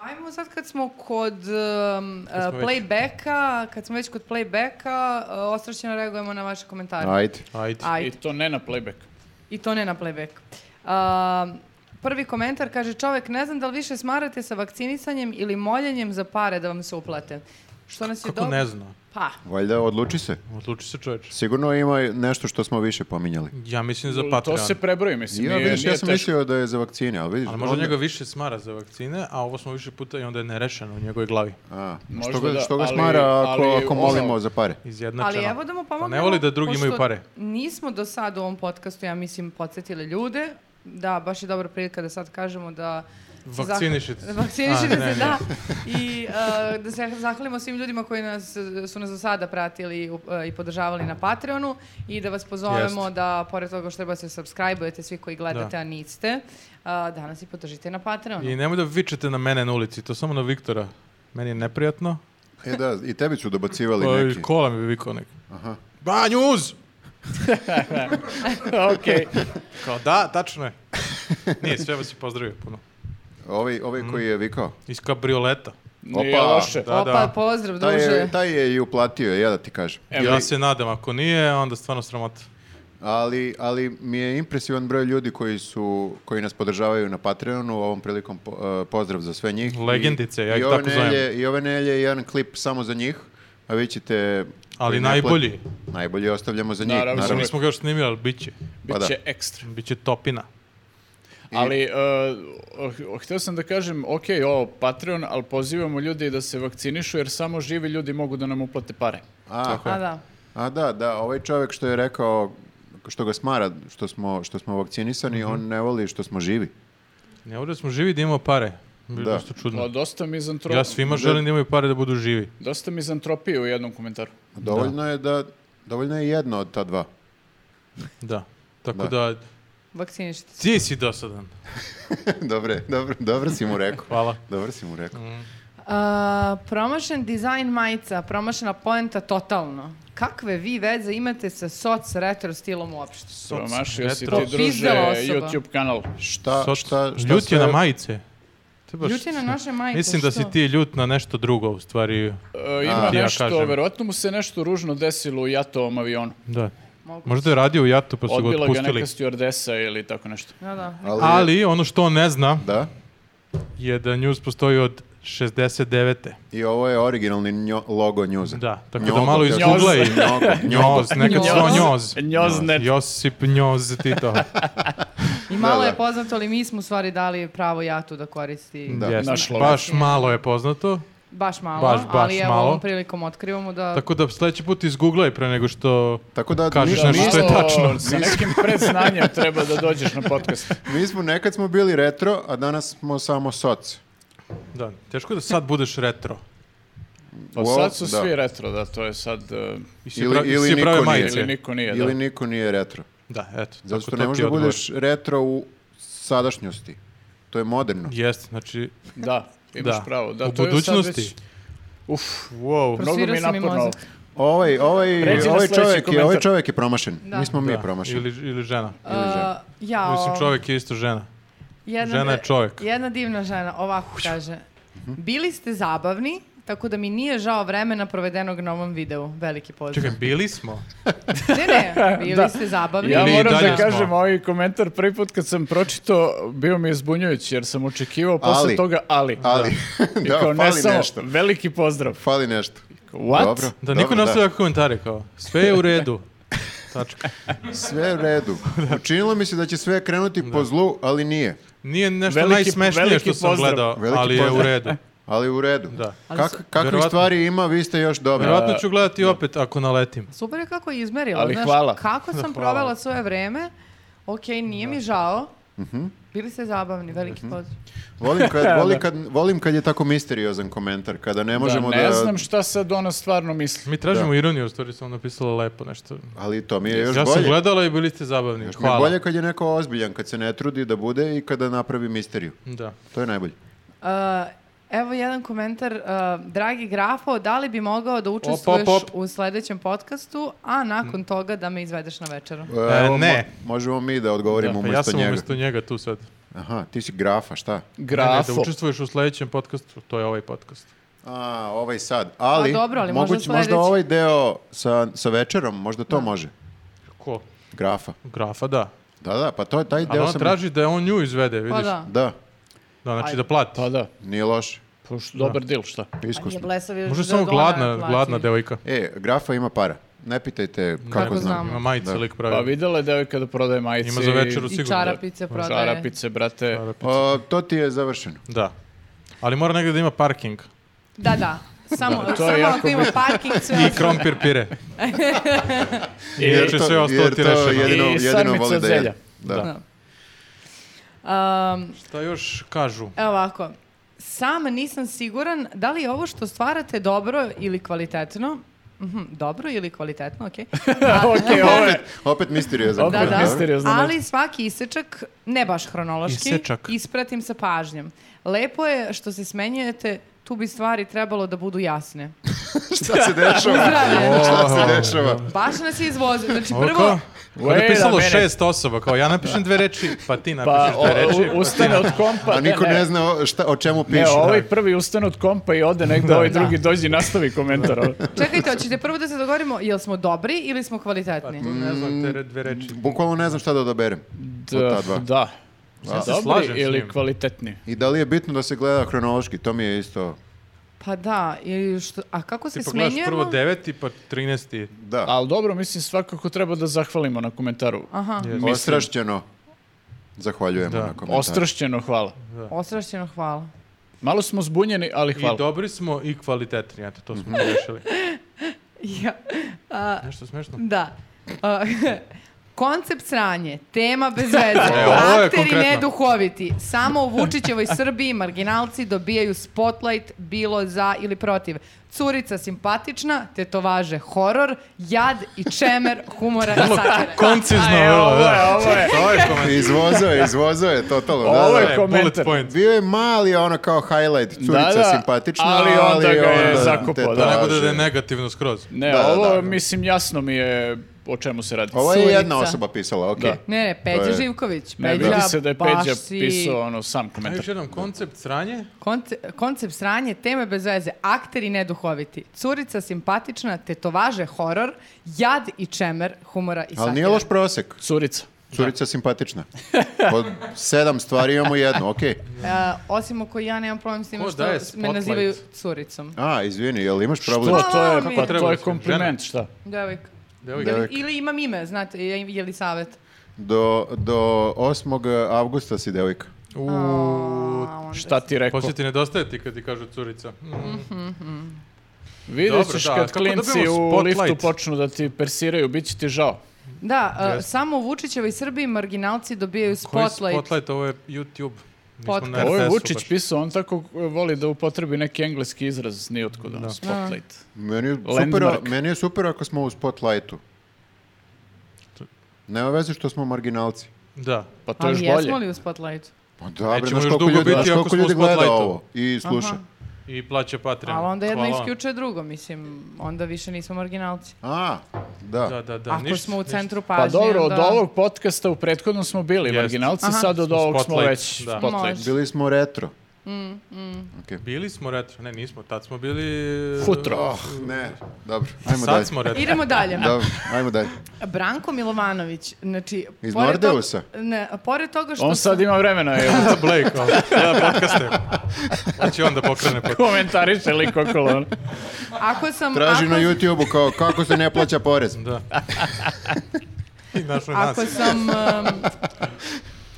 S3: Ajmo sad kad smo kod um,
S1: Kad smo
S3: uh,
S1: već.
S3: playbacka, kad smo već kod playbacka, uh, ostrašćeno reagujemo na vaše komentare.
S2: Ajde.
S1: Ajde.
S3: Ajde.
S4: I to ne na playback.
S3: I to ne na playback. Um, prvi komentar kaže, čovek, ne znam da li više smarate sa vakcinisanjem ili moljenjem za pare da vam se uplate. Što nas je
S1: Kako
S3: dobro...
S1: ne zna?
S3: Pa,
S2: Valjda, odluči se.
S1: Odluči se čovječ.
S2: Sigurno ima nešto što smo više pominjali.
S1: Ja mislim za Patreon.
S4: To se prebroji, mislim.
S2: Ja,
S4: nije,
S2: vidiš, ja
S4: nije
S2: sam
S4: teško.
S2: mislio da je za vakcine, ali vidiš...
S1: Ali možda
S2: onda-
S1: njega više smara za vakcine, a ovo smo više puta i onda je nerešeno u njegovoj glavi.
S2: A,
S4: Možda
S2: što ga,
S4: da,
S2: što ga
S4: ali-
S2: smara ako,
S4: ali
S2: ako
S4: ono-
S2: molimo za pare?
S1: Izjednačeno.
S3: ali evo da mu pomognemo.
S1: Pa ne voli da drugi
S3: pošto
S1: imaju pare.
S3: Nismo do sada u ovom podcastu, ja mislim, podsjetili ljude. Da, baš je dobra prilika da sad kažemo da... se zah-
S1: Vakcinišite se.
S3: Vakcinišite
S1: A, ne,
S3: se,
S1: ne.
S3: da. I e, da se zahvalimo svim ljudima koji nas, e, su nas do sada pratili u- e, i podržavali na Patreonu i da vas pozovemo
S1: Jeste.
S3: da, pored toga što treba se subscribe-ujete svi koji gledate,
S1: Da.
S3: a niste, e, danas i podržite na Patreonu.
S1: I nemoj da vičete na mene na ulici, to samo na Viktora. Meni je neprijatno.
S2: E da, i tebi su dobacivali
S1: Pa,
S2: neki.
S1: i kola mi bi vikao neki. Ba, njuz!
S4: Okej.
S1: Kao da, tačno je. Nije, sve vas je pozdravio puno.
S2: Ovaj, ovaj
S1: Mhm.
S2: koji je vikao.
S1: Iz kabrioleta.
S4: Nije
S2: Opa.
S4: loše.
S1: Da,
S3: Opa,
S1: da.
S3: pozdrav,
S2: Taj
S3: druže.
S2: je, taj je i uplatio, ja da ti kažem.
S4: Evo,
S1: ja se nadam, ako nije, onda stvarno sramota.
S2: Ali, ali mi je impresivan broj ljudi koji, su, koji nas podržavaju na Patreonu, ovom prilikom po- e, pozdrav za sve njih.
S1: Legendice,
S2: I-
S1: ja ih
S2: i ove
S1: tako zovem.
S2: nelje- I ove nelje je jedan klip samo za njih, a vi ćete...
S1: Ali
S2: koji ne
S1: najbolji.
S2: pla- Najbolji ostavljamo za njih,
S4: Naravno,
S2: naravno.
S1: Mislim, nismo ga još snimili, ali bit će.
S2: Pa da.
S4: Biće ekstra.
S1: Bit će topina.
S4: Ali, e, oh, hteo sam da kažem, ok, ovo Patreon, ali pozivamo ljudi da se vakcinišu, jer samo živi ljudi mogu da nam uplate pare.
S2: A,
S3: A da.
S2: a da, da, ovaj čovjek što je rekao što ga smara, što smo, što smo vakcinisani,
S1: Mhm.
S2: on ne voli što smo živi.
S1: Ne ovdje smo živi da imamo pare. Bilo
S2: Da.
S1: dosta
S4: Pa,
S1: čudno.
S4: dosta mizantro...
S1: Ja svima želim da imaju pare da budu živi.
S4: Dosta mizantropije u jednom komentaru.
S2: Dovoljno je da, dovoljno je jedno od ta dva.
S1: Da. Tako
S2: Da.
S1: da,
S3: Vakcinišite se.
S1: ti si dosadan.
S2: dobre, dobro, dobro si mu rekao.
S1: Hvala.
S2: Dobro si mu
S1: Mhm.
S2: rekao.
S3: A, promašen dizajn Uh, majica, promašena poenta totalno. Kakve vi veze imate sa soc retro stilom uopšte?
S4: Promašio si
S1: retro.
S4: ti, druže,
S3: Pizdela osoba.
S4: YouTube kanal.
S2: Šta,
S1: Soc-
S2: šta, šta
S1: ljut je
S2: sve-
S1: na majice. Ti baš-
S3: Ljuti na naše majice,
S1: Mislim da si
S3: što?
S1: ti ljut na nešto drugo, u stvari.
S4: E, ima
S1: A. Ti ja
S4: nešto,
S1: kažem.
S4: verovatno mu se nešto ružno desilo u Jatovom avionu.
S1: Da.
S3: Moguće.
S1: Možda je radio u jatu pa su ga
S4: Odbila ga
S1: otpustili.
S4: neka stjuardesa ili tako nešto.
S3: Da, da.
S2: Ali,
S1: Ali ono što on ne zna
S2: Da,
S1: je da News postoji od 69.
S2: i ovo je originalni njo- logo njuza.
S1: Da, tako da
S2: Njogo,
S1: malo
S2: kako-
S1: izguglaj.
S2: Njogo, njogo.
S1: Njoz, nekad
S3: Njoz.
S1: svo njoz.
S4: E, Njoznet.
S1: Josip Njoz Tito.
S3: I malo
S2: Da, da.
S3: je poznato, ali mi smo u stvari dali pravo jatu da koristi.
S2: Da.
S1: Jeste.
S4: Naš logo.
S1: Baš malo je poznato.
S3: Baš malo,
S1: Baš, baš
S3: ali evo
S1: malo.
S3: ovom prilikom otkrivamo da...
S1: Tako da sledeći put izguglaj pre nego što...
S2: Tako da,
S1: Kažeš
S2: mi,
S1: nešto što je
S4: Malo
S1: tačno.
S4: Sa nekim predznanjem treba da dođeš na podcast.
S2: mi, mi smo nekad smo bili retro, a danas smo samo soc.
S1: Da, teško je da sad budeš retro.
S4: Pa
S2: Wow,
S4: sad su
S2: da.
S4: svi retro, da, to je sad... e,
S1: I svi
S2: Ili,
S1: pravi-
S2: ili
S1: svi
S2: niko
S1: prave
S2: nije.
S1: majice.
S4: Ili niko nije, da.
S2: Ili niko nije retro.
S1: Da, eto.
S2: Zato
S1: tako
S2: što
S1: to
S2: ne
S1: ti
S2: možeš da
S1: odgovor.
S2: budeš retro u sadašnjosti. To je moderno.
S1: Jeste, znači...
S4: Da, imaš
S1: Da.
S4: pravo. Da,
S1: U
S4: to je sad
S1: budućnosti.
S4: već- Uf, wow, mnogo
S3: Prosvirao
S4: mi je
S3: si mi
S4: naporno. ovo.
S3: mozak.
S2: Ovaj, ovaj,
S4: Pređi na
S2: ovaj,
S4: sledeći
S2: čovjek je,
S4: komentar.
S2: ovaj čovjek je promašen.
S3: Da.
S2: Nismo mi
S1: da,
S2: promašeni.
S1: Ili, ili žena.
S2: Ili žena.
S3: Uh, jao,
S1: Mislim, čovjek je isto žena.
S3: jedna,
S1: žena je čovjek.
S3: Jedna divna žena, ovako kaže.
S4: Mhm.
S3: Bili ste zabavni, tako da mi nije žao vremena provedenog na ovom videu. Veliki pozdrav.
S1: Čekaj, bili smo.
S3: Ne, ne, bili ste zabavni.
S4: Ja
S1: Ili i
S4: moram
S1: dalje
S4: da
S1: smo.
S4: kažem, ovaj komentar prvi put kad sam pročito, bio mi je zbunjujući, jer sam očekivao posle
S2: Ali.
S4: toga ali.
S2: Ali,
S4: I
S2: da,
S4: kao, ne
S2: fali
S4: samo,
S2: nešto.
S4: veliki pozdrav.
S2: Fali nešto.
S4: What?
S2: Dobro.
S1: Da, niko
S2: dobro,
S1: ne ostavlja komentare kao. Sve je u redu. Tačka.
S2: Sve je u redu. Učinilo mi se da će sve krenuti po zlu, ali nije.
S1: Nije nešto
S4: Veliki-
S1: najsmešnije
S4: veliki
S1: što sam
S4: pozdrav.
S1: gledao,
S2: Veliki
S1: ali je u
S2: pozdrav.
S1: redu.
S2: Ali u redu.
S1: Da.
S2: Kak, kakvih
S1: Verovatno-
S2: stvari ima, vi ste još dobri.
S1: Vjerojatno ću gledati opet ako naletim.
S3: Super je kako je izmerila.
S4: Ali
S3: znaš,
S4: hvala.
S3: Kako sam provela svoje vreme, ok, nije mi žao. Bili ste zabavni, veliki pozdrav.
S2: Volim kad, volim, kad, volim kad je tako misteriozan komentar, kada ne možemo da...
S4: da, ne znam šta sad ona stvarno misli.
S1: Mi tražimo ironiju, u stvari sam napisala lepo nešto.
S2: Ali to mi je još
S1: ja sam
S2: bolje.
S1: gledala i bili ste zabavni.
S2: Još mi je
S1: Hvala.
S2: bolje kad je neko ozbiljan, kad se ne trudi da bude i kada napravi misteriju.
S1: Da.
S2: To je najbolje.
S3: Uh, evo jedan komentar. uh, dragi grafo, da li bi mogao da učestvuješ
S1: op, op.
S3: u sledećem podcastu, a nakon toga da me izvedeš na večeru?
S1: E,
S2: Pa Evo,
S1: ne.
S2: mo- možemo mi da odgovorimo
S1: Pa
S2: umjesto
S1: ja sam
S2: njega.
S1: umjesto njega tu sad.
S2: Aha, ti si grafa, šta?
S1: Ne, ne,
S4: Grafo.
S1: da učestvuješ u sljedećem podcastu, to je ovaj podcast.
S2: A, ovaj sad. Ali,
S3: A, Pa dobro, ali možda
S2: moguć,
S3: sledeći.
S2: možda ovaj deo sa, sa večerom, možda to može.
S1: Ko?
S2: Grafa.
S1: Grafa, da.
S2: Da, da, pa to je taj
S1: Ali
S2: deo
S1: on
S2: sam...
S1: traži da on nju izvede, vidiš?
S3: Pa da.
S2: Da,
S1: Da, znači da plati.
S4: Pa da.
S2: nije loše.
S4: Poš, dobar dil, šta?
S2: Pa-
S3: je
S2: Iskusno.
S3: blesav još
S1: Možda je
S3: da
S1: samo
S3: je dolar
S1: gladna,
S3: plaćen.
S1: gladna devojka.
S2: E, grafa ima para. Ne pitajte kako
S1: pa
S3: Kako
S2: znam.
S3: znam.
S1: Ima majice
S2: Da.
S1: lik
S4: Pa
S1: pravi.
S4: videla je devojka da prodaje majice
S1: Ima za večeru
S3: I
S1: sigurno.
S3: čarapice
S4: i
S3: prodaje.
S4: čarapice, brate.
S2: O, to ti je završeno.
S1: Da. Ali mora negdje da ima parking.
S3: Da, da. Samo,
S4: Da, to je
S3: samo
S4: jako
S3: ako ima
S4: bitno.
S3: parking, sve
S1: I krompir pire.
S4: I,
S1: Jer će sve ostalo ti
S2: to
S1: rešeno.
S2: jedino,
S4: I
S2: jedino
S4: sarmica
S2: voli
S4: od
S2: da jede.
S4: zelja.
S2: Da.
S3: ostalo. Um,
S1: Šta još kažu?
S3: Evo ovako, sam nisam siguran da li je ovo što stvarate dobro ili kvalitetno, Mhm, dobro ili kvalitetno, okej,
S4: ok, ovaj, ovo je...
S2: Pa Opet misterija za
S4: Opet
S3: Da, da.
S4: misteriozno nešto.
S3: ali svaki isečak, ne baš hronološki,
S1: Isečak.
S3: ispratim sa pažnjom. Lepo je što se smenjujete, tu bi stvari trebalo da budu jasne.
S2: Šta se dešava?
S3: Zdravlje,
S2: Šta se dešava?
S3: baš nas je izvozio. Znači
S1: Ovo
S3: prvo,
S1: kao, kao da je
S4: Wait a
S1: pisalo
S4: minute.
S1: šest osoba, kao ja napišem dve reči, pa ti
S4: Pa,
S1: napišeš
S4: o,
S1: dve reči.
S4: u- ustane od kompa.
S2: A
S4: ne,
S2: niko
S4: ne.
S2: ne zna o, šta, o čemu
S4: Ne,
S2: piše.
S4: ovaj prvi ustane od kompa i ode negde, ovaj
S3: Da.
S4: drugi dođe i nastavi komentar. ovo.
S3: čekajte, hoćete prvo da se dogovorimo, jel smo dobri ili smo kvalitetni?
S4: Pa, mm.
S1: Tu ne znam te re- dve reči.
S2: Bukvalno ne znam šta da odaberem. Od ta
S4: Da,
S2: dva.
S4: da.
S1: se
S4: Dobri
S1: slažem s
S4: ili
S1: njim.
S4: kvalitetni?
S2: I da li je bitno da se gleda hronološki? To mi je isto...
S3: Pa da, ili što, a kako se
S1: Ti pogledaš prvo
S3: smenjujemo?
S1: deveti, pa trinesti.
S2: Da.
S4: Ali dobro, mislim, svakako treba da zahvalimo na komentaru.
S3: Aha,
S1: Mislim-
S2: Ostrašćeno. Zahvaljujemo
S1: Da.
S2: na komentaru.
S4: Ostrašćeno, hvala.
S3: osrašćeno hvala.
S4: Malo smo zbunjeni, ali
S1: I
S4: hvala.
S1: dobri smo i kvalitetni, eto, to smo rešili.
S3: Ja,
S1: Nešto smešno?
S3: da. A, koncept sranje, tema bez veze,
S1: E, ovo je
S3: akteri
S1: konkretno.
S3: neduhoviti, samo u Vučićevoj Srbiji marginalci dobijaju spotlight bilo za ili protiv. Curica simpatična, tetovaže horor, jad i čemer humora i satire.
S1: Koncizno,
S4: E,
S1: vrlo,
S4: ovo je,
S1: da.
S4: ovo je.
S1: To je komentar.
S2: Izvozao je, izvozao je, totalno. da,
S4: Ovo
S2: da.
S4: je komentar.
S1: Bullet point.
S2: Bio je mali ono kao highlight, curica
S4: Da, da,
S2: simpatična, ali,
S4: ali onda ga je
S2: onda
S4: zakopao,
S2: te
S4: da.
S1: Ne bude da je
S2: traže.
S1: negativno skroz.
S4: Ne,
S2: Da,
S4: ovo,
S2: da, da.
S4: mislim, jasno mi je o čemu se radi.
S2: Ovo je
S3: Curica.
S2: jedna osoba pisala, okej.
S4: Da.
S3: Ne, ne, Peđa
S2: To je-
S3: Živković. Peđa,
S4: Ne, vidi se da je
S3: Pa baš
S4: Peđa
S3: si-
S4: pisao ono, sam
S1: Ajde
S4: komentar.
S1: još jednom, koncept sranje.
S3: Konce- koncept sranje, teme bez veze, akteri neduhoviti, curica simpatična, tetovaže horor, jad i čemer humora i satire.
S2: Ali nije loš prosek.
S4: Curica.
S2: Curica simpatična. Od sedam stvari imamo jednu, okej.
S3: E, osim ako ja nemam problem s tim
S1: Ko
S3: što
S1: daje
S3: me
S1: spotlight?
S3: nazivaju curicom.
S2: A, izvini, jel imaš problem?
S4: To, to
S3: mi
S4: je,
S3: je.
S4: pa
S1: Treba
S4: to je
S1: se,
S4: kompliment, šta?
S3: Devojka.
S1: Devojka.
S3: Ili, ili imam ime, znate, je, je li savjet.
S2: Do, do 8. avgusta si devojka.
S1: Uuu,
S3: A, onda-
S4: Šta ti rekao?
S1: Poslije ti nedostaje ti kad ti kažu curica. Mm.
S4: Vidjet
S1: Dobro,
S4: ćeš
S1: da,
S4: kad
S1: kako dobijemo
S4: klinci u
S1: spotlight?
S4: liftu počnu da ti persiraju, bit će ti žao.
S3: Da, e,
S1: Jeste.
S3: samo u Vučićevoj Srbiji marginalci dobijaju
S1: Koji
S3: spotlight.
S1: spotlight? Ovo je YouTube. Mi smo
S3: Podcast.
S1: na
S4: Ovo je
S1: RTS-u
S4: Vučić
S1: baš.
S4: pisao, on tako e, voli da upotrebi neki engleski izraz, nijotko da, spotlight.
S2: Meni je, super,
S4: Landmark.
S2: meni je super ako smo u spotlightu. Nema veze što smo marginalci.
S1: Da.
S4: Pa to je
S3: Ali
S4: još bolje.
S3: jesmo li u spotlightu?
S2: Pa da, bre,
S1: Nećemo
S2: znaš
S1: još
S2: koliko
S1: dugo
S2: ljudi,
S1: biti
S2: znaš
S1: ako
S2: koliko
S1: smo u
S2: ljudi gleda
S1: spotlightu.
S2: ovo i sluša.
S3: Aha.
S1: I plaća Patreon.
S3: Ali onda jedno
S1: Hvala vam.
S3: isključuje drugo, mislim, onda više nismo marginalci.
S2: A, da.
S1: Da, da, da.
S3: Ako
S1: ništa,
S3: smo u
S1: ništa.
S3: centru
S4: Pa
S3: pažnje,
S4: dobro, od
S3: onda...
S4: ovog podcasta u prethodnom smo bili
S1: Jeste.
S4: marginalci,
S3: Aha.
S4: sad od ovog smo
S1: Spotlight,
S4: već
S1: da.
S4: spotlight.
S3: Može.
S2: Bili smo retro.
S1: Bili smo retro, ne nismo, tad smo bili...
S4: Futro.
S2: Oh, ne, dobro, ajmo dalje.
S1: Ah, Sad smo retro.
S3: Idemo dalje.
S2: Dobro, ajmo dalje.
S3: Branko Milovanović, znači...
S2: Iz
S3: pored
S2: Nordeusa?
S3: tog- ne, a pored toga što...
S4: On
S3: su-
S4: sad ima vremena, jel?
S1: Blake, ovo. Ja podcaste. Znači onda pokrene pod...
S4: komentariše lik okolo. ono.
S3: Ako sam...
S2: Traži
S3: ako,
S2: na YouTube-u kao kako se ne plaća porez.
S1: Da. I našo nas.
S3: Ako sam... um,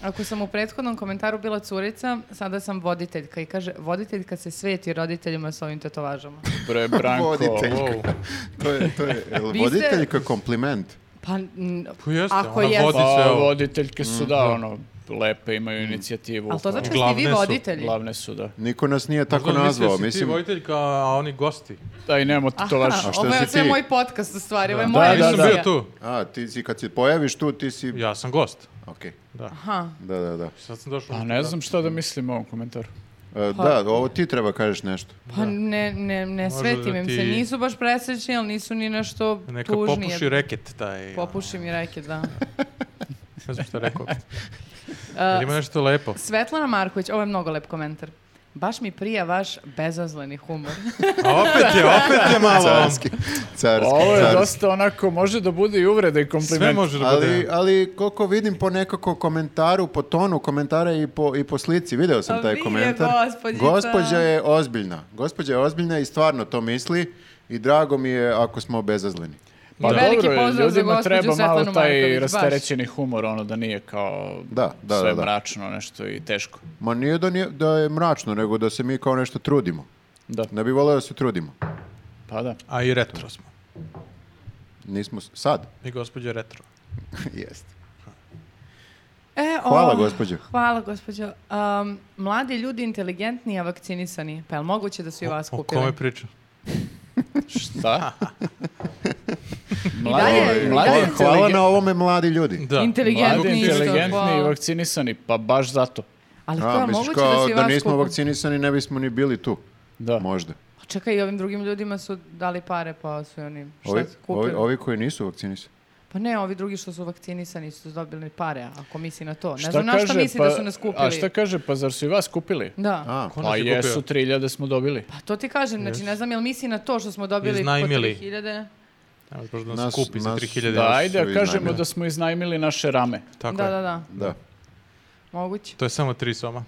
S3: ako sam u prethodnom komentaru bila curica, sada sam voditeljka i kaže voditeljka se sveti roditeljima s ovim tetovažama.
S4: Bre, Branko.
S2: Voditeljka.
S1: Wow.
S2: To je, to je, jel
S3: Vi ste-
S2: voditeljka kompliment.
S3: Pa, n-
S1: Pa jeste,
S3: ako
S1: ona
S3: jeste.
S1: vodi sve
S4: Pa,
S1: ovo.
S4: voditeljke su, da, ono, lepe, imaju inicijativu. Ono,
S3: Ali to znači da ste
S1: Glavne
S3: vi
S1: su.
S3: voditelji.
S4: Glavne su, da.
S2: Niko nas nije tako
S1: Možda
S2: nazvao,
S1: mislio si
S2: mislim.
S1: Ti vojiteljka, a oni gosti.
S4: Da, i nemamo
S3: Aha,
S4: to vaš.
S2: A šta
S3: ovo je
S2: si
S3: sve
S2: ti?
S3: moj podcast u stvari, ovo je
S1: Da,
S3: moja
S4: da,
S1: nisam
S4: da.
S1: bio tu.
S2: A, ti si, kad se pojaviš tu, ti si...
S1: Ja sam gost.
S2: Okej,
S3: Aha,
S2: da, da, da.
S1: Sad sam došao.
S4: A Pa ne znam šta da mislim o ovom komentaru.
S2: E, da, ovo ti treba kažeš nešto.
S3: pa ne, ne, ne
S1: Možda
S3: svetim
S1: da
S3: im
S1: ti-
S3: se. Nisu baš presrećni, ali nisu ni nešto
S1: Neka
S3: tužnije.
S1: popuši reket taj.
S3: Popuši mi reke, da.
S1: Ne znam šta je rekao. Jel ima nešto lepo.
S3: E, Svetlana Marković, ovo je mnogo lep komentar. Baš mi prija vaš bezazleni humor.
S1: A opet je, opet je malo...
S2: Carski, carski,
S4: Ovo je
S2: carski.
S4: dosta onako, može da bude i uvreda i kompliment.
S1: Sve može da bude.
S2: Ali, ali koliko vidim po nekako komentaru, po tonu komentara i po, i po slici, video
S3: A
S2: sam taj
S3: Pa vi je
S2: komentar.
S3: gospođica.
S2: Gospođa je ozbiljna. Gospođa je ozbiljna i stvarno to misli i drago mi je ako smo bezazleni.
S4: Pa
S3: Veliki
S4: dobro,
S3: pozdrav za
S4: ljudima
S3: gospođu
S4: treba malo
S3: Svetlanu Marković, baš.
S4: taj rasterećeni humor, ono da nije kao
S2: Da, da,
S4: sve
S2: da, da.
S4: mračno, nešto i teško.
S2: Ma nije da, nije da je mračno, nego da se mi kao nešto trudimo.
S4: Da,
S2: Ne bi volio da se trudimo.
S4: pa da.
S1: A i retro smo.
S2: Nismo s- sad.
S1: I gospođa retro.
S2: Jeste.
S3: E, o,
S2: Hvala, gospođo.
S3: Hvala, gospođo. Um, mladi ljudi inteligentni, a vakcinisani. Pa je li moguće da su i vas
S1: O
S3: kupili?
S1: kome pričam?
S4: Šta?
S3: dalje- i
S4: mladi
S3: dalje-
S2: Hvala, hvala
S4: inteligen-
S2: na ovome mladi ljudi.
S1: Da.
S3: Inteligentni
S4: mladi,
S3: isto,
S4: inteligentni i
S3: hvala.
S4: vakcinisani, pa baš zato.
S3: Ali to
S2: A,
S3: je
S2: misliš
S3: moguće
S2: kao
S3: da
S2: da,
S3: su i vas
S2: nismo
S3: kupili?
S2: vakcinisani, ne bismo ni bili tu.
S4: Da.
S2: Možda.
S3: A Čekaj, i ovim drugim ljudima su dali pare, pa su i oni šta
S2: Ovi,
S3: su
S2: ovi,
S3: kupili?
S2: ovi koji nisu vakcinisani.
S3: Pa ne, ovi drugi što su vakcinisani su dobili pare, ako misli na to. Ne
S4: Šta
S3: znam na šta
S4: kaže, Pa,
S3: misli
S1: pa-
S3: da su nas kupili.
S4: A šta kaže, pa zar su i vas kupili?
S3: Da.
S2: A,
S1: Ko nas
S4: Pa
S1: je kupio?
S4: jesu, 3000 smo dobili.
S3: Pa to ti kažem, znači ne znam jel misli na to što smo dobili po
S1: Iznajmili.
S3: 3000.
S1: Evo, baš da nas
S2: Nas-
S1: kupi za
S2: nas-
S1: 3000
S4: Da,
S2: nas
S1: evra.
S2: su
S4: ajde, a kažemo
S2: iznajmili.
S4: da smo iznajmili naše rame.
S1: Tako
S3: Da,
S1: je.
S3: da, da,
S2: da.
S3: moguće.
S1: To je samo tri soma.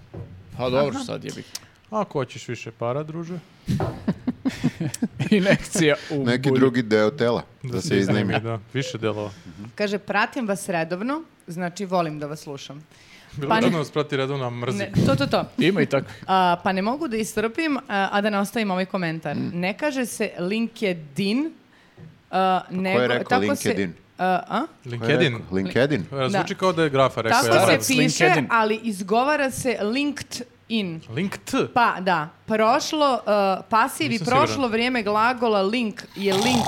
S4: Pa dobro, sad je bitno.
S1: Ako hoćeš više para, druže.
S4: Inekcija u
S2: Neki
S4: bulju.
S2: drugi deo tela da se iznajmi.
S1: Da, više delova.
S3: Kaže, pratim vas redovno, znači volim da vas slušam.
S1: Bilo pa
S3: Pa ne-
S1: nas prati redovno, a mrzim.
S3: Ne, to, to, to.
S4: Ima i tako.
S3: A, pa ne mogu da istrpim, a, a da ne ostavim ovaj komentar.
S1: Mm.
S3: Ne kaže se LinkedIn,
S1: Pa
S3: a, nego...
S2: rekao
S3: tako se-
S2: LinkedIn?
S3: a, a?
S1: LinkedIn. E,
S2: Rekao, LinkedIn.
S1: Zvuči kao da je grafa rekao.
S3: Tako
S1: ja.
S4: Starac,
S3: se piše,
S4: LinkedIn.
S3: ali izgovara se LinkedIn.
S1: Linked.
S3: Pa, da. Prošlo, uh, pasiv i
S1: Nisam
S3: prošlo
S1: siguran.
S3: vrijeme glagola link je link.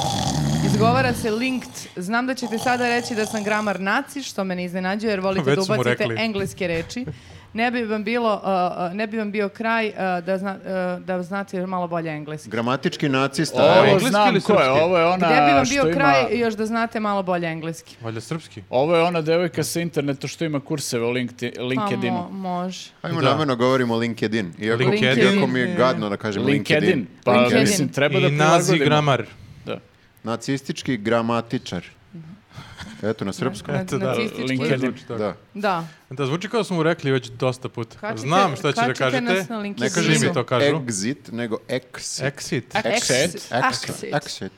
S3: Izgovara se linked. Znam da ćete sada reći da sam gramar naci, što me ne iznenađuje jer volite
S1: Već
S3: da
S1: su mu
S3: ubacite
S1: rekli.
S3: engleske reči. Ne bi vam, bilo, uh, uh, ne bi vam bio kraj uh, da, zna, uh, da znate malo bolje engleski.
S2: Gramatički nacista. evo.
S4: Ovo
S1: engleski
S4: znam
S1: ili
S4: ko je,
S1: srpski?
S4: ovo je ona
S3: Gde bi vam
S4: što
S3: bio
S4: ima-
S3: kraj još da znate malo bolje engleski?
S1: Valjda srpski.
S4: Ovo je ona devojka sa interneta što ima kurseve o LinkedIn,
S3: Pa
S4: LinkedInu.
S3: mo- može.
S2: Ajmo
S1: Da.
S2: namjerno govorimo LinkedIn. Iako,
S1: LinkedIn.
S2: iako mi je gadno da kažem LinkedIn.
S4: LinkedIn. Pa
S3: LinkedIn.
S4: mislim, treba da
S1: I nazi
S4: prilagodimo.
S1: gramar.
S4: Da.
S2: Nacistički gramatičar. Eto, na srpskom.
S3: Na-
S1: Eto, da,
S3: nacistički-
S4: LinkedIn.
S1: Zvuči tako.
S2: Da.
S3: Da.
S1: Da, zvuči kao da smo mu rekli već dosta puta.
S3: Kačite-
S1: Znam šta će da
S3: kačite
S1: kažete.
S3: nas na LinkedInu.
S2: Ne
S1: Svi mi
S2: kaže
S1: to kažu.
S2: exit, nego exit.
S1: Exit.
S4: Exit.
S2: Exit. Exit.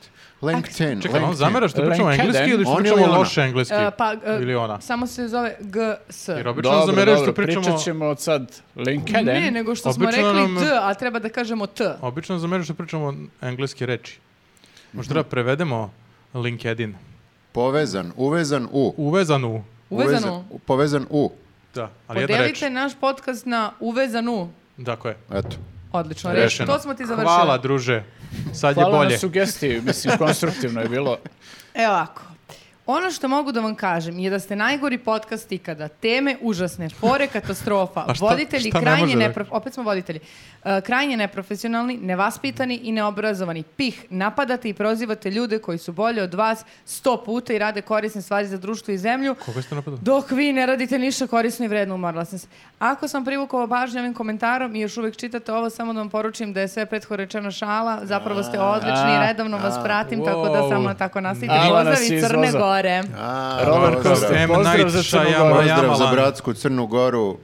S2: LinkedIn.
S1: Čekaj, on
S2: LinkedIn.
S1: zamera što pričamo
S4: LinkedIn.
S1: engleski ili što
S2: On ili
S1: pričamo
S2: ona?
S1: loše engleski?
S3: E, pa, e,
S1: Ili ona.
S3: Samo se zove GS.
S1: Jer obično
S4: Dobro,
S1: zameraju što
S4: dobro,
S1: pričamo...
S4: pričat ćemo od sad LinkedIn.
S3: Ne, nego što smo
S1: Obično
S3: rekli
S1: nam-
S3: D, a treba da kažemo T.
S1: Obično zameraju što pričamo engleske reči. Možda treba prevedemo LinkedIn.
S2: Povezan, uvezan u.
S1: Uvezanu.
S3: Uvezanu.
S2: Uvezan- povezan u.
S1: Da, ali jedna reč.
S3: Podelite naš podcast na uvezanu.
S1: Dakle, je.
S2: Eto.
S3: Odlično,
S1: Rešeno.
S3: rešeno. To smo ti završili.
S1: Hvala, druže. Sad
S4: Hvala
S1: je bolje.
S4: na sugestiji, mislim, konstruktivno je bilo.
S3: Evo E ovako. Ono što mogu da vam kažem je da ste najgori podcast ikada. Teme užasne, fore katastrofa,
S1: A šta-
S3: voditelji
S1: šta ne
S3: krajnje
S1: može da-
S3: nepro- opet smo voditelji, E, krajnje neprofesionalni, nevaspitani i neobrazovani. Pih, napadate i prozivate ljude koji su bolji od vas sto puta i rade korisne stvari za društvo i zemlju.
S1: Koga ste napadali?
S3: Dok vi ne radite ništa korisno i vredno, umorila sam se. Ako sam privukao pažnju ovim komentarom i još uvek čitate ovo, samo da vam poručim da je sve prethodno rečeno šala, zapravo ste odlični i
S4: a,
S3: redovno vas pratim, tako da
S1: wow.
S3: samo tako nastavite.
S4: Ala nas
S3: Pozdrav
S4: je
S3: iz Crne
S4: izvozao.
S3: Gore.
S2: A,
S4: Robert
S2: pozdrav.
S4: Koster.
S1: M.
S4: Pozdrav
S1: Night
S4: za Crnu
S1: Shyamalan.
S4: Goru.
S2: Pozdrav za
S1: Jamalan.
S2: bratsku Crnu Goru.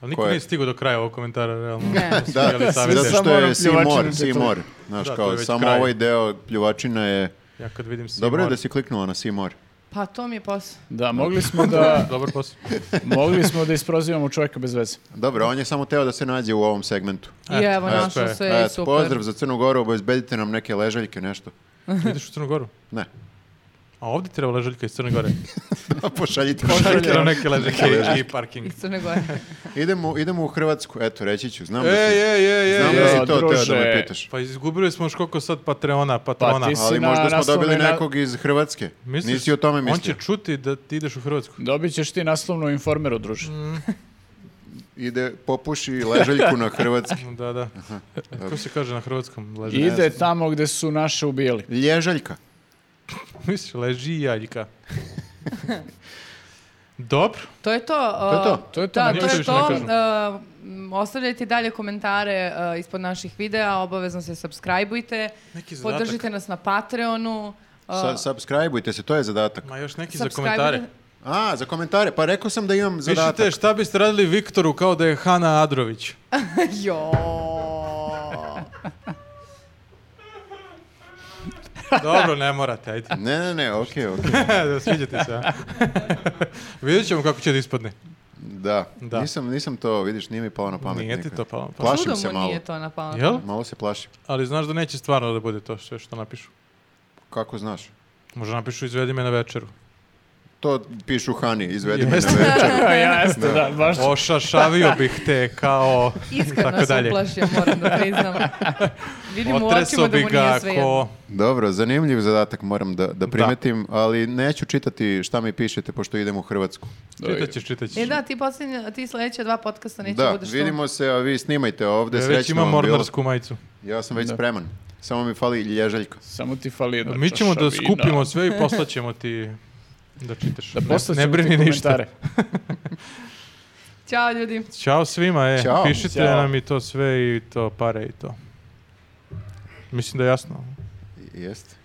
S1: Ali niko
S2: Ko je?
S1: nije stigao do kraja ovog komentara, realno.
S3: Ne.
S1: Smo
S2: Da,
S1: imali savjete.
S2: zato što
S4: Samo ono
S2: je Seymour,
S4: pljuvačine
S2: Seymour. Znaš
S1: Da, to je
S2: kao,
S1: već
S2: samo
S1: kraj.
S2: ovaj deo pljuvačina je...
S1: Ja kad vidim Simon.
S2: Dobro je da si kliknula na Seymour.
S3: Pa to mi je posao.
S4: Da, mogli smo da,
S1: Dobar posao.
S4: mogli smo da isprozivamo čovjeka bez veze.
S2: Dobro, on je samo teo da se nađe u ovom segmentu.
S3: I evo,
S1: eto,
S3: našlo
S1: eto,
S3: se i
S2: Eto,
S3: super.
S2: pozdrav za Crnu Goru, obezbedite nam neke ležaljke, nešto.
S1: Ideš u Crnu Goru.
S2: Ne,
S1: A ovdje treba ležaljka iz Crne Gore.
S2: pošaljite.
S1: Pošaljite nam neke ležaljke i parking.
S3: Iz Crne Gore.
S2: idemo, idemo u Hrvatsku, eto, reći ću, znam da
S1: Ej,
S2: si,
S1: ej, ej,
S2: znam
S1: ej,
S2: da
S1: ej.
S2: si
S4: ej,
S2: to teo da me
S4: druže.
S2: pitaš.
S1: Pa izgubili smo još koliko sad Patreona,
S2: Pa
S1: Patrona.
S4: ti si-
S2: Ali
S4: na
S2: možda smo
S4: naslovnoj
S2: dobili
S4: na-
S2: nekog iz Hrvatske.
S1: Misliš,
S2: Nisi o tome
S1: On će
S2: mislio.
S1: čuti da ti ideš u Hrvatsku.
S4: Dobit ćeš ti naslovnu informeru, druže.
S1: Mm,
S2: Ide, popuši ležaljku na Hrvatski.
S1: Da, da. E, Kako se kaže na hrvatskom? Leži.
S4: Ide tamo gde su naše ubijali.
S2: Lježaljka.
S1: Misliš, leži jaljka. Dobro.
S3: To je to.
S2: je to.
S3: uh,
S4: To je to,
S3: Da,
S4: meni
S3: to
S1: ništa
S3: je
S1: više
S3: to.
S1: ne
S3: Uh, m, Ostavljajte dalje komentare uh, ispod naših videa, obavezno se subscribeujte,
S1: Neki zadatak.
S3: podržite nas na Patreonu. uh,
S2: Sa, subscribeujte se, to je zadatak.
S1: Ma još neki za
S3: subscribe-
S1: komentare.
S2: A, za komentare, pa rekao sam da imam zadatak.
S1: Pišite šta biste radili Viktoru kao da je Hana Adrović.
S3: Jo.
S1: Dobro, ne morate, ajde.
S2: Ne, ne, ne, okej, okej.
S1: da sviđa ti se, a? Vidjet ćemo kako će da ispadne.
S2: Da.
S1: Da.
S2: Nisam, nisam to, vidiš, nije mi palo na pamet.
S1: Nije ti
S2: nikad.
S1: to palo na pamet.
S2: Plašim
S3: Čudo
S2: se
S3: mu
S2: malo.
S3: nije to napalo.
S1: Jel?
S2: Malo se plašim.
S1: Ali znaš da neće stvarno da bude to sve što napišu.
S2: Kako znaš?
S1: Možda napišu izvedi me na večeru.
S2: To pišu Hani, izvedi me na
S1: Jeste.
S2: večer.
S4: ja jeste, da, baš.
S1: Ošašavio bih te kao...
S3: Iskreno
S1: Tako
S3: se
S1: dalje.
S3: uplašio, moram da priznam. Vidim u
S1: Otreso
S3: očima da
S1: bi
S3: mu
S1: ga
S3: nije sve
S1: ko...
S2: Dobro, zanimljiv zadatak moram da, da primetim, ali neću čitati šta mi pišete pošto idem u Hrvatsku.
S1: Čitat ćeš, čitat ćeš.
S3: E da, ti, posljednje, ti sledeća dva podcasta neće
S2: da,
S3: bude što...
S2: vidimo se, a vi snimajte ovde,
S1: Ja već
S2: srećno
S1: imam
S2: vam bilo.
S1: mornarsku majicu.
S2: Ja sam već
S4: Da.
S2: spreman. Samo mi fali lježaljka.
S4: Samo ti fali jedna
S1: Mi ćemo da
S4: čaša vina.
S1: skupimo sve i poslaćemo ti da čitaš.
S4: Da
S1: Ne-
S4: poslaćemo
S1: ne brini
S4: ti
S1: ništa.
S4: komentare.
S3: Ćao ljudi.
S1: Ćao svima, e.
S2: Ćao.
S1: Pišite
S4: Ćao.
S1: nam i to sve i to pare i to. Mislim da je jasno.
S2: Jeste.